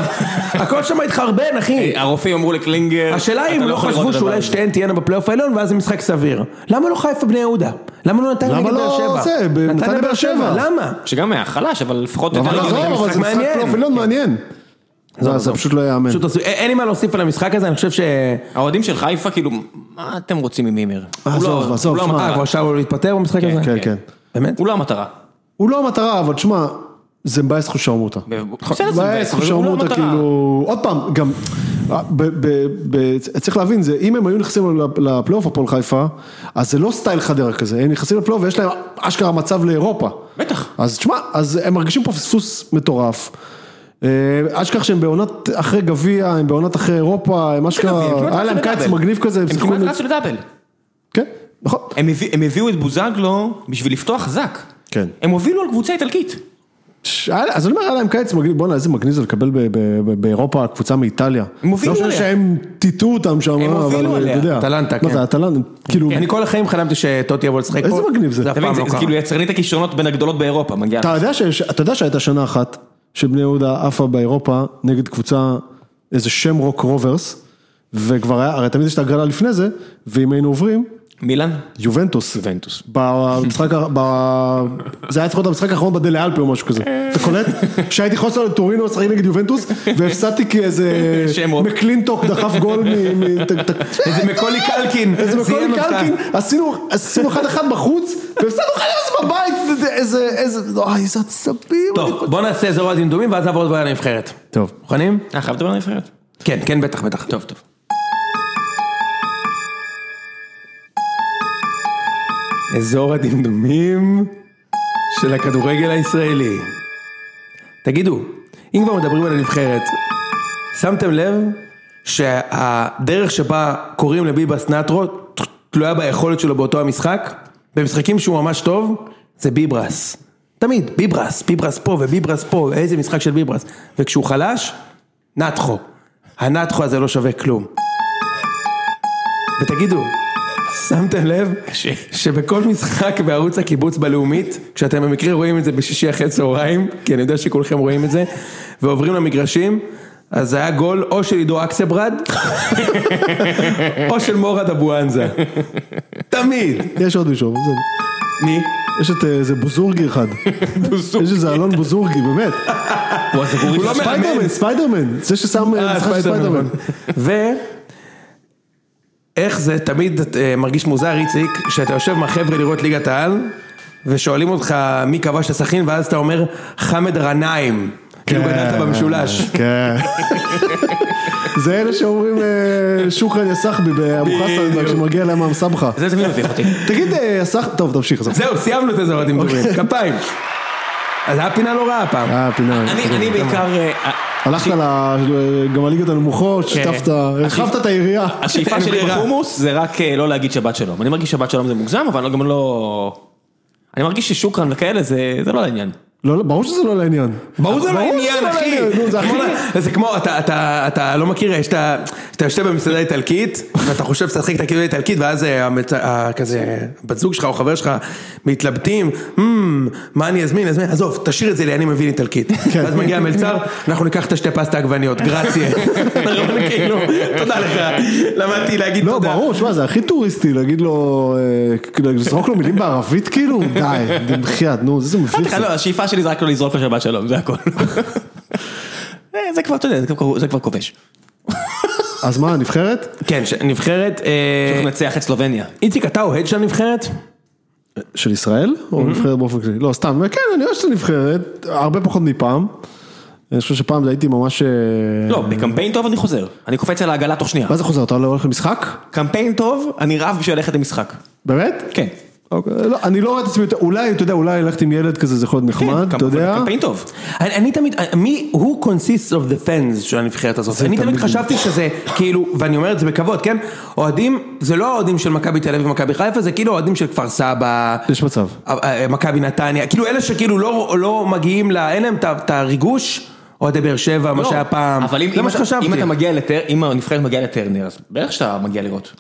Speaker 3: הכל שם התחרבן אחי.
Speaker 1: הרופאים אמרו לקלינגר,
Speaker 3: השאלה
Speaker 1: אה, "אתה
Speaker 3: אם לא
Speaker 1: יכול לראות
Speaker 3: חשבו
Speaker 1: את הדבר
Speaker 3: שאולי
Speaker 1: הזה".
Speaker 3: שתיהן תהיינה בפלייאוף העליון ואז זה משחק סביר. למה לא חיפה בני יהודה? למה לא נתניה
Speaker 2: למה
Speaker 3: נגד
Speaker 2: לא
Speaker 3: באר שבע?
Speaker 2: זה, ב- נתניה באר שבע.
Speaker 3: למה?
Speaker 1: שגם היה חלש, אבל לפחות...
Speaker 2: לא, אבל
Speaker 1: יותר-
Speaker 2: עזוב,
Speaker 3: זה
Speaker 2: אבל
Speaker 3: משחק
Speaker 2: זה משחק
Speaker 3: מעניין.
Speaker 2: פלייאוף עליון מעניין. זה זה פשוט לא יאמן.
Speaker 3: פשוט עשו- אין- אין לי מה להוסיף על המשחק הזה, אני חושב ש...
Speaker 1: האוהדים של חיפה, כאילו, מה אתם רוצים ממימר? הוא
Speaker 2: עזוב,
Speaker 1: לא-
Speaker 2: עזוב,
Speaker 1: הוא לא
Speaker 2: שמע.
Speaker 3: אה,
Speaker 1: המטרה.
Speaker 3: כבר שרו להתפטר במשחק הזה?
Speaker 2: כן, כן.
Speaker 3: באמת?
Speaker 1: הוא לא המטרה.
Speaker 2: הוא לא המטרה, אבל תשמע, זה מבאס חושרמוטה.
Speaker 1: בסדר, זה מבאס,
Speaker 2: מבאס,
Speaker 1: אבל הוא לא
Speaker 2: חושרמוטה,
Speaker 1: המטרה.
Speaker 2: כאילו, עוד פעם, גם, אה, ב, ב, ב, צריך להבין, זה, אם הם היו נכנסים לפ- לפלייאוף הפועל חיפה, אז זה לא סטייל חדרה כזה, הם נכנסים לפלייאוף ויש להם אשכרה מצב לאירופה.
Speaker 1: בטח.
Speaker 2: אז תשמע, אז הם מרגישים פה פספוס מטורף. אה, אשכרה שהם בעונת אחרי גביע, הם בעונת אחרי אירופה, הם אשכרה,
Speaker 1: הם כמעט
Speaker 2: היה להם
Speaker 1: רצו
Speaker 2: קיץ
Speaker 1: לדאבל.
Speaker 2: מגניב כזה, הם
Speaker 1: הם
Speaker 2: שיחקו,
Speaker 1: כמעט
Speaker 2: נגד-
Speaker 1: רצו לדאבל.
Speaker 2: כן, נכון.
Speaker 1: הם הביא- הם הביאו את בוזגלו בשביל לפתוח חזק.
Speaker 2: כן.
Speaker 1: הם הובילו על קבוצה איטלקית.
Speaker 2: ש- היה- אז אני אומר, היה להם קיץ מגניב, בואנה, איזה מגניב זה לקבל ב- ב- ב- באירופה קבוצה מאיטליה.
Speaker 1: הם הובילו
Speaker 2: לא
Speaker 1: עליה.
Speaker 2: חושב שהם טיטו אותם שם,
Speaker 1: הם הובילו
Speaker 2: אבל
Speaker 1: עליה.
Speaker 2: אתה יודע.
Speaker 3: אטלנטה,
Speaker 2: מה
Speaker 3: כן.
Speaker 2: זה, אטלנטה, כאילו,
Speaker 3: אני כל החיים חלמתי שטוטי יבוא לשחק פה.
Speaker 2: איזה מגניב זה.
Speaker 3: זה אף
Speaker 1: אתה מבין,
Speaker 3: פעם לא
Speaker 1: זה- זה
Speaker 3: קרה.
Speaker 1: כאילו יצרנית הכישרונות בין הגדולות באירופה, מגיעה.
Speaker 2: אתה יודע שיש- אתה יודע שהייתה שנה אחת שבני יהודה עפה באירופה נגד קבוצה, איזה שם רוק רוברס, וכבר היה, הרי תמיד יש את ההגרלה לפני זה, ואם היינו עוברים,
Speaker 1: מילאן?
Speaker 2: יובנטוס.
Speaker 1: יובנטוס.
Speaker 2: במשחק, ה- ב... זה היה צריך להיות המשחק האחרון בדלה אלפי או משהו כזה, אתה קולט? שהייתי חוסר לטורינו לשחק נגד יובנטוס והפסדתי כי איזה
Speaker 1: שם רוק.
Speaker 2: מקלינטוק דחף גול מ... מ... ת- ת-
Speaker 1: איזה מקולי קלקין.
Speaker 2: איזה
Speaker 1: זיהם
Speaker 2: מקולי
Speaker 1: אותך.
Speaker 2: קלקין, עשינו עשינו אחד אחד בחוץ והפסדנו אחד אחד בבית, זה- זה- איזה, איזה, אוי איזה עצבים.
Speaker 3: טוב, בוא נעשה אזור הדמדומים ואז נעבור לדבר על הנבחרת.
Speaker 2: טוב.
Speaker 3: מוכנים?
Speaker 1: אה, חייב לדבר על הנבחרת?
Speaker 3: כן, כן, בטח, בטח.
Speaker 1: טוב, טוב.
Speaker 3: אזור הדמדומים של הכדורגל הישראלי. תגידו, אם כבר מדברים על הנבחרת, שמתם לב שהדרך שבה קוראים לביבס נטרו תלויה ביכולת שלו באותו המשחק? במשחקים שהוא ממש טוב, זה ביברס. תמיד, ביברס, ביברס פה וביברס פה, איזה משחק של ביברס. וכשהוא חלש, נטחו. הנטחו הזה לא שווה כלום. ותגידו, שמתם לב
Speaker 1: קשה.
Speaker 3: שבכל משחק בערוץ הקיבוץ בלאומית, כשאתם במקרה רואים את זה בשישי אחרי צהריים, כי אני יודע שכולכם רואים את זה, ועוברים למגרשים, אז זה היה גול או של עידו אקסברד, או של מורד אבואנזה. תמיד.
Speaker 2: יש עוד מישהו, זה-
Speaker 3: מי?
Speaker 2: יש את אה, איזה בוזורגי אחד, יש איזה אלון בוזורגי, באמת,
Speaker 1: הוא הזגורי
Speaker 3: הוא לא
Speaker 1: של-
Speaker 3: מאמן.
Speaker 2: ספיידרמן, ספיידרמן, זה ששם אה,
Speaker 3: אה,
Speaker 2: משחק
Speaker 3: ספיידרמן.
Speaker 2: ספיידרמן.
Speaker 3: ו... איך זה תמיד אה, מרגיש מוזר, איציק, שאתה יושב עם החבר'ה לראות ליגת העל, ושואלים אותך מי כבש את הסכין, ואז אתה אומר חמד גנאים. כאילו גדלת במשולש.
Speaker 2: כן. זה אלה שאומרים אה, שוכרן יא סחבי באבו חסן, כשמגיע להם עם סבחה.
Speaker 1: זה תמיד מביך אותי.
Speaker 2: תגיד, אה, יא סח... טוב, תמשיך. עזוב.
Speaker 3: זהו, סיימנו את הזוות עם דוברים. כפיים. אז היה פינה לא רעה הפעם.
Speaker 2: אוקיי. אה, פינה.
Speaker 1: אני אני בעיקר... אה,
Speaker 2: הלכת ל- גם לליגות הנמוכות,
Speaker 1: כן.
Speaker 2: שיתפת, הרחבת את העירייה.
Speaker 1: השאיפה
Speaker 3: אין
Speaker 1: שלי
Speaker 3: ברירה.
Speaker 1: בחומוס זה רק אה, לא להגיד שבת שלום. אני מרגיש שבת שלום זה מוגזם, אבל אני גם לא... אני מרגיש ששוקרן וכאלה זה זה לא לעניין.
Speaker 2: לא, לא, ברור שזה לא לעניין.
Speaker 3: ברור זה לא עניין,
Speaker 2: שזה לא
Speaker 3: אחי.
Speaker 2: לעניין, נו, זה
Speaker 3: זה
Speaker 2: הכי-
Speaker 3: כמו- זה כמו, אתה- אתה אתה לא מכיר, יש את ה- שאתה יושב במסעדה איטלקית, ואתה חושב שאתה תשחק את הכאילו איטלקית, ואז אה, המצ- ה- כזה, בת זוג שלך או חבר שלך מתלבטים, "מ, מה אני אזמין, אזמין, עזוב, תשאיר את זה לי, אני מבין איטלקית.
Speaker 2: כן.
Speaker 3: ואז מגיע המלצר, אנחנו ניקח את השתי פסטה עגבניות, גרציה. כאילו, תודה לך, למדתי להגיד
Speaker 2: לא,
Speaker 3: תודה.
Speaker 2: ברור, שמע, זה הכי טוריסטי להגיד לו, אה, כאילו, לזרוק לו מילים בערבית כאילו, די, בחייאת, נו, זה מביך. זה.
Speaker 1: לא, השאיפה שלי זה רק לא לזרוק לו שבת שלום, זה הכל. אה, זה כבר, אתה יודע, זה כבר- זה כבר כובש.
Speaker 2: אז מה, הנבחרת?
Speaker 3: כן, ש- נבחרת, אה,
Speaker 1: צריך לנצח את סלובניה.
Speaker 3: איציק, אתה אוהד של הנבחרת?
Speaker 2: של ישראל? או
Speaker 1: Mm-hmm.
Speaker 2: נבחרת באופן כללי? לא, סתם, כן, אני אוהב את הנבחרת, הרבה פחות מפעם. אני חושב שפעם זה הייתי ממש... אה,
Speaker 1: לא, בקמפיין טוב אני חוזר. אני קופץ על העגלה תוך שנייה.
Speaker 2: מה זה חוזר? אתה לא הולך למשחק?
Speaker 1: קמפיין טוב, אני רב בשביל ללכת למשחק.
Speaker 2: באמת?
Speaker 1: כן.
Speaker 2: אוקיי, לא, אני לא רואה את עצמי, יותר- אולי, אתה יודע, אולי ללכת עם ילד כזה, זה יכול להיות
Speaker 1: כן,
Speaker 2: נחמד, אתה
Speaker 1: קמפיין-
Speaker 2: יודע?
Speaker 1: קמפיין טוב.
Speaker 3: אני, אני תמיד, מי, who consists of the fans של הנבחרת הזאת, אני תמיד
Speaker 2: תמיד-
Speaker 3: חשבתי שזה, כאילו, ואני אומר את זה בכבוד, כן, אוהדים, זה לא האוהדים של מכבי תל אביב ומכבי חיפה, זה כאילו אוהדים של כפר סבא,
Speaker 2: יש מצב.
Speaker 3: אה, אה, מכבי נתניה, כאילו אלה שכאילו לא, לא מגיעים, ל, אין להם את ה- את הריגוש, אוהדי באר שבע, מה
Speaker 1: לא,
Speaker 3: שהיה פעם,
Speaker 1: אבל אם-
Speaker 3: זה
Speaker 1: אם
Speaker 3: מה
Speaker 1: אתה-
Speaker 3: שחשבתי.
Speaker 1: אם אתה מגיע לטר, אם הנבחרת מגיעה לטרנר, אז בערך שאתה מגיע לראות.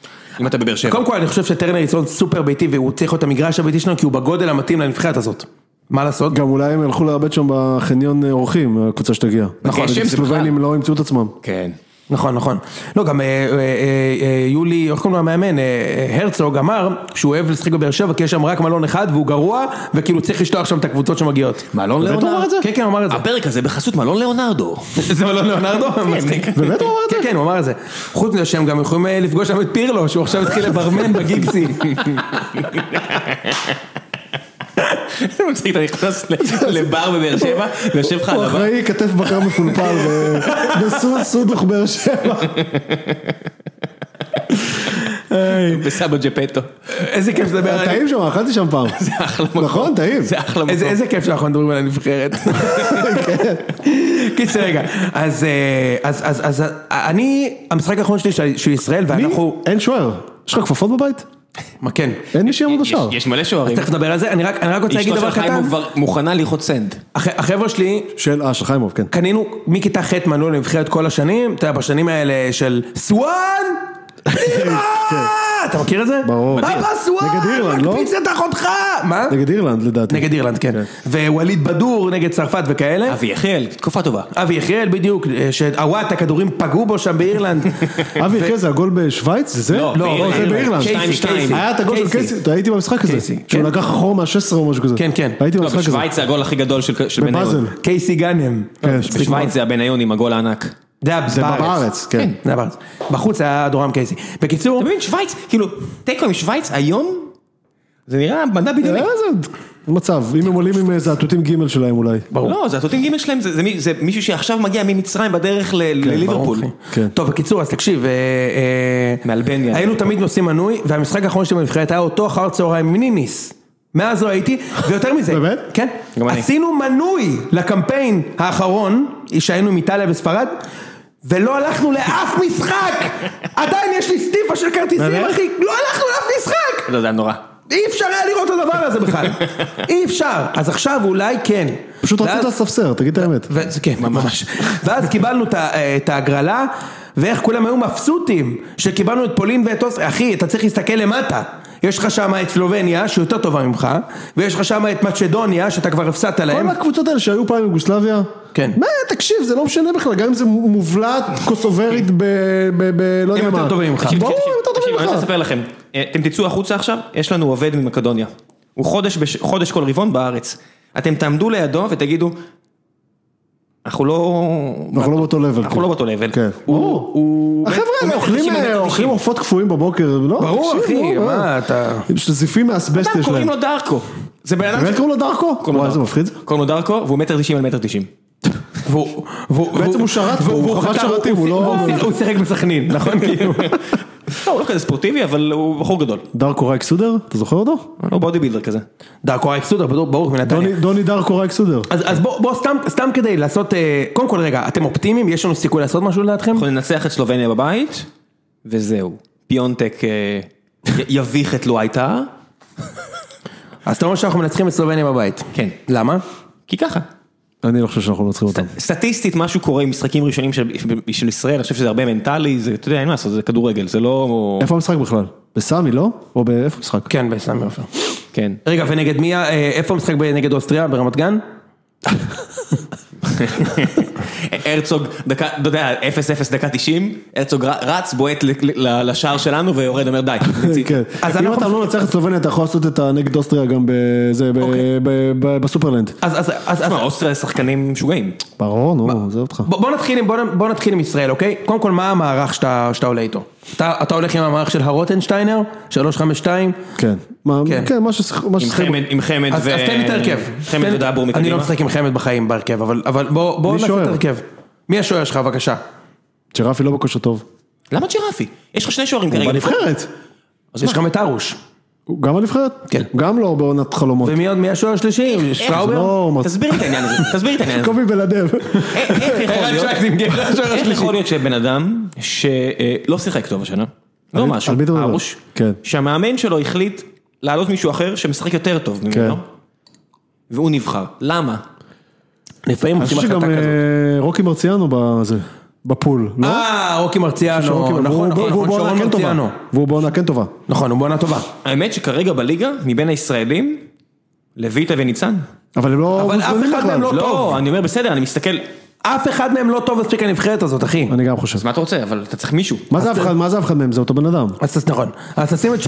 Speaker 1: אם אתה בבאר שבע.
Speaker 3: קודם כל אני חושב שטרנר יצאון סופר ביתי והוא צריך להיות את המגרש הביתי שלנו כי הוא בגודל המתאים לנבחרת הזאת. מה לעשות?
Speaker 2: גם אולי הם ילכו להרבט שם בחניון אה, אורחים, הקבוצה שתגיע.
Speaker 1: נכון,
Speaker 2: נגיד
Speaker 1: זה בכלל.
Speaker 2: סלובנים לא ימצאו את עצמם.
Speaker 1: כן.
Speaker 3: נכון, נכון. לא, גם אה, אה, אה, אה, יולי, איך קוראים לו המאמן, אה, אה, הרצוג אמר שהוא אוהב לשחק בבאר שבע כי יש שם רק מלון אחד והוא גרוע, וכאילו צריך לשלוח שם את הקבוצות שמגיעות.
Speaker 1: מלון
Speaker 2: באמת הוא אמר את
Speaker 1: ליאונרדו.
Speaker 2: זה?
Speaker 3: כן, כן, הוא אמר את זה.
Speaker 1: הפרק הזה בחסות מלון ליאונרדו. כן.
Speaker 3: זה מלון ליאונרדו? מצחיק.
Speaker 2: באמת הוא אמר את זה?
Speaker 3: כן, כן, הוא אמר את זה. חוץ מזה שהם גם יכולים אה, לפגוש שם את פירלו, שהוא עכשיו התחיל לברמן בגיגסי.
Speaker 1: זה מצחיק, אתה נכנס ל- לבר בבאר שבע, ויושב לך על
Speaker 2: הוא
Speaker 1: הבר.
Speaker 2: אחראי כתף בקר מפולפל ו- וסוס סודוך באר שבע.
Speaker 1: בסבא ג'פטו.
Speaker 3: איזה כיף לדבר על...
Speaker 2: טעים שם, אכלתי שם פעם.
Speaker 1: זה אחלה מקום.
Speaker 2: נכון, טעים.
Speaker 1: זה אחלה מקום.
Speaker 3: איזה, איזה כיף שאנחנו מדברים על הנבחרת. קיצר רגע, אז, אה, אז, אז, אז, אה, אני, המשחק האחרון שלי של של ישראל,
Speaker 2: מי?
Speaker 3: ואנחנו,
Speaker 2: אין שוער. יש לך כפפות בבית?
Speaker 3: מה כן?
Speaker 2: אין מי שיעמוד
Speaker 1: יש-
Speaker 2: בשער.
Speaker 1: יש מלא שוערים.
Speaker 3: תכף נדבר על זה, אני רק אני רק רוצה להגיד
Speaker 1: אשתו
Speaker 3: דבר
Speaker 1: של
Speaker 3: קטן.
Speaker 1: חיים כבר מוכנה ללחוץ סנד.
Speaker 3: הח- החבר'ה שלי,
Speaker 2: של, אה, של חיימוב, כן.
Speaker 3: קנינו מכיתה ח' מנעו לנבחרת כל השנים, אתה יודע, בשנים האלה של סואן! בירה!" אתה מכיר את זה?
Speaker 2: כן. ברור.
Speaker 3: אבא
Speaker 2: נגד
Speaker 3: סואן!
Speaker 2: אירלנד, לא?
Speaker 3: מקפיץ את אחותך! מה?
Speaker 2: נגד אירלנד לדעתי.
Speaker 3: נגד אירלנד, כן. ווליד בדור נגד צרפת וכאלה.
Speaker 1: אבי יחיאל, תקופה טובה.
Speaker 3: אבי יחיאל בדיוק, שהוואט הכדורים פגעו בו שם באירלנד. לא, כן.
Speaker 2: אבי יחיא זה הגול בשוויץ? זה זה?
Speaker 1: לא, באירלנד.
Speaker 2: זה באירלנד.
Speaker 1: קייסי,
Speaker 3: קייסי,
Speaker 1: קייסי.
Speaker 3: קייסי.
Speaker 2: היה את הגול של קייסי, אתה הייתי במשחק הזה.
Speaker 3: קייסי,
Speaker 2: שהוא
Speaker 3: כן.
Speaker 2: לקח אחורה מה-16 או משהו כזה.
Speaker 3: כן, כן.
Speaker 2: הייתי
Speaker 1: לא,
Speaker 2: במשחק הזה.
Speaker 1: בשוויץ זה הגול הכי גדול של של בניון.
Speaker 2: בפאזל.
Speaker 3: קייסי גאנם.
Speaker 2: כן,
Speaker 1: בשוויץ זה הבניון עם הגול הענק. אתה
Speaker 3: זה היה
Speaker 2: זה בארץ, כן.
Speaker 3: זה היה בארץ. בחוץ היה דורם קייסי. בקיצור,
Speaker 1: מבין, שוויץ, כאילו, תיקו עם שוויץ היום, זה נראה מדע
Speaker 2: אה,
Speaker 1: בדיוני.
Speaker 2: זה מצב, אם הם עולים עם איזה התותים ג' שלהם אולי.
Speaker 3: ברור.
Speaker 1: לא, זה התותים ג' שלהם, זה- זה מי- זה מישהו שעכשיו מגיע ממצרים בדרך ל- לליברפול.
Speaker 3: ברור,
Speaker 2: כן.
Speaker 3: אחי. טוב, בקיצור, אז תקשיב, אה, אה,
Speaker 1: מאלבניה.
Speaker 3: היינו תמיד נוסעים מנוי, והמשחק האחרון שלי בנבחרת היה אותו אחר צהריים עם ניניס. מאז לא הייתי, ויותר מזה,
Speaker 2: באמת?
Speaker 3: כן,
Speaker 1: גם אני.
Speaker 3: עשינו מנוי לקמפיין האחרון, שהיינו עם איטליה וספרד, ולא הלכנו לאף משחק! עדיין יש לי סטיפה של כרטיסים,
Speaker 2: באמת?
Speaker 3: אחי, לא הלכנו לאף משחק!
Speaker 1: לא, זה היה נורא.
Speaker 3: אי אפשר היה לראות את הדבר הזה בכלל, אי אפשר, אז עכשיו אולי כן.
Speaker 2: פשוט
Speaker 3: ואז-
Speaker 2: רצית לספסר, תגיד את האמת.
Speaker 3: ו- כן, ממש. ואז קיבלנו את ה- אה, את ההגרלה, ואיך כולם היו מבסוטים שקיבלנו את פולין ואת אוסטריה. אחי, אתה צריך להסתכל למטה. יש לך שם את סלובניה, שהיא יותר טובה ממך, ויש לך שם את מצ'דוניה, שאתה כבר הפסדת להם.
Speaker 2: כל הקבוצות האלה שהיו פעם יוגוסלביה,
Speaker 3: כן.
Speaker 2: מה, תקשיב, זה לא משנה בכלל, גם אם זה מובלעת קוסוברית ב... ב- ב- לא יודע מה.
Speaker 3: יותר טובים ממך.
Speaker 2: ברור,
Speaker 1: תקשיב,
Speaker 2: הם יותר
Speaker 1: תקשיב,
Speaker 2: טובים
Speaker 1: אני רוצה
Speaker 2: ממך.
Speaker 1: לספר לכם, אה, אתם תצאו החוצה עכשיו, יש לנו עובד ממקדוניה. הוא חודש, בש... חודש כל רבעון בארץ. אתם תעמדו לידו ותגידו, אנחנו לא...
Speaker 2: אנחנו לא באותו level,
Speaker 1: אנחנו
Speaker 2: כן.
Speaker 1: לא באותו level.
Speaker 2: כן.
Speaker 1: הוא... הוא...
Speaker 2: החבר'ה
Speaker 1: הוא
Speaker 2: האלה
Speaker 1: מת
Speaker 2: אוכלים אה,
Speaker 1: 90, הוא מת 90.
Speaker 2: אוכלים עופות קפואים בבוקר, לא?
Speaker 3: ברור,
Speaker 2: תקשיב,
Speaker 3: אחי,
Speaker 2: לא,
Speaker 3: מה אתה...
Speaker 2: הם שזיפים מהאסבסט
Speaker 1: אדם
Speaker 2: יש
Speaker 1: קוראים
Speaker 2: להם.
Speaker 1: לו דארקו. זה בן אדם
Speaker 2: באמת
Speaker 1: ש-
Speaker 2: קוראים לו דארקו? וואי, איזה מפחיד.
Speaker 1: קוראים לו דארקו והוא מטר תשעים על מטר תשעים.
Speaker 3: והוא- והוא-
Speaker 2: בעצם
Speaker 3: והוא-
Speaker 2: הוא שרת פה,
Speaker 3: והוא-
Speaker 2: הוא
Speaker 3: והוא
Speaker 2: חבש
Speaker 3: חקר-
Speaker 2: שרתים, הוא לא-
Speaker 3: הוא- הוא שיחק בסכנין, נכון? כאילו.
Speaker 1: לא, הוא לא כזה ספורטיבי אבל הוא בחור גדול.
Speaker 2: דארקו רייק סודר? אתה זוכר אותו?
Speaker 1: הוא לא בודי בילדר כזה.
Speaker 3: דאקו אקסודר, ברור, מנתניה.
Speaker 2: דוני- דוני דארקו רייק סודר.
Speaker 3: אז אז בוא, בוא, סתם- סתם כדי לעשות, אה, קודם כל רגע, אתם אופטימיים? יש לנו סיכוי לעשות משהו לדעתכם?
Speaker 1: אנחנו ננצח את סלובניה בבית וזהו. פיונטק אה, י- יביך את לואייטה.
Speaker 3: אז אתה אומר שאנחנו מנצחים את סלובניה בבית.
Speaker 1: כן.
Speaker 3: למה?
Speaker 1: כי ככה.
Speaker 2: אני לא חושב שאנחנו מנצחים אותם.
Speaker 1: סטטיסטית משהו קורה עם משחקים ראשונים של, של ישראל, אני חושב שזה הרבה מנטלי, זה, אתה יודע, אין מה לעשות, זה כדורגל, זה לא...
Speaker 2: איפה המשחק בכלל? בסמי, לא? או באיפה המשחק?
Speaker 3: כן, בסמי עופר.
Speaker 1: כן.
Speaker 3: רגע, ונגד מי, ה- אה, איפה המשחק ב- נגד אוסטריה? ברמת גן?
Speaker 1: הרצוג, דקה, אתה יודע, 0-0 דקה 90, הרצוג ר- רץ, בועט ל- ל- לשער שלנו ויורד, אומר די. מיציתי."
Speaker 2: כן.
Speaker 3: אז
Speaker 2: אם
Speaker 3: אנחנו-
Speaker 2: אתה לא נצח את סלובניה, אתה יכול לעשות את הנגד אוסטריה גם בזה, ב- ב- ב- בסופרלנד.
Speaker 3: אז, אז, אז, אז
Speaker 1: תשמע, אוסטריה שחקנים משוגעים.
Speaker 2: ברור, נו, עזוב אותך.
Speaker 3: בוא, בוא, נתחיל עם, בוא, נ- בוא נתחיל עם ישראל, אוקיי? קודם כל, מה המערך שאתה, שאתה עולה איתו? אתה, אתה הולך עם המערך של הרוטנשטיינר? 352?
Speaker 2: כן. מה-
Speaker 3: כן.
Speaker 2: כן, מה ששיח- מה
Speaker 1: עם
Speaker 2: ששיחק.
Speaker 1: חמד, עם חמד
Speaker 3: אז,
Speaker 1: ו...
Speaker 3: אז תן לי את ההרכב.
Speaker 1: חמד
Speaker 3: תן לי-
Speaker 1: ודאבור מקדימה.
Speaker 3: אני לא משחק עם חמד בחיים בהרכב, אבל, אבל בוא, בוא
Speaker 2: מי
Speaker 3: נעשה
Speaker 2: שוער?
Speaker 3: את ההרכב. מי השוער שלך, בבקשה?
Speaker 2: שרפי לא בכושר טוב.
Speaker 1: למה ג'ירפי? יש לך שני שוערים כרגע.
Speaker 2: בנבחרת.
Speaker 1: אז
Speaker 3: יש
Speaker 1: מה?
Speaker 3: לך את ארוש.
Speaker 2: הוא גם בנבחרת?
Speaker 3: כן.
Speaker 2: גם לא בעונת חלומות.
Speaker 3: ומי עוד, מי השוער השלישי?
Speaker 1: איך? זה
Speaker 3: שטראובר?
Speaker 2: לא, מה-
Speaker 1: תסביר לי את העניין הזה, תסביר לי את העניין הזה.
Speaker 2: קובי בלדב.
Speaker 1: איך איך יכול
Speaker 3: ערן
Speaker 1: להיות?
Speaker 3: שייכטינגר, אה, השוער
Speaker 1: איך
Speaker 3: השלישי.
Speaker 1: יכול להיות שבן אדם שלא שיחק טוב השנה, לא
Speaker 2: על-
Speaker 1: משהו,
Speaker 2: על מי אתה מדבר?
Speaker 1: ארוש,
Speaker 2: כן.
Speaker 1: שהמאמן שלו החליט להעלות מישהו אחר שמשחק יותר טוב ממנו,
Speaker 2: כן.
Speaker 1: והוא נבחר, למה?
Speaker 3: לפעמים
Speaker 2: אני
Speaker 3: עושים
Speaker 2: חושב
Speaker 3: החלטה
Speaker 2: שגם
Speaker 3: כזאת.
Speaker 2: אה, רוקי מרציאנו בזה, בפול, לא?
Speaker 3: אה, רוקי מרציאנו,
Speaker 2: שרוקי-
Speaker 3: נכון,
Speaker 2: והוא-
Speaker 3: נכון,
Speaker 2: והוא
Speaker 3: נכון,
Speaker 2: בעונה
Speaker 3: שרון
Speaker 2: כן טובה.
Speaker 3: מרציאנו.
Speaker 2: והוא בעונה כן טובה.
Speaker 3: נכון, הוא בעונה טובה.
Speaker 2: אה,
Speaker 1: האמת שכרגע בליגה, מבין הישראלים, לויטה וניצן.
Speaker 2: אבל הם לא...
Speaker 3: אבל אף
Speaker 2: מוזמנים
Speaker 3: אחד
Speaker 2: בכלל.
Speaker 3: מהם לא- טוב.
Speaker 1: לא, אני אומר בסדר, אני מסתכל,
Speaker 3: אף אחד מהם לא טוב מספיק לנבחרת הזאת, אחי.
Speaker 2: אני גם חושב.
Speaker 1: אז מה אתה רוצה, אבל אתה צריך מישהו.
Speaker 2: מה זה אף אחד, מה זה אף אחד מהם? זה אותו בן אדם.
Speaker 3: אז אז נכון, אז תשים את ש-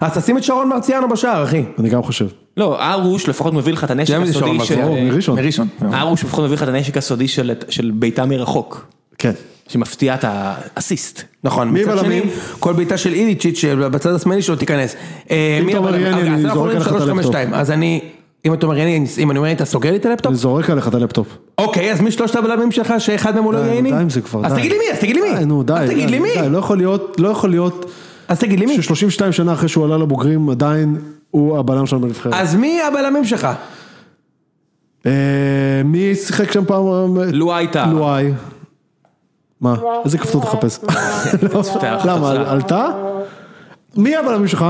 Speaker 3: אז תשים את שרון מרציאנו בשער, אחי.
Speaker 2: אני גם חושב.
Speaker 1: לא, ארוש לפחות מביא לך את הנשק
Speaker 3: יודע מי זה
Speaker 1: הסודי
Speaker 3: שרון
Speaker 1: של...
Speaker 2: ברור,
Speaker 1: אה,
Speaker 2: מראשון.
Speaker 3: מראשון.
Speaker 1: ארוש לפחות מביא לך את הנשק הסודי של- של בעיטה מרחוק,
Speaker 2: כן.
Speaker 1: שמפתיע את האסיסט.
Speaker 3: נכון,
Speaker 2: מי
Speaker 3: מצד שני,
Speaker 2: בלמים?
Speaker 3: כל בעיטה של איליצ'יץ' שבצד השמאלי שלו תיכנס. אה,
Speaker 2: אם
Speaker 3: מי
Speaker 2: אתה אומר
Speaker 3: הבלמים?
Speaker 2: יני,
Speaker 3: אוקיי,
Speaker 2: אני
Speaker 3: אז אנחנו
Speaker 2: זורק
Speaker 3: אומרים
Speaker 2: לך את
Speaker 3: 3-5-2. אז אני, אם אתה אומר יני, אם אני אומר אתה סוגר לי את הלפטופ?
Speaker 2: אני זורק עליך את הלפטופ.
Speaker 3: אוקיי, אז מי שלושת הבלמים שלך שאחד מהם הוא לא
Speaker 2: די,
Speaker 3: יני?
Speaker 2: די עם זה כבר,
Speaker 3: אז
Speaker 2: די.
Speaker 3: תגיד לי מי, אז תגיד לי מי.
Speaker 2: די, נו, די.
Speaker 3: אז תגיד
Speaker 2: די,
Speaker 3: לי מי.
Speaker 2: די, לא יכול להיות, לא יכול להיות
Speaker 3: אז תגיד לי מי.
Speaker 2: ש-32 שנה אחרי שהוא עלה לבוגרים, עדיין הוא הבלם שלנו בנבחרת.
Speaker 3: אז מי הבלמים שלך?
Speaker 2: אה, מי שיחק שם פעם?
Speaker 1: לואייטה.
Speaker 2: לואי. מה? איזה כפתור תחפש?
Speaker 1: אתה-
Speaker 2: למה? על- עלתה? מי הבלמים שלך?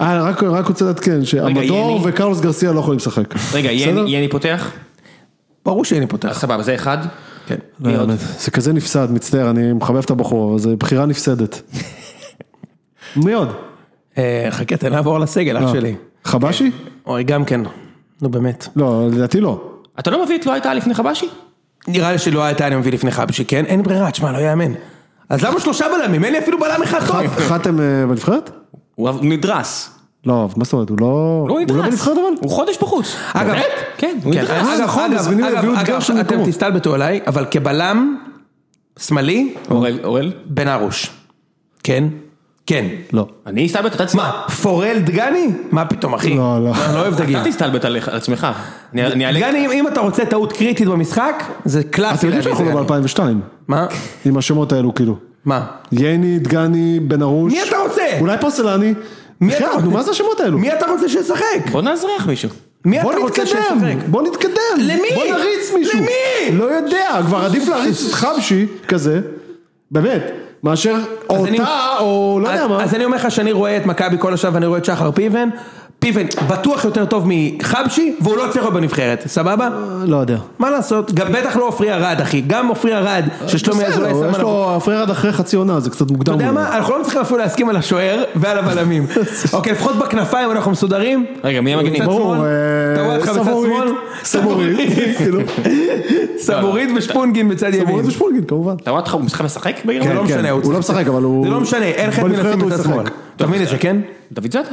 Speaker 2: אה, רק- רק רוצה לעדכן,
Speaker 1: יני?
Speaker 2: שהמדור וקרלוס גרסיה לא יכולים לשחק.
Speaker 1: רגע, יני
Speaker 2: בסדר?
Speaker 1: יני פותח?
Speaker 3: ברור שאני פותח.
Speaker 1: סבבה, זה אחד.
Speaker 3: כן.
Speaker 2: לא,
Speaker 1: מי עוד?
Speaker 2: באמת, זה כזה נפסד, מצטער, אני מחבב את הבחור, אבל זו בחירה נפסדת. מי עוד?
Speaker 3: אה, חכה, תן לעבור לסגל,
Speaker 1: אה,
Speaker 2: לא.
Speaker 3: אח שלי.
Speaker 2: חבשי?
Speaker 3: אוי, גם כן. נו באמת.
Speaker 2: לא, לדעתי לא.
Speaker 1: אתה לא מביא את לא הייתה לפני חבשי?
Speaker 3: נראה לי שלא הייתה אני מביא לפני חבשי, כן? אין ברירה, תשמע, לא יאמן. אז למה שלושה בלמים? אין לי אפילו בלם אחד טוב.
Speaker 2: ח- חתם אה, בנבחרת?
Speaker 1: הוא אב- נדרס.
Speaker 2: לא, מה זאת אומרת, הוא לא...
Speaker 1: הוא
Speaker 2: הוא לא
Speaker 1: נדרס.
Speaker 2: בנבחרת אבל?
Speaker 1: הוא חודש בחוץ.
Speaker 3: אגב,
Speaker 1: באמת? כן, הוא
Speaker 3: כן,
Speaker 1: נדרס.
Speaker 3: אגב,
Speaker 2: נכון,
Speaker 3: אגב,
Speaker 2: מזמינים,
Speaker 3: אגב,
Speaker 2: הביאו את
Speaker 3: אגב,
Speaker 2: גרשון
Speaker 3: אתם
Speaker 2: במקומו.
Speaker 3: תסתלבטו עליי, אבל כבלם שמאלי,
Speaker 1: אורל, אורל?
Speaker 3: בן ארוש. כן? כן.
Speaker 2: לא.
Speaker 1: אני אסתלבט את עצמי.
Speaker 3: מה, פורל דגני? מה פתאום, אחי?
Speaker 2: לא, לא.
Speaker 3: אני לא אוהב דגים.
Speaker 1: אתה תסתלבט על על עצמך. אני- אני אעלה-
Speaker 3: דגני, אם- אם אתה רוצה טעות קריטית במשחק, זה קלאסי.
Speaker 2: אתם יודעים
Speaker 3: להביא
Speaker 2: שאנחנו
Speaker 3: דגני.
Speaker 2: לא ב-2002,
Speaker 3: מה?
Speaker 2: עם השמות האלו כאילו.
Speaker 3: מה?
Speaker 2: ייני, דגני, בן ארוש.
Speaker 3: מי אתה רוצה?
Speaker 2: אולי פוסלני.
Speaker 3: מי אתה
Speaker 2: בחייאת,
Speaker 3: רוצה?
Speaker 2: נו, מה זה השמות האלו?
Speaker 3: מי אתה רוצה שישחק?
Speaker 1: בוא נאזרח מישהו.
Speaker 3: מי אתה
Speaker 2: בוא
Speaker 3: רוצה שישחק?
Speaker 2: נתקדם, בוא נתקדם.
Speaker 3: למי?
Speaker 2: בוא נריץ מישהו.
Speaker 3: למי?
Speaker 2: לא יודע, כבר עדיף להריץ את חבשי כזה, באמת, מאשר
Speaker 3: אני-
Speaker 2: אותה או לא
Speaker 3: אז-
Speaker 2: יודע מה.
Speaker 3: אז אני אומר לך שאני רואה את מכבי כל השעה ואני רואה את שחר פיבן, פיבן בטוח יותר טוב מחבשי, והוא לא צריך להיות בנבחרת, סבבה?
Speaker 2: לא יודע.
Speaker 3: מה לעשות, גם בטח לא עופרי ארד אחי, גם עופרי ארד, ששלומי
Speaker 2: בסדר,
Speaker 3: אזולאי שם
Speaker 2: יש
Speaker 3: עליו.
Speaker 2: לו הפררד אחרי חצי עונה, זה קצת מוקדם.
Speaker 3: אתה יודע
Speaker 2: אולי.
Speaker 3: מה, אנחנו לא צריכים אפילו להסכים על השוער ועל הבלמים. אוקיי, לפחות בכנפיים אנחנו מסודרים.
Speaker 1: רגע, מי המגנים?
Speaker 3: מצד
Speaker 2: ברור,
Speaker 3: שמאל,
Speaker 2: אה,
Speaker 3: אתה רואה אותך בצד
Speaker 2: סבורית,
Speaker 3: שמאל?
Speaker 2: סבורית, כאילו.
Speaker 3: סבורית ושפונגין בצד ימין.
Speaker 2: סבורית ושפולגין כן, כמובן.
Speaker 1: אתה רואה אותך, הוא משחק משחק
Speaker 3: זה
Speaker 1: בגרמניה?
Speaker 3: לא
Speaker 2: כן,
Speaker 3: משנה,
Speaker 2: הוא לא
Speaker 3: צריך-
Speaker 2: משחק, אבל הוא-
Speaker 3: זה לא משנה, אין חטא
Speaker 2: בנבחרת
Speaker 3: מלפים
Speaker 2: הוא
Speaker 3: בצד
Speaker 2: ישחק.
Speaker 3: שמאל. אתה מבין את זה, כן?
Speaker 1: דוד זאדה?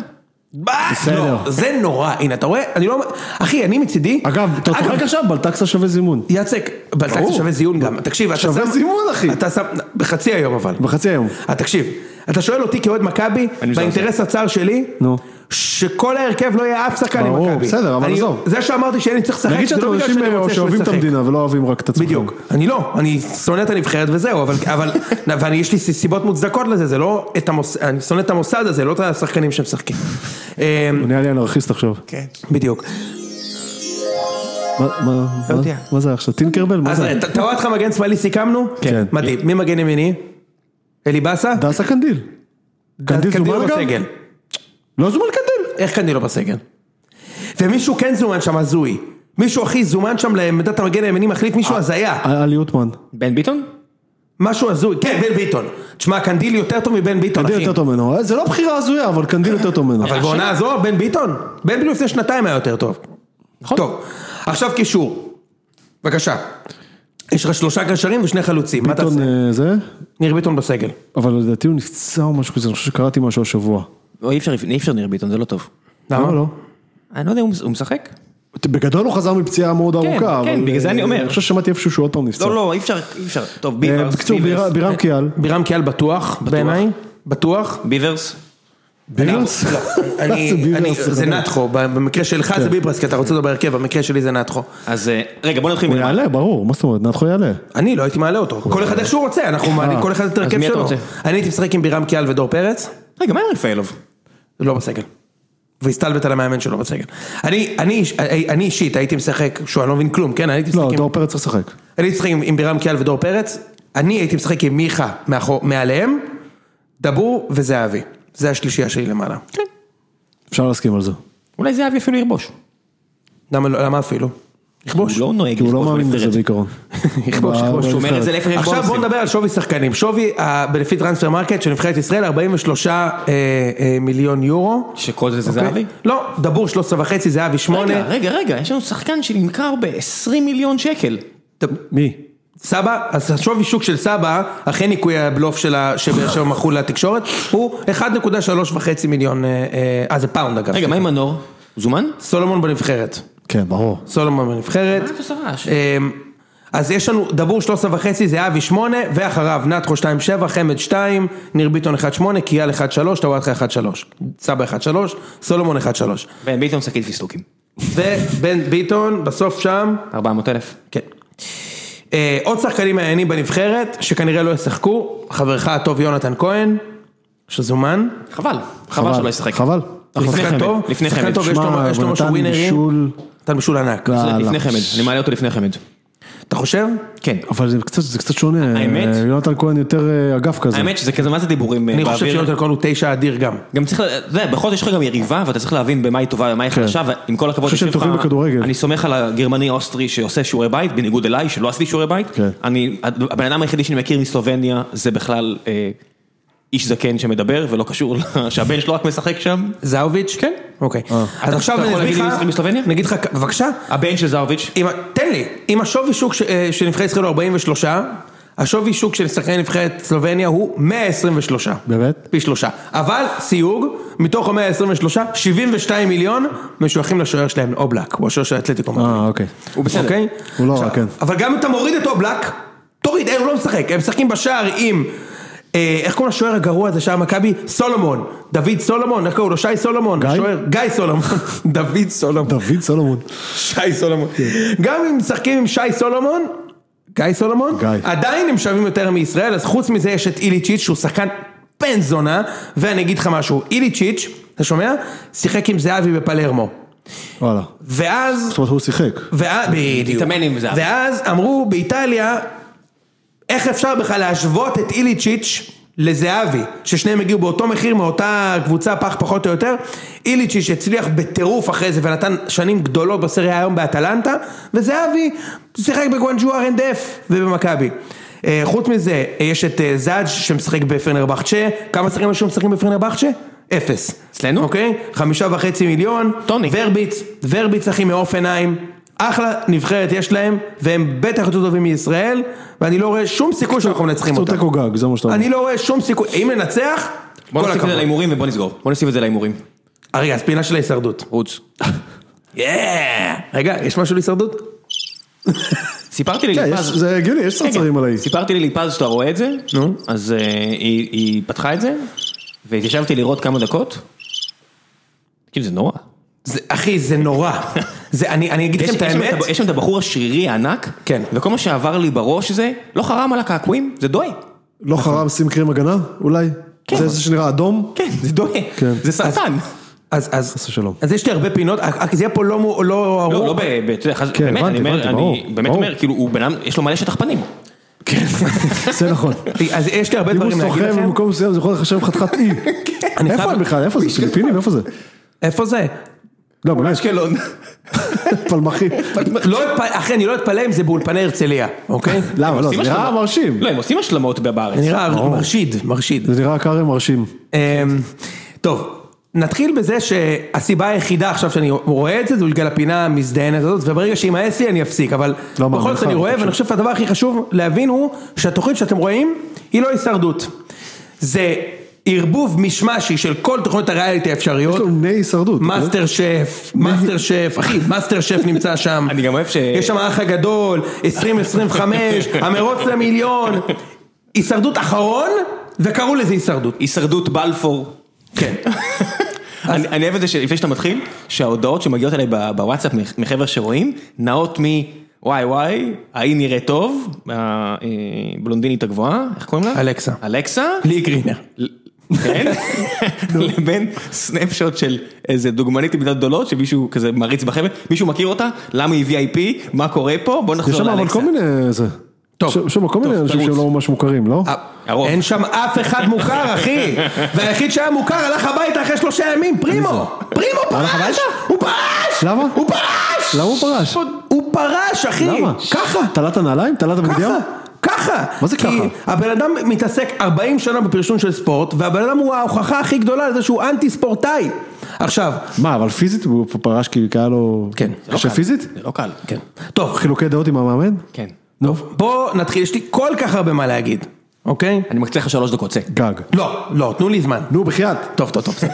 Speaker 3: לא,
Speaker 2: בסדר.
Speaker 3: זה נורא, הנה אתה רואה, אני לא, אחי אני מצידי,
Speaker 2: אגב, אתה צוחק עכשיו, בלטקסה שווה זימון.
Speaker 3: יצק, בלטקסיה
Speaker 2: ברור.
Speaker 3: שווה זיון גם, תקשיב, אתה
Speaker 2: שווה
Speaker 3: שם-
Speaker 2: זימון, אחי.
Speaker 3: אתה שם, בחצי היום אבל,
Speaker 2: בחצי היום.
Speaker 3: אה, תקשיב, אתה שואל אותי כאוהד מכבי,
Speaker 1: אני מזלזל.
Speaker 3: באינטרס הצר שלי,
Speaker 2: נו.
Speaker 3: שכל ההרכב לא יהיה אף שחקן
Speaker 2: ברור,
Speaker 3: ממכבי,
Speaker 2: בסדר, אבל
Speaker 3: אני-
Speaker 2: עזוב.
Speaker 3: זה שאמרתי שאני צריך לשחק,
Speaker 2: נגיד
Speaker 3: זה
Speaker 2: שאתם
Speaker 3: לא בגלל
Speaker 2: אנשים
Speaker 3: שאני
Speaker 2: אה,
Speaker 3: רוצה שהוא
Speaker 2: שאוהבים את
Speaker 3: ישחק.
Speaker 2: המדינה ולא אוהבים רק את עצמכם.
Speaker 3: בדיוק, אני לא, אני שונא את הנבחרת וזהו, אבל, אבל ואני, יש לי סיבות מוצדקות לזה, זה לא את המוס, אני שונא את המוסד הזה, לא את השחקנים שמשחקים. אה,
Speaker 2: הוא נהיה לי אנרכיסט עכשיו.
Speaker 3: בדיוק.
Speaker 2: מה- מה- מה-
Speaker 1: יודע.
Speaker 2: מה זה היה עכשיו? טינקרבל? מה
Speaker 3: אז אה,
Speaker 2: זה?
Speaker 3: ת- תאורת לך מגן שמאלי סיכמנו?
Speaker 2: כן.
Speaker 3: מדהים, מי מגן ימיני? אלי באסה?
Speaker 2: דסה קנדיל. קנדיל
Speaker 3: קנדיל לא
Speaker 2: זומן גם?
Speaker 3: בסגל.
Speaker 2: לא זומן קנדיל.
Speaker 3: איך קנדיל לא בסגל? ומישהו כן זומן שם הזוי. מישהו אחי זומן שם לעמדת המגן הימני מחליף
Speaker 2: אה.
Speaker 3: מישהו הזיה.
Speaker 2: עלי אוטמן.
Speaker 1: בן ביטון?
Speaker 3: משהו הזוי. כן, בן ביטון. תשמע, קנדיל יותר טוב מבן ביטון,
Speaker 2: קנדיל
Speaker 3: אחי.
Speaker 2: יותר טוב ממנו. אה, זה לא בחירה הזויה, אבל קנדיל יותר טוב ממנו.
Speaker 3: אבל בעונה הזו, בן ביטון? בן ביטון לפני שנתיים היה יותר טוב.
Speaker 1: נכון.
Speaker 3: טוב, עכשיו קישור. בבקשה. יש לך שלושה קשרים ושני חלוצים. מה אתה
Speaker 2: ביטון לא,
Speaker 3: עושה?
Speaker 2: אה, זה,
Speaker 3: ניר ביטון בסגל.
Speaker 2: אבל לדעתי הוא נפצע או משהו כזה, אני חושב שקראתי משהו השבוע.
Speaker 1: לא, אי אפשר, אי אפשר ניר ביטון, זה לא טוב.
Speaker 2: למה לא?
Speaker 1: אני לא יודע, הוא הוא משחק?
Speaker 2: בגדול הוא חזר מפציעה מאוד ארוכה,
Speaker 1: כן,
Speaker 2: אבל,
Speaker 1: בגלל זה
Speaker 2: אה,
Speaker 1: אני אומר.
Speaker 2: אני חושב ששמעתי איפשהו שהוא עוד פעם נפצע.
Speaker 1: לא, לא, אי אפשר, אי אפשר. טוב,
Speaker 2: אה,
Speaker 1: ביברס.
Speaker 2: בקיצור,
Speaker 1: ביברס.
Speaker 2: ביר- בירם קיאל.
Speaker 3: בירם קיאל בטוח, בעיניי. בטוח.
Speaker 1: ביברס.
Speaker 2: ביברס?
Speaker 3: אני-
Speaker 2: זה ביברס,
Speaker 3: אני-
Speaker 2: זה
Speaker 3: זה
Speaker 2: בטוח.
Speaker 3: נתחו, במקרה שלך זה ביברס, כי אתה רוצה אותו בהרכב, במקרה שלי זה נתחו.
Speaker 1: אז אה, רגע, בוא נתחיל
Speaker 2: הוא
Speaker 1: מלמעלה.
Speaker 2: יעלה, ברור, מה זאת אומרת, נתחו יעלה.
Speaker 3: אני לא הייתי מעלה אותו, כל אחד איך שהוא רוצה, אנחנו מעלים כל אחד את
Speaker 1: אז
Speaker 3: ההרכב
Speaker 1: מי אתה
Speaker 3: שלו.
Speaker 1: רוצה?
Speaker 3: אני הייתי משחק עם בירם קיאל ודור פרץ,
Speaker 1: רגע, מה עם רפאלוב?
Speaker 3: לא בסגל. והסתלבט על המאמן שלו בסגל. אני אני איש- אני אישית הייתי משחק, שוב, אני לא מבין כלום, כן? אני הייתי משחק
Speaker 2: לא,
Speaker 3: עם-
Speaker 2: דור פרץ צריך לשחק.
Speaker 3: אני הייתי משחק עם עם בירם קיאל ודור פרץ, אני הייתי משחק עם מיכה מאחור- מעליהם, דבור וזהבי. זה השלישייה שלי למעלה.
Speaker 2: אפשר להסכים על זה.
Speaker 1: כן. אולי זהבי אפילו יכבוש.
Speaker 3: למה לא- למה אפילו?
Speaker 1: יכבוש. הוא לא נוהג
Speaker 2: כי הוא לא
Speaker 1: לכבוש
Speaker 2: מאמין בזה
Speaker 1: בנבחרת.
Speaker 2: בעיקרון.
Speaker 3: יכבוש, יכבוש.
Speaker 1: הוא אומר את זה לאיפה שיש
Speaker 3: עכשיו בואו
Speaker 1: בונוסים.
Speaker 3: נדבר על שווי שחקנים. שווי, ה- לפי טרנספר מרקט של נבחרת ישראל, 43 אה, אה, מיליון יורו.
Speaker 1: שכל זה זה
Speaker 2: אוקיי.
Speaker 1: זהבי?
Speaker 3: לא, דבור 13 וחצי, זהבי 8.
Speaker 1: רגע, רגע, רגע, יש לנו שחקן שנמכר ב-20 מיליון שקל.
Speaker 2: מי?
Speaker 3: סבא, אז השווי שוק של סבא, אחרי ניקוי הבלוף של ה- שבאר שבע מכרו לתקשורת, הוא 1.3 וחצי מיליון, אה, אה, אה, זה פאונד אגב.
Speaker 1: רגע, מה עם מנור? הוא זומן?
Speaker 2: אה,
Speaker 3: סולומון בנבחרת.
Speaker 2: כן, ברור.
Speaker 3: סולומון בנבחרת.
Speaker 1: מה אתה עושה
Speaker 2: אה,
Speaker 1: רעש?
Speaker 3: אמ, אז יש לנו דבור 13 וחצי, זהבי 8, ואחריו נתחו 2-7, חמד 2, ניר ביטון 1-8, קיאל 1-3, טוואטחה 1-3, סבא 1-3, סולומון 1-3.
Speaker 1: בן ביטון שקית פיסטוקים.
Speaker 3: ובן ביטון בסוף שם,
Speaker 1: 400 אלף.
Speaker 3: כן. אה, עוד שחקנים מעניינים בנבחרת, שכנראה לא ישחקו, חברך הטוב יונתן כהן, שזומן.
Speaker 1: חבל, חבל שלא ישחק.
Speaker 2: חבל.
Speaker 1: נכון. לפני
Speaker 3: שחקן
Speaker 1: חמד,
Speaker 3: טוב,
Speaker 1: לפני
Speaker 3: שחקן
Speaker 1: חמד.
Speaker 3: טוב, יש לו-
Speaker 2: שמע,
Speaker 3: יש לו
Speaker 2: הוא
Speaker 3: משהו
Speaker 2: נתן
Speaker 3: ווינרים.
Speaker 2: בישול.
Speaker 3: נתן בישול ענק.
Speaker 2: לא.
Speaker 1: לפני
Speaker 2: יאללה.
Speaker 1: חמד, אני מעלה אותו לפני חמד.
Speaker 3: אתה חושב?
Speaker 1: כן.
Speaker 2: אבל זה קצת, זה קצת שונה,
Speaker 1: האמת?
Speaker 2: אה, יונתן כהן יותר אה, אגף כזה.
Speaker 1: האמת שזה כזה, מה זה דיבורים אה,
Speaker 3: אני
Speaker 1: באוויר?
Speaker 3: חושב שיונתן כהן הוא תשע אדיר גם.
Speaker 1: גם צריך, אתה יודע, בכל זאת יש לך גם יריבה, ואתה צריך להבין במה היא טובה ומה היא חדשה, ועם כל הכבוד,
Speaker 2: כן. חושב שהם
Speaker 1: יש לך-
Speaker 2: טובים בכדורגל.
Speaker 1: אני סומך על הגרמני-אוסטרי שעושה שיעורי בית, בניגוד אליי, שלא עשיתי שיעורי בית.
Speaker 2: כן.
Speaker 1: אני, הבן אדם היחידי שאני מכיר מסלובניה, זה בכלל אה, איש זקן שמדבר, ולא קשור, ל- שהבן שלו רק משחק שם.
Speaker 3: זאוביץ'? כן. אוקיי. אז
Speaker 1: אתה-
Speaker 3: עכשיו
Speaker 1: אתה
Speaker 3: אני
Speaker 1: יכול
Speaker 3: אסביר
Speaker 1: להגיד לי מי
Speaker 3: לך...
Speaker 1: משחק בסלובניה?
Speaker 3: אני אגיד לך, בבקשה.
Speaker 1: הבן של זרוביץ',
Speaker 3: אם- תן לי, אם השווי שוק ש- אה, של נבחרת ישראל הוא 43, השווי שוק של שחקני נבחרת סלובניה הוא 123.
Speaker 2: באמת?
Speaker 3: פי שלושה. אבל סיוג, מתוך ה-123, 72 מיליון משויכים לשוער שלהם, אובלק, הוא השוער של האתלטיקו.
Speaker 2: אה, אוקיי.
Speaker 1: הוא בסדר.
Speaker 3: אוקיי?
Speaker 2: הוא לא
Speaker 3: עכשיו,
Speaker 2: רע, כן.
Speaker 3: אבל גם אם אתה מוריד את אובלק, תוריד, אין, הוא לא משחק, הם משחקים בשער עם... אה, איך קוראים לשוער הגרוע הזה שהיה מכבי? סולומון, דוד סולומון, איך קוראים לו? שי סולומון,
Speaker 2: גיא?
Speaker 3: השוער, גיא סולומון, דוד סולומון,
Speaker 2: דוד סולומון.
Speaker 3: שי סולומון,
Speaker 2: כן.
Speaker 3: גם אם משחקים עם שי סולומון, גיא סולומון,
Speaker 2: גיא.
Speaker 3: עדיין הם שווים יותר מישראל, אז חוץ מזה יש את איליצ'יץ' שהוא שחקן בן זונה, ואני אגיד לך משהו, איליצ'יץ', אתה שומע? שיחק עם זהבי בפלרמו,
Speaker 2: וואלה.
Speaker 3: ואז
Speaker 2: זאת אומרת, הוא שיחק.
Speaker 3: ואז, בדיוק.
Speaker 1: להתאמן עם זהבי.
Speaker 3: ואז אמרו באיטליה, איך אפשר בכלל להשוות את איליצ'יץ' לזהבי, ששניהם הגיעו באותו מחיר מאותה קבוצה פח פחות או יותר, איליצ'יץ' הצליח בטירוף אחרי זה ונתן שנים גדולות בסריה היום באטלנטה, וזהבי שיחק בגואנג'ו R&F ובמכבי. אה, חוץ מזה, אה, יש את אה, זאג' שמשחק בפנרבחצ'ה, כמה שחקנים היו משחקים בפנרבחצ'ה? אפס.
Speaker 1: אצלנו?
Speaker 3: אוקיי? חמישה וחצי מיליון.
Speaker 1: טוני.
Speaker 3: ורביץ, ורביץ אחי מאופנהיים, אחלה נבחרת יש להם, והם בטח יותר טובים מישראל, ואני לא רואה שום סיכוי שאנחנו מנצחים
Speaker 2: הוא
Speaker 3: אותם.
Speaker 2: תיקו גג, זה מה שאתה אומר.
Speaker 3: אני לא רואה שום סיכוי, אם ננצח,
Speaker 1: בוא
Speaker 3: כל
Speaker 1: נוסיף את זה
Speaker 3: הכבוד.
Speaker 1: להימורים ובוא נסגור. בוא נוסיף את זה להימורים.
Speaker 3: אה, רגע, אז פינה של ההישרדות.
Speaker 1: רוץ.
Speaker 3: יאה! רגע, יש משהו להישרדות?
Speaker 1: סיפרתי
Speaker 2: כן,
Speaker 1: לי,
Speaker 2: יש-
Speaker 1: פז,
Speaker 2: זה הגיוני, יש צרצרים על האי.
Speaker 1: סיפרתי לי ליפז שאתה רואה את זה,
Speaker 3: נו.
Speaker 1: אז אה, היא היא פתחה את זה, והתיישבתי לראות כמה דקות. תקשיב, זה נורא.
Speaker 3: זה- אחי, זה נורא. זה, אני אני אגיד
Speaker 1: יש
Speaker 3: לכם את
Speaker 1: יש שם
Speaker 3: האמת,
Speaker 1: את ה- יש שם את הבחור השרירי הענק,
Speaker 3: כן.
Speaker 1: וכל מה שעבר לי בראש זה, לא חרם על הקעקועים, זה דוהה.
Speaker 2: לא חרם שים קרם הגנה, אולי?
Speaker 1: כן.
Speaker 2: זה איזה שנראה אדום?
Speaker 1: כן, זה דוהה.
Speaker 2: כן.
Speaker 1: זה סרטן.
Speaker 3: אז- אז
Speaker 2: חס ושלום.
Speaker 3: אז יש לי הרבה פינות, רק זה יהיה פה לא מו- לא
Speaker 1: לא,
Speaker 3: ארוך.
Speaker 1: לא, ב- ב- אתה יודע, חס-
Speaker 2: כן,
Speaker 1: באמת, אני
Speaker 2: הבנתי,
Speaker 1: אומר,
Speaker 2: הבנתי,
Speaker 1: אני
Speaker 2: ברור,
Speaker 1: באמת
Speaker 2: ברור.
Speaker 1: אומר, כאילו, הוא בן אדם, יש לו מלא שטח פנים.
Speaker 2: זה נכון.
Speaker 3: אז יש לי הרבה
Speaker 2: אם הוא
Speaker 3: דברים להגיד
Speaker 2: סוחב
Speaker 3: לכם.
Speaker 2: במקום מסוים, זה יכול לחשב חתיכת אי.
Speaker 3: אני
Speaker 2: איפה
Speaker 3: חייב-
Speaker 2: הם בכלל? איפה זה? פיליפינים? איפה זה?
Speaker 3: איפה זה?
Speaker 2: לא, באמת,
Speaker 1: אשקלון.
Speaker 2: פלמחי.
Speaker 3: לא אתפ- אחי, אני לא אתפלא אם זה באולפני הרצליה, אוקיי?
Speaker 2: למה? לא, זה
Speaker 1: עושים
Speaker 2: נראה
Speaker 1: השלמות.
Speaker 2: מרשים.
Speaker 1: לא, הם עושים השלמות בארץ.
Speaker 3: זה נראה מרשיד, מרשיד.
Speaker 2: זה נראה קארי מרשים.
Speaker 3: אמ, טוב, נתחיל בזה שהסיבה היחידה עכשיו שאני רואה את זה, זה בגלל הפינה המזדיינת הזאת, וברגע שימאס לי אני אפסיק, אבל
Speaker 2: לא מאמין
Speaker 3: בכל זאת
Speaker 2: לך,
Speaker 3: אני רואה,
Speaker 2: אבל
Speaker 3: ואני חושב שהדבר הכי חשוב להבין הוא שהתוכנית שאתם רואים היא לא הישרדות. זה ערבוב מישמשי של כל תוכניות הריאליטי האפשריות.
Speaker 2: יש לו בני הישרדות. אה?
Speaker 3: מאסטר שף, מאסטר שף, אחי, מאסטר שף נמצא שם.
Speaker 1: אני גם אוהב ש-
Speaker 2: אה,
Speaker 3: יש שם האח הגדול, 2025, המרוץ למיליון. הישרדות אחרון, וקראו לזה הישרדות.
Speaker 1: הישרדות בלפור.
Speaker 3: כן.
Speaker 1: אני אני אוהב את זה שלפני שאתה מתחיל, שההודעות שמגיעות אליי ב- בוואטסאפ מח- מחבר'ה שרואים, נעות מ... וואי וואי, ההיא נראית טוב, הבלונדינית הגבוהה, איך קוראים לה?
Speaker 3: אלכסה.
Speaker 1: אלכסה,
Speaker 3: לי גרינר.
Speaker 1: כן, לבין סנאפשוט של איזה דוגמנית עם מידות גדולות, שמישהו כזה מעריץ בחבר'ה, מישהו מכיר אותה? למה היא VIP? מה קורה פה? בוא
Speaker 2: יש
Speaker 1: נחזור
Speaker 2: שם אבל
Speaker 1: לאלכסה.
Speaker 2: כל מיני... זה.
Speaker 3: טוב. אה,
Speaker 2: יש שם כל מיני אנשים
Speaker 1: תרוץ.
Speaker 2: שהם לא ממש מוכרים, לא?
Speaker 1: הרוב.
Speaker 3: אין שם אף אחד מוכר, אחי. והיחיד שהיה מוכר הלך הביתה אחרי שלושה ימים, פרימו. פרימו פרש! הוא פרש!
Speaker 2: למה?
Speaker 3: הוא פרש!
Speaker 2: למה הוא פרש?
Speaker 3: הוא פרש, אחי.
Speaker 2: למה?
Speaker 3: ככה.
Speaker 2: תלת הנעליים? תלת
Speaker 3: ככה,
Speaker 2: הבגדים?
Speaker 3: ככה.
Speaker 2: מה זה
Speaker 3: כי
Speaker 2: ככה?
Speaker 3: הבן אדם מתעסק 40 שנה בפרשון של ספורט, והבן אדם הוא ההוכחה הכי גדולה לזה שהוא אנטי ספורטאי. עכשיו,
Speaker 2: מה, אבל פיזית הוא פרש כי היה לו...
Speaker 3: כן.
Speaker 1: זה לא
Speaker 2: קשה
Speaker 1: קל.
Speaker 2: פיזית?
Speaker 1: זה לא קל.
Speaker 3: כן. טוב,
Speaker 2: חילוקי דעות עם המאמן?
Speaker 1: כן.
Speaker 2: נו.
Speaker 3: בוא נתחיל, יש לי כל כך הרבה מה להגיד, אוקיי?
Speaker 1: אני מקצה לך שלוש דקות, צא.
Speaker 2: גג.
Speaker 3: לא, לא, תנו לי זמן.
Speaker 2: נו, בחייאת.
Speaker 3: טוב, טוב, טוב, בסדר.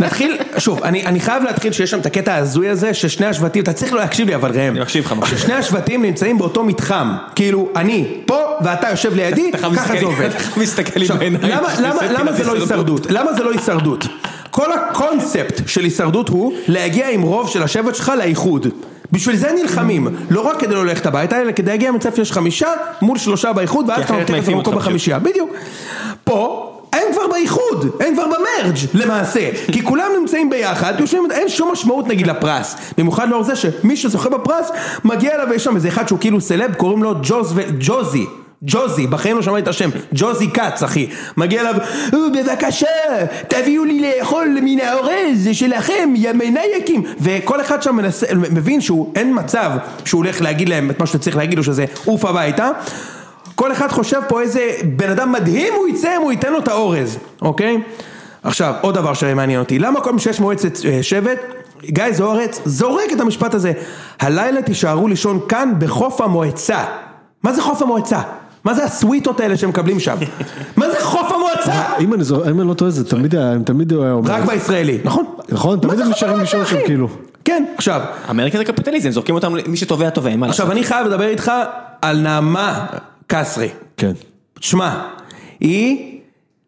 Speaker 3: נתחיל, שוב, אני, אני חייב להתחיל שיש שם את הקטע ההזוי הזה, ששני השבטים, אתה צריך לא להקשיב לי אבל ראם.
Speaker 1: אני מקשיב לך, מקשיב.
Speaker 3: ששני השבטים נמצאים באותו מתחם, כאילו, אני פה ואתה יושב לידי,
Speaker 1: אתה חייב
Speaker 3: ככה זה
Speaker 1: להסתכל לי-
Speaker 3: עובד.
Speaker 1: אתה חייב להסתכל לי
Speaker 3: עכשיו,
Speaker 1: בעיניים,
Speaker 3: למה-
Speaker 1: שזה
Speaker 3: למה-
Speaker 1: פינת
Speaker 3: למה זה לא
Speaker 1: הישרדות?
Speaker 3: הישרדות? למה זה לא הישרדות? כל הקונספט של הישרדות הוא להגיע עם רוב של השבט שלך לאיחוד. בשביל זה נלחמים, לא רק כדי לא ללכת הביתה, אלא כדי להגיע למצב שיש חמישה מול שלושה באיחוד, ואז
Speaker 1: כי
Speaker 3: אתה
Speaker 1: אחרת
Speaker 3: נותן את
Speaker 1: מעיפים אותך
Speaker 3: המקום
Speaker 1: פשוט.
Speaker 3: בחמישייה, בדיוק. פה, הם כבר באיחוד, הם כבר במרג' למעשה, כי כולם נמצאים ביחד, יושבים, אין שום משמעות נגיד לפרס, במיוחד לאור זה שמי שזוכה בפרס מגיע אליו ויש שם איזה אחד שהוא כאילו סלב, קוראים לו ג'וז ו... ג'וזי. ג'וזי, בחיים לא שמעתי את השם, ג'וזי כץ אחי, מגיע אליו, "אה, בבקשה, תביאו לי לאכול מן האורז שלכם, יא מנייקים, וכל אחד שם מנסה, מבין שהוא, אין מצב שהוא הולך להגיד להם את מה שאתה צריך להגיד לו שזה עוף הביתה, כל אחד חושב פה איזה בן אדם מדהים הוא יצא אם הוא ייתן לו את האורז, אוקיי? עכשיו, עוד דבר שמעניין אותי, למה כל פעם שיש מועצת אה, שבט, גיא זוארץ זורק את המשפט הזה, הלילה תישארו לישון כאן בחוף המועצה. מה זה חוף המועצה? מה זה הסוויטות האלה שמקבלים שם? מה זה חוף המועצה?
Speaker 2: אם אני זו- אם אני לא טועה, זה תמיד היה, הם תמיד הוא היה אומר.
Speaker 3: רק בישראלי, נכון?
Speaker 2: נכון,
Speaker 3: מה
Speaker 2: תמיד
Speaker 3: זה
Speaker 2: הם
Speaker 3: חוף
Speaker 2: נשארים
Speaker 3: המועצה,
Speaker 2: לישון שם,
Speaker 3: אחי?
Speaker 2: כאילו.
Speaker 3: כן, עכשיו,
Speaker 1: אמריקה זה קפיטליזם, זורקים אותם, מי שתובע תובע, אין מה לעשות.
Speaker 3: עכשיו אני חייב לדבר איתך על נעמה קסרי.
Speaker 2: כן.
Speaker 3: תשמע, היא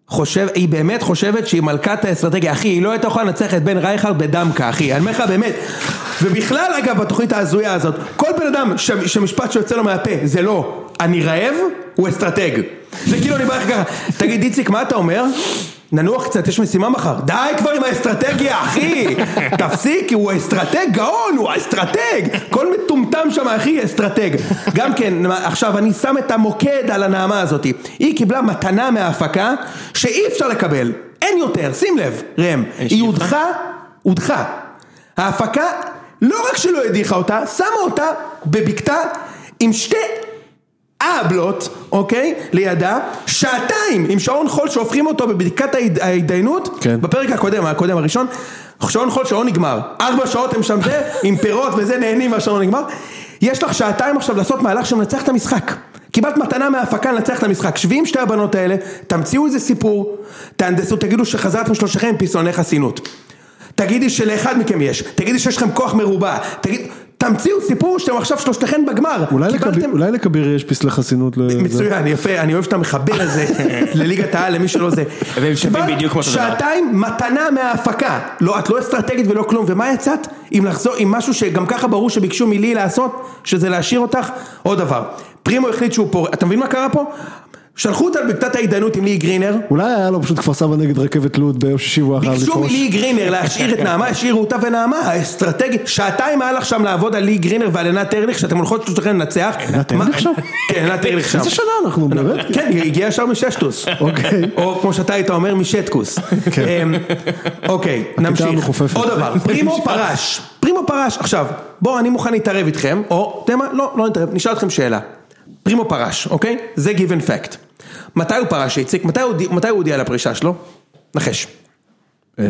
Speaker 3: חושב, היא באמת חושבת שהיא מלכת האסטרטגיה, אחי, היא לא הייתה יכולה לנצח את בן רייכרד בדמקה, אחי, אני אומר לך באמת. ובכלל, אגב, בתוכנית ההזויה הזאת, כל בן אדם ש, שמשפט שיוצא לו מהפה זה לא, אני רעב, הוא אסטרטג. זה כאילו אני בא לך ככה, תגיד איציק, מה אתה אומר? ננוח קצת, יש משימה מחר. די כבר עם האסטרטגיה, אחי! תפסיק, כי הוא אסטרטג גאון, הוא אסטרטג! כל מטומטם שם, אחי, אסטרטג. גם כן, עכשיו אני שם את המוקד על הנעמה הזאת. היא קיבלה מתנה מההפקה שאי אפשר לקבל. אין יותר, שים לב, ראם. היא
Speaker 1: שיפה?
Speaker 3: הודחה, הודחה. ההפקה, לא רק שלא הדיחה אותה, שמה אותה בבקתה עם שתי אבלות, אוקיי? לידה, שעתיים עם שעון חול שהופכים אותו בבדיקת ההיד- ההתדיינות,
Speaker 2: כן.
Speaker 3: בפרק הקודם, הקודם הראשון, שעון חול שעון נגמר, ארבע שעות הם שם זה, עם פירות וזה, נהנים והשעון נגמר, יש לך שעתיים עכשיו לעשות מהלך שמנצח את המשחק. קיבלת מתנה מההפקה לנצח את המשחק, שבי עם שתי הבנות האלה, תמציאו איזה סיפור, תהנדסו, תגידו שחזרתם שלושתכם עם פסעוני חסינות. תגידי שלאחד מכם יש, תגידי שיש לכם כוח מרובע, תגיד, תמציאו סיפור שאתם עכשיו שלושתכם בגמר.
Speaker 2: אולי
Speaker 3: קיבלתם-
Speaker 2: לכביר- אולי לכביר יש פסלי חסינות ל...
Speaker 3: מצוין, יפה, אני אוהב שאתה מחבר את זה לליגת העל, למי שלא זה.
Speaker 1: והם שווים
Speaker 3: קיבלת
Speaker 1: בדיוק כמו אותו דבר.
Speaker 3: שעתיים מתנה מההפקה. לא, את לא אסטרטגית ולא כלום, ומה יצאת? עם לחזור, עם משהו שגם ככה ברור שביקשו מלי לעשות, שזה להשאיר אותך, עוד דבר. פרימו החליט שהוא פורע, אתה מבין מה קרה פה? שלחו אותה לבקתת ההתדיינות עם לי גרינר,
Speaker 2: אולי היה לו פשוט כפר סבא נגד רכבת לוד ביום שישי והוא היה חייב
Speaker 3: ביקשו
Speaker 2: לפרוש.
Speaker 3: מלי גרינר להשאיר את נעמה, השאירו אותה ונעמה, האסטרטגית, שעתיים היה לך שם לעבוד על לי גרינר ועל עינת ארליך, שאתם הולכות שלושתכם לנצח.
Speaker 2: עינת
Speaker 3: מה-
Speaker 2: ארליך שם?
Speaker 3: כן, עינת ארליך שם.
Speaker 2: איזה שנה אנחנו באמת?
Speaker 3: כן, היא הגיעה ישר מששטוס.
Speaker 2: אוקיי. כן.
Speaker 3: או כמו שאתה היית אומר, משטקוס. אמ, אוקיי, נמשיך.
Speaker 2: המכופפת.
Speaker 3: עוד דבר, פרימו פרש. פרימו פרש. עכשיו, בואו, אני מוכן להתערב איתכם, או, אתם מה? לא, לא נתערב, נשאל אתכם שאלה. פרימו פרש, אוקיי? זה given fact. מתי הוא פרש, איציק? מתי הוא הודיע- מתי הוא הודיע על הפרישה שלו? נחש.
Speaker 2: אה,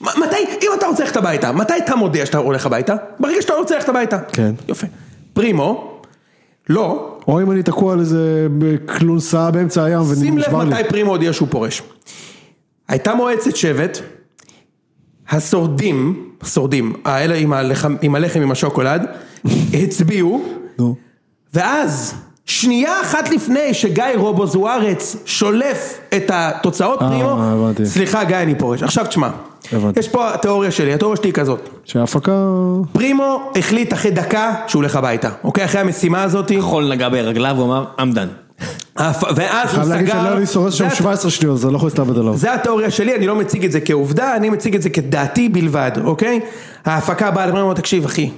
Speaker 3: מ- מתי, אם אתה רוצה ללכת הביתה, מתי אתה מודיע שאתה הולך הביתה? ברגע שאתה רוצה ללכת הביתה.
Speaker 2: כן.
Speaker 3: יופי. פרימו, לא,
Speaker 2: או אם אני תקוע על איזה כלונסה באמצע הים
Speaker 3: שים לב
Speaker 2: ונשבר לי.
Speaker 3: מתי פרימו הודיע שהוא פורש. הייתה מועצת שבט, השורדים, השורדים, האלה עם הלחם, עם, הלחם, עם השוקולד, הצביעו,
Speaker 2: נו.
Speaker 3: ואז, שנייה אחת לפני שגיא רובו זוארץ שולף את התוצאות
Speaker 2: אה,
Speaker 3: פרימו,
Speaker 2: הבנתי.
Speaker 3: סליחה גיא אני פורש, עכשיו תשמע,
Speaker 2: הבנתי.
Speaker 3: יש פה התיאוריה שלי, התיאוריה שלי היא כזאת,
Speaker 2: שההפקה...
Speaker 3: פרימו החליט אחרי דקה שהוא הולך הביתה, אוקיי? אחרי המשימה הזאת,
Speaker 2: נכון.
Speaker 1: חול נגע ברגליו, הוא אמר, I'm done.
Speaker 3: הפ- ואז הוא
Speaker 2: חייב להגיד
Speaker 3: סגר,
Speaker 2: שלא לי שורס שם
Speaker 3: זה
Speaker 2: 17 שניות, אז אני לא יכול להסתלבט עליו.
Speaker 3: זה התיאוריה שלי, אני לא מציג את זה כעובדה, אני מציג את זה כדעתי בלבד, אוקיי? ההפקה באה לבני ואומרת, תקשיב אחי,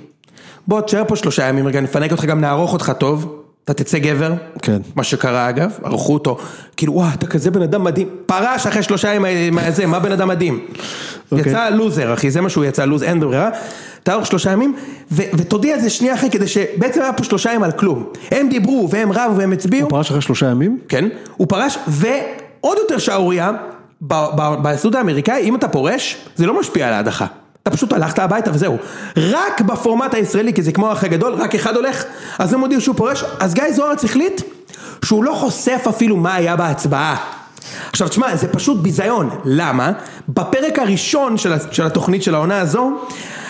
Speaker 3: בוא תשאר פה שלושה ימים רגע, נפנק אותך, גם נערוך אותך טוב, אתה תצא גבר.
Speaker 2: כן.
Speaker 3: מה שקרה אגב, ערכו אותו, כאילו וואו, אתה כזה בן אדם מדהים, פרש אחרי שלושה ימים מהזה, מה בן אדם מדהים?
Speaker 2: אוקיי.
Speaker 3: יצא לוזר אחי, זה מה שהוא יצא לוזר, אין ברירה, תערוך שלושה ימים, ו- ותודיע את זה שנייה אחרי, כדי שבעצם היה פה שלושה ימים על כלום. הם דיברו, והם רבו, והם הצביעו.
Speaker 2: הוא פרש אחרי שלושה ימים?
Speaker 3: כן, הוא פרש, ועוד יותר שערורייה, ב- ב- ביסוד האמריקאי, אם אתה פורש, זה לא משפיע על ההדחה. אתה פשוט הלכת הביתה וזהו. רק בפורמט הישראלי, כי זה כמו האח הגדול, רק אחד הולך, אז הם הודיעו שהוא פורש, אז גיא זוארץ החליט שהוא לא חושף אפילו מה היה בהצבעה. עכשיו תשמע, זה פשוט ביזיון, למה? בפרק הראשון של, ה- של התוכנית של העונה הזו,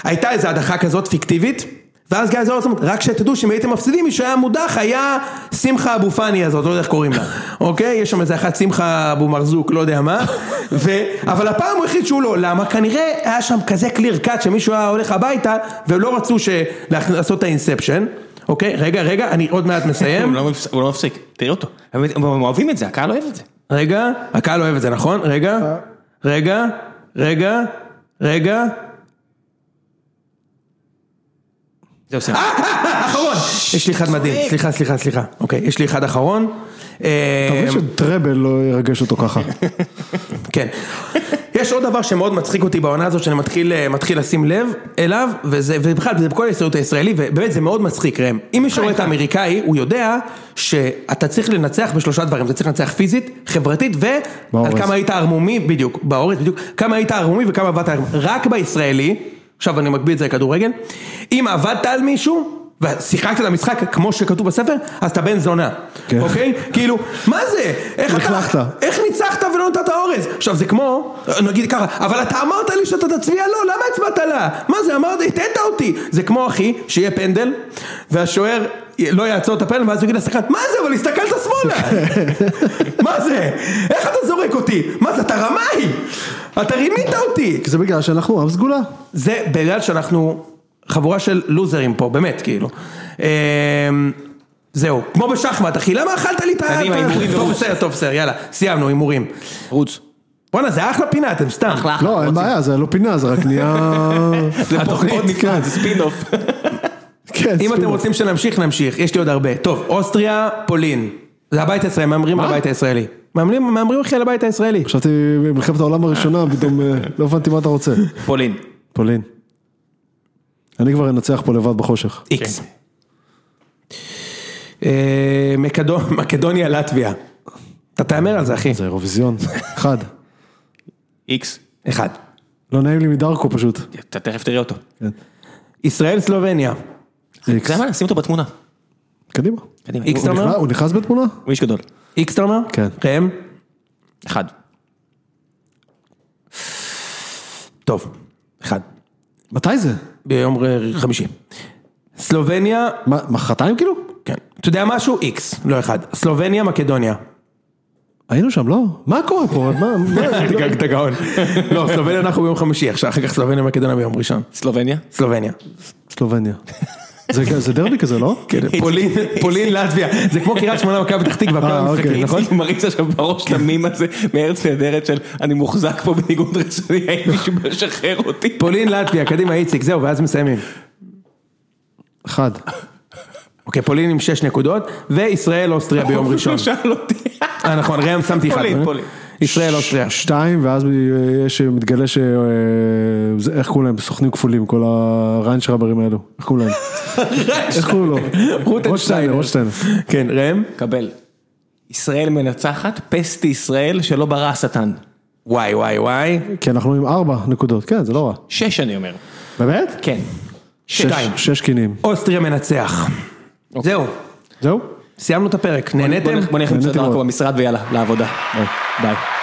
Speaker 3: הייתה איזו הדחה כזאת פיקטיבית, ואז גיא זוהר אומר, רק שתדעו שאם הייתם מפסידים, מי שהיה מודח היה שמחה אבו פאני הזאת, לא יודע איך קוראים לה, אוקיי? יש שם איזה אחת שמחה אבו מרזוק, לא יודע מה, ו... אבל הפעם הוא החליט שהוא לא, למה? כנראה היה שם כזה קליר קאט שמישהו היה הולך הביתה, ולא רצו ש... להכ- לעשות את האינספשן, אוקיי? רגע, רגע, אני עוד מעט
Speaker 1: הוא
Speaker 3: מסיים.
Speaker 1: לא מפס- הוא לא מפסיק, תראה אותו. הם הם אוהבים את זה, הקהל אוהב את זה.
Speaker 3: רגע, הקהל אוהב את זה, נכון? רגע, רגע, רגע, רגע.
Speaker 1: זהו, סיימת.
Speaker 3: אחרון! יש לי אחד מדהים, סליחה, סליחה, סליחה. אוקיי, יש לי אחד אחרון. אה,
Speaker 2: מקווה שטראבל לא ירגש אותו ככה.
Speaker 3: כן. יש עוד דבר שמאוד מצחיק אותי בעונה הזאת, שאני מתחיל, אה, מתחיל לשים לב אליו, וזה, ובכלל, זה בכל ההסתדרות הישראלי, ובאמת זה מאוד מצחיק, ראם. אם מישהו רואה את האמריקאי, הוא יודע שאתה צריך לנצח בשלושה דברים, אתה צריך לנצח פיזית, חברתית, ועל
Speaker 2: באורז.
Speaker 3: כמה היית ערמומי, בדיוק, בעורף, בדיוק, כמה היית ערמומי וכמה עבדת ערמומי. רק בישראלי, עכשיו אני מקביל את זה לכדורגל, אם עבדת על מישהו, ושיחקת את המשחק כמו שכתוב בספר, אז אתה בן זונה,
Speaker 2: כן.
Speaker 3: אוקיי? כאילו, מה זה? איך
Speaker 2: לכלכת.
Speaker 3: אתה... איך ניצחת ולא נתת אורז? עכשיו זה כמו, נגיד ככה, אבל אתה אמרת לי שאתה תצביע לא, למה הצבעת לה? מה זה אמרת, הטעת אותי. זה כמו אחי, שיהיה פנדל, והשוער לא יעצור את הפנדל, ואז הוא יגיד לשחקן, מה זה, אבל הסתכלת שמאלה. מה זה? איך אתה זורק אותי? מה זה, אתה רמאי? אתה רימית אותי.
Speaker 2: כי זה בגלל שאנחנו עם סגולה.
Speaker 3: זה בגלל שאנחנו חבורה של לוזרים פה, באמת, כאילו. אמ, זהו, כמו בשחמט, אחי, למה אכלת לי את ה...
Speaker 1: קדימה,
Speaker 3: את ה-
Speaker 1: הימורים
Speaker 3: טוב,
Speaker 1: ורוץ.
Speaker 3: בסדר, טוב, בסדר, יאללה, סיימנו, הימורים.
Speaker 1: רוץ.
Speaker 3: בואנה, זה אחלה פינה, אתם סתם.
Speaker 1: אחלה אחלה.
Speaker 2: לא, אין בעיה, זה לא פינה, זה רק נהיה...
Speaker 1: זה
Speaker 3: התוכנית,
Speaker 1: פחות נפלא, זה ספין אוף.
Speaker 2: כן,
Speaker 3: לא- אם אתם
Speaker 2: ספינוף.
Speaker 3: רוצים שנמשיך, נמשיך, יש לי עוד הרבה. טוב, אוסטריה, פולין. זה הבית הישראלי, מהמרים על הבית הישראלי. מהמרים מהמרים הכי על הבית הישראלי.
Speaker 2: חשבתי במלחמת העולם הראשונה, פתאום אה, לא הבנתי מה אתה רוצה.
Speaker 1: פולין.
Speaker 2: פולין. אני כבר אנצח פה לבד בחושך.
Speaker 3: איקס. אה, מקדו- מקדוניה, לטביה. אתה תהמר על זה, אחי.
Speaker 2: זה אירוויזיון. אחד.
Speaker 1: איקס.
Speaker 3: אחד.
Speaker 2: לא נעים לי מדרקו פשוט.
Speaker 1: אתה תכף תראה אותו.
Speaker 2: כן.
Speaker 3: ישראל, סלובניה.
Speaker 2: איקס.
Speaker 1: אתה יודע מה? שים אותו בתמונה.
Speaker 2: קדימה.
Speaker 1: קדימה.
Speaker 3: איקס
Speaker 1: הוא-
Speaker 3: אתה אומר?
Speaker 2: נכנס- הוא נכנס בתמונה?
Speaker 1: הוא איש גדול.
Speaker 3: איקס אתה אומר?
Speaker 2: כן.
Speaker 3: ראם?
Speaker 1: אחד.
Speaker 3: טוב. אחד.
Speaker 2: מתי זה?
Speaker 3: ביום ר- חמישי. סלובניה,
Speaker 2: מה, מחרתיים כאילו?
Speaker 3: כן. אתה יודע משהו? איקס, לא אחד. סלובניה, מקדוניה.
Speaker 2: היינו שם, לא? מה קורה פה? מה- מה-
Speaker 3: אתה גאון. לא, סלובניה אנחנו ביום חמישי, עכשיו אחר כך סלובניה ומקדוניה ביום ראשון.
Speaker 1: סלובניה.
Speaker 3: סלובניה.
Speaker 2: סלובניה. זה- זה דרבי כזה, לא?
Speaker 3: כן, פולין, פולין, לטביה. זה כמו קריית שמונה, מכבי פתח תקווה, כל
Speaker 2: אה,
Speaker 3: המשחקים,
Speaker 2: אוקיי.
Speaker 3: נכון?
Speaker 1: אני מריץ עכשיו בראש את המים הזה מארץ נהדרת של אני מוחזק פה בניגוד רצוני, האם מישהו משחרר אותי?
Speaker 3: פולין, לטביה, קדימה איציק, זהו, ואז מסיימים.
Speaker 2: אחד.
Speaker 3: אוקיי, פולין עם שש נקודות, וישראל, אוסטריה ביום ראשון.
Speaker 1: הוא שאל אותי.
Speaker 3: אה, נכון, ראם שמתי אחד.
Speaker 1: פולין, פולין.
Speaker 3: ישראל, אוסטריה.
Speaker 2: שתיים, ואז יש מתגלה ש... אה, זה- איך קוראים להם? סוכנים כפולים, כל הריינשרברים האלו. איך קוראים להם? איך קוראים לו?
Speaker 3: רוטנשטיינר.
Speaker 2: רוטשטיינר, רוטשטיינר.
Speaker 3: כן, ראם?
Speaker 1: קבל. ישראל מנצחת, פסטי ישראל שלא ברא השטן.
Speaker 3: וואי, וואי, וואי.
Speaker 2: כי אנחנו עם ארבע נקודות, כן, זה לא רע.
Speaker 1: שש אני אומר.
Speaker 2: באמת?
Speaker 1: כן.
Speaker 2: שש-
Speaker 1: שתיים.
Speaker 2: שש קינים.
Speaker 3: אוסטריה מנצח. זהו,
Speaker 2: זהו?
Speaker 3: סיימנו את הפרק,
Speaker 1: בוא נ-
Speaker 3: נהניתם?
Speaker 1: בוא נלך למצוא
Speaker 2: נהניתי
Speaker 1: דרכו
Speaker 2: מאוד.
Speaker 1: במשרד ויאללה, לעבודה. ביי.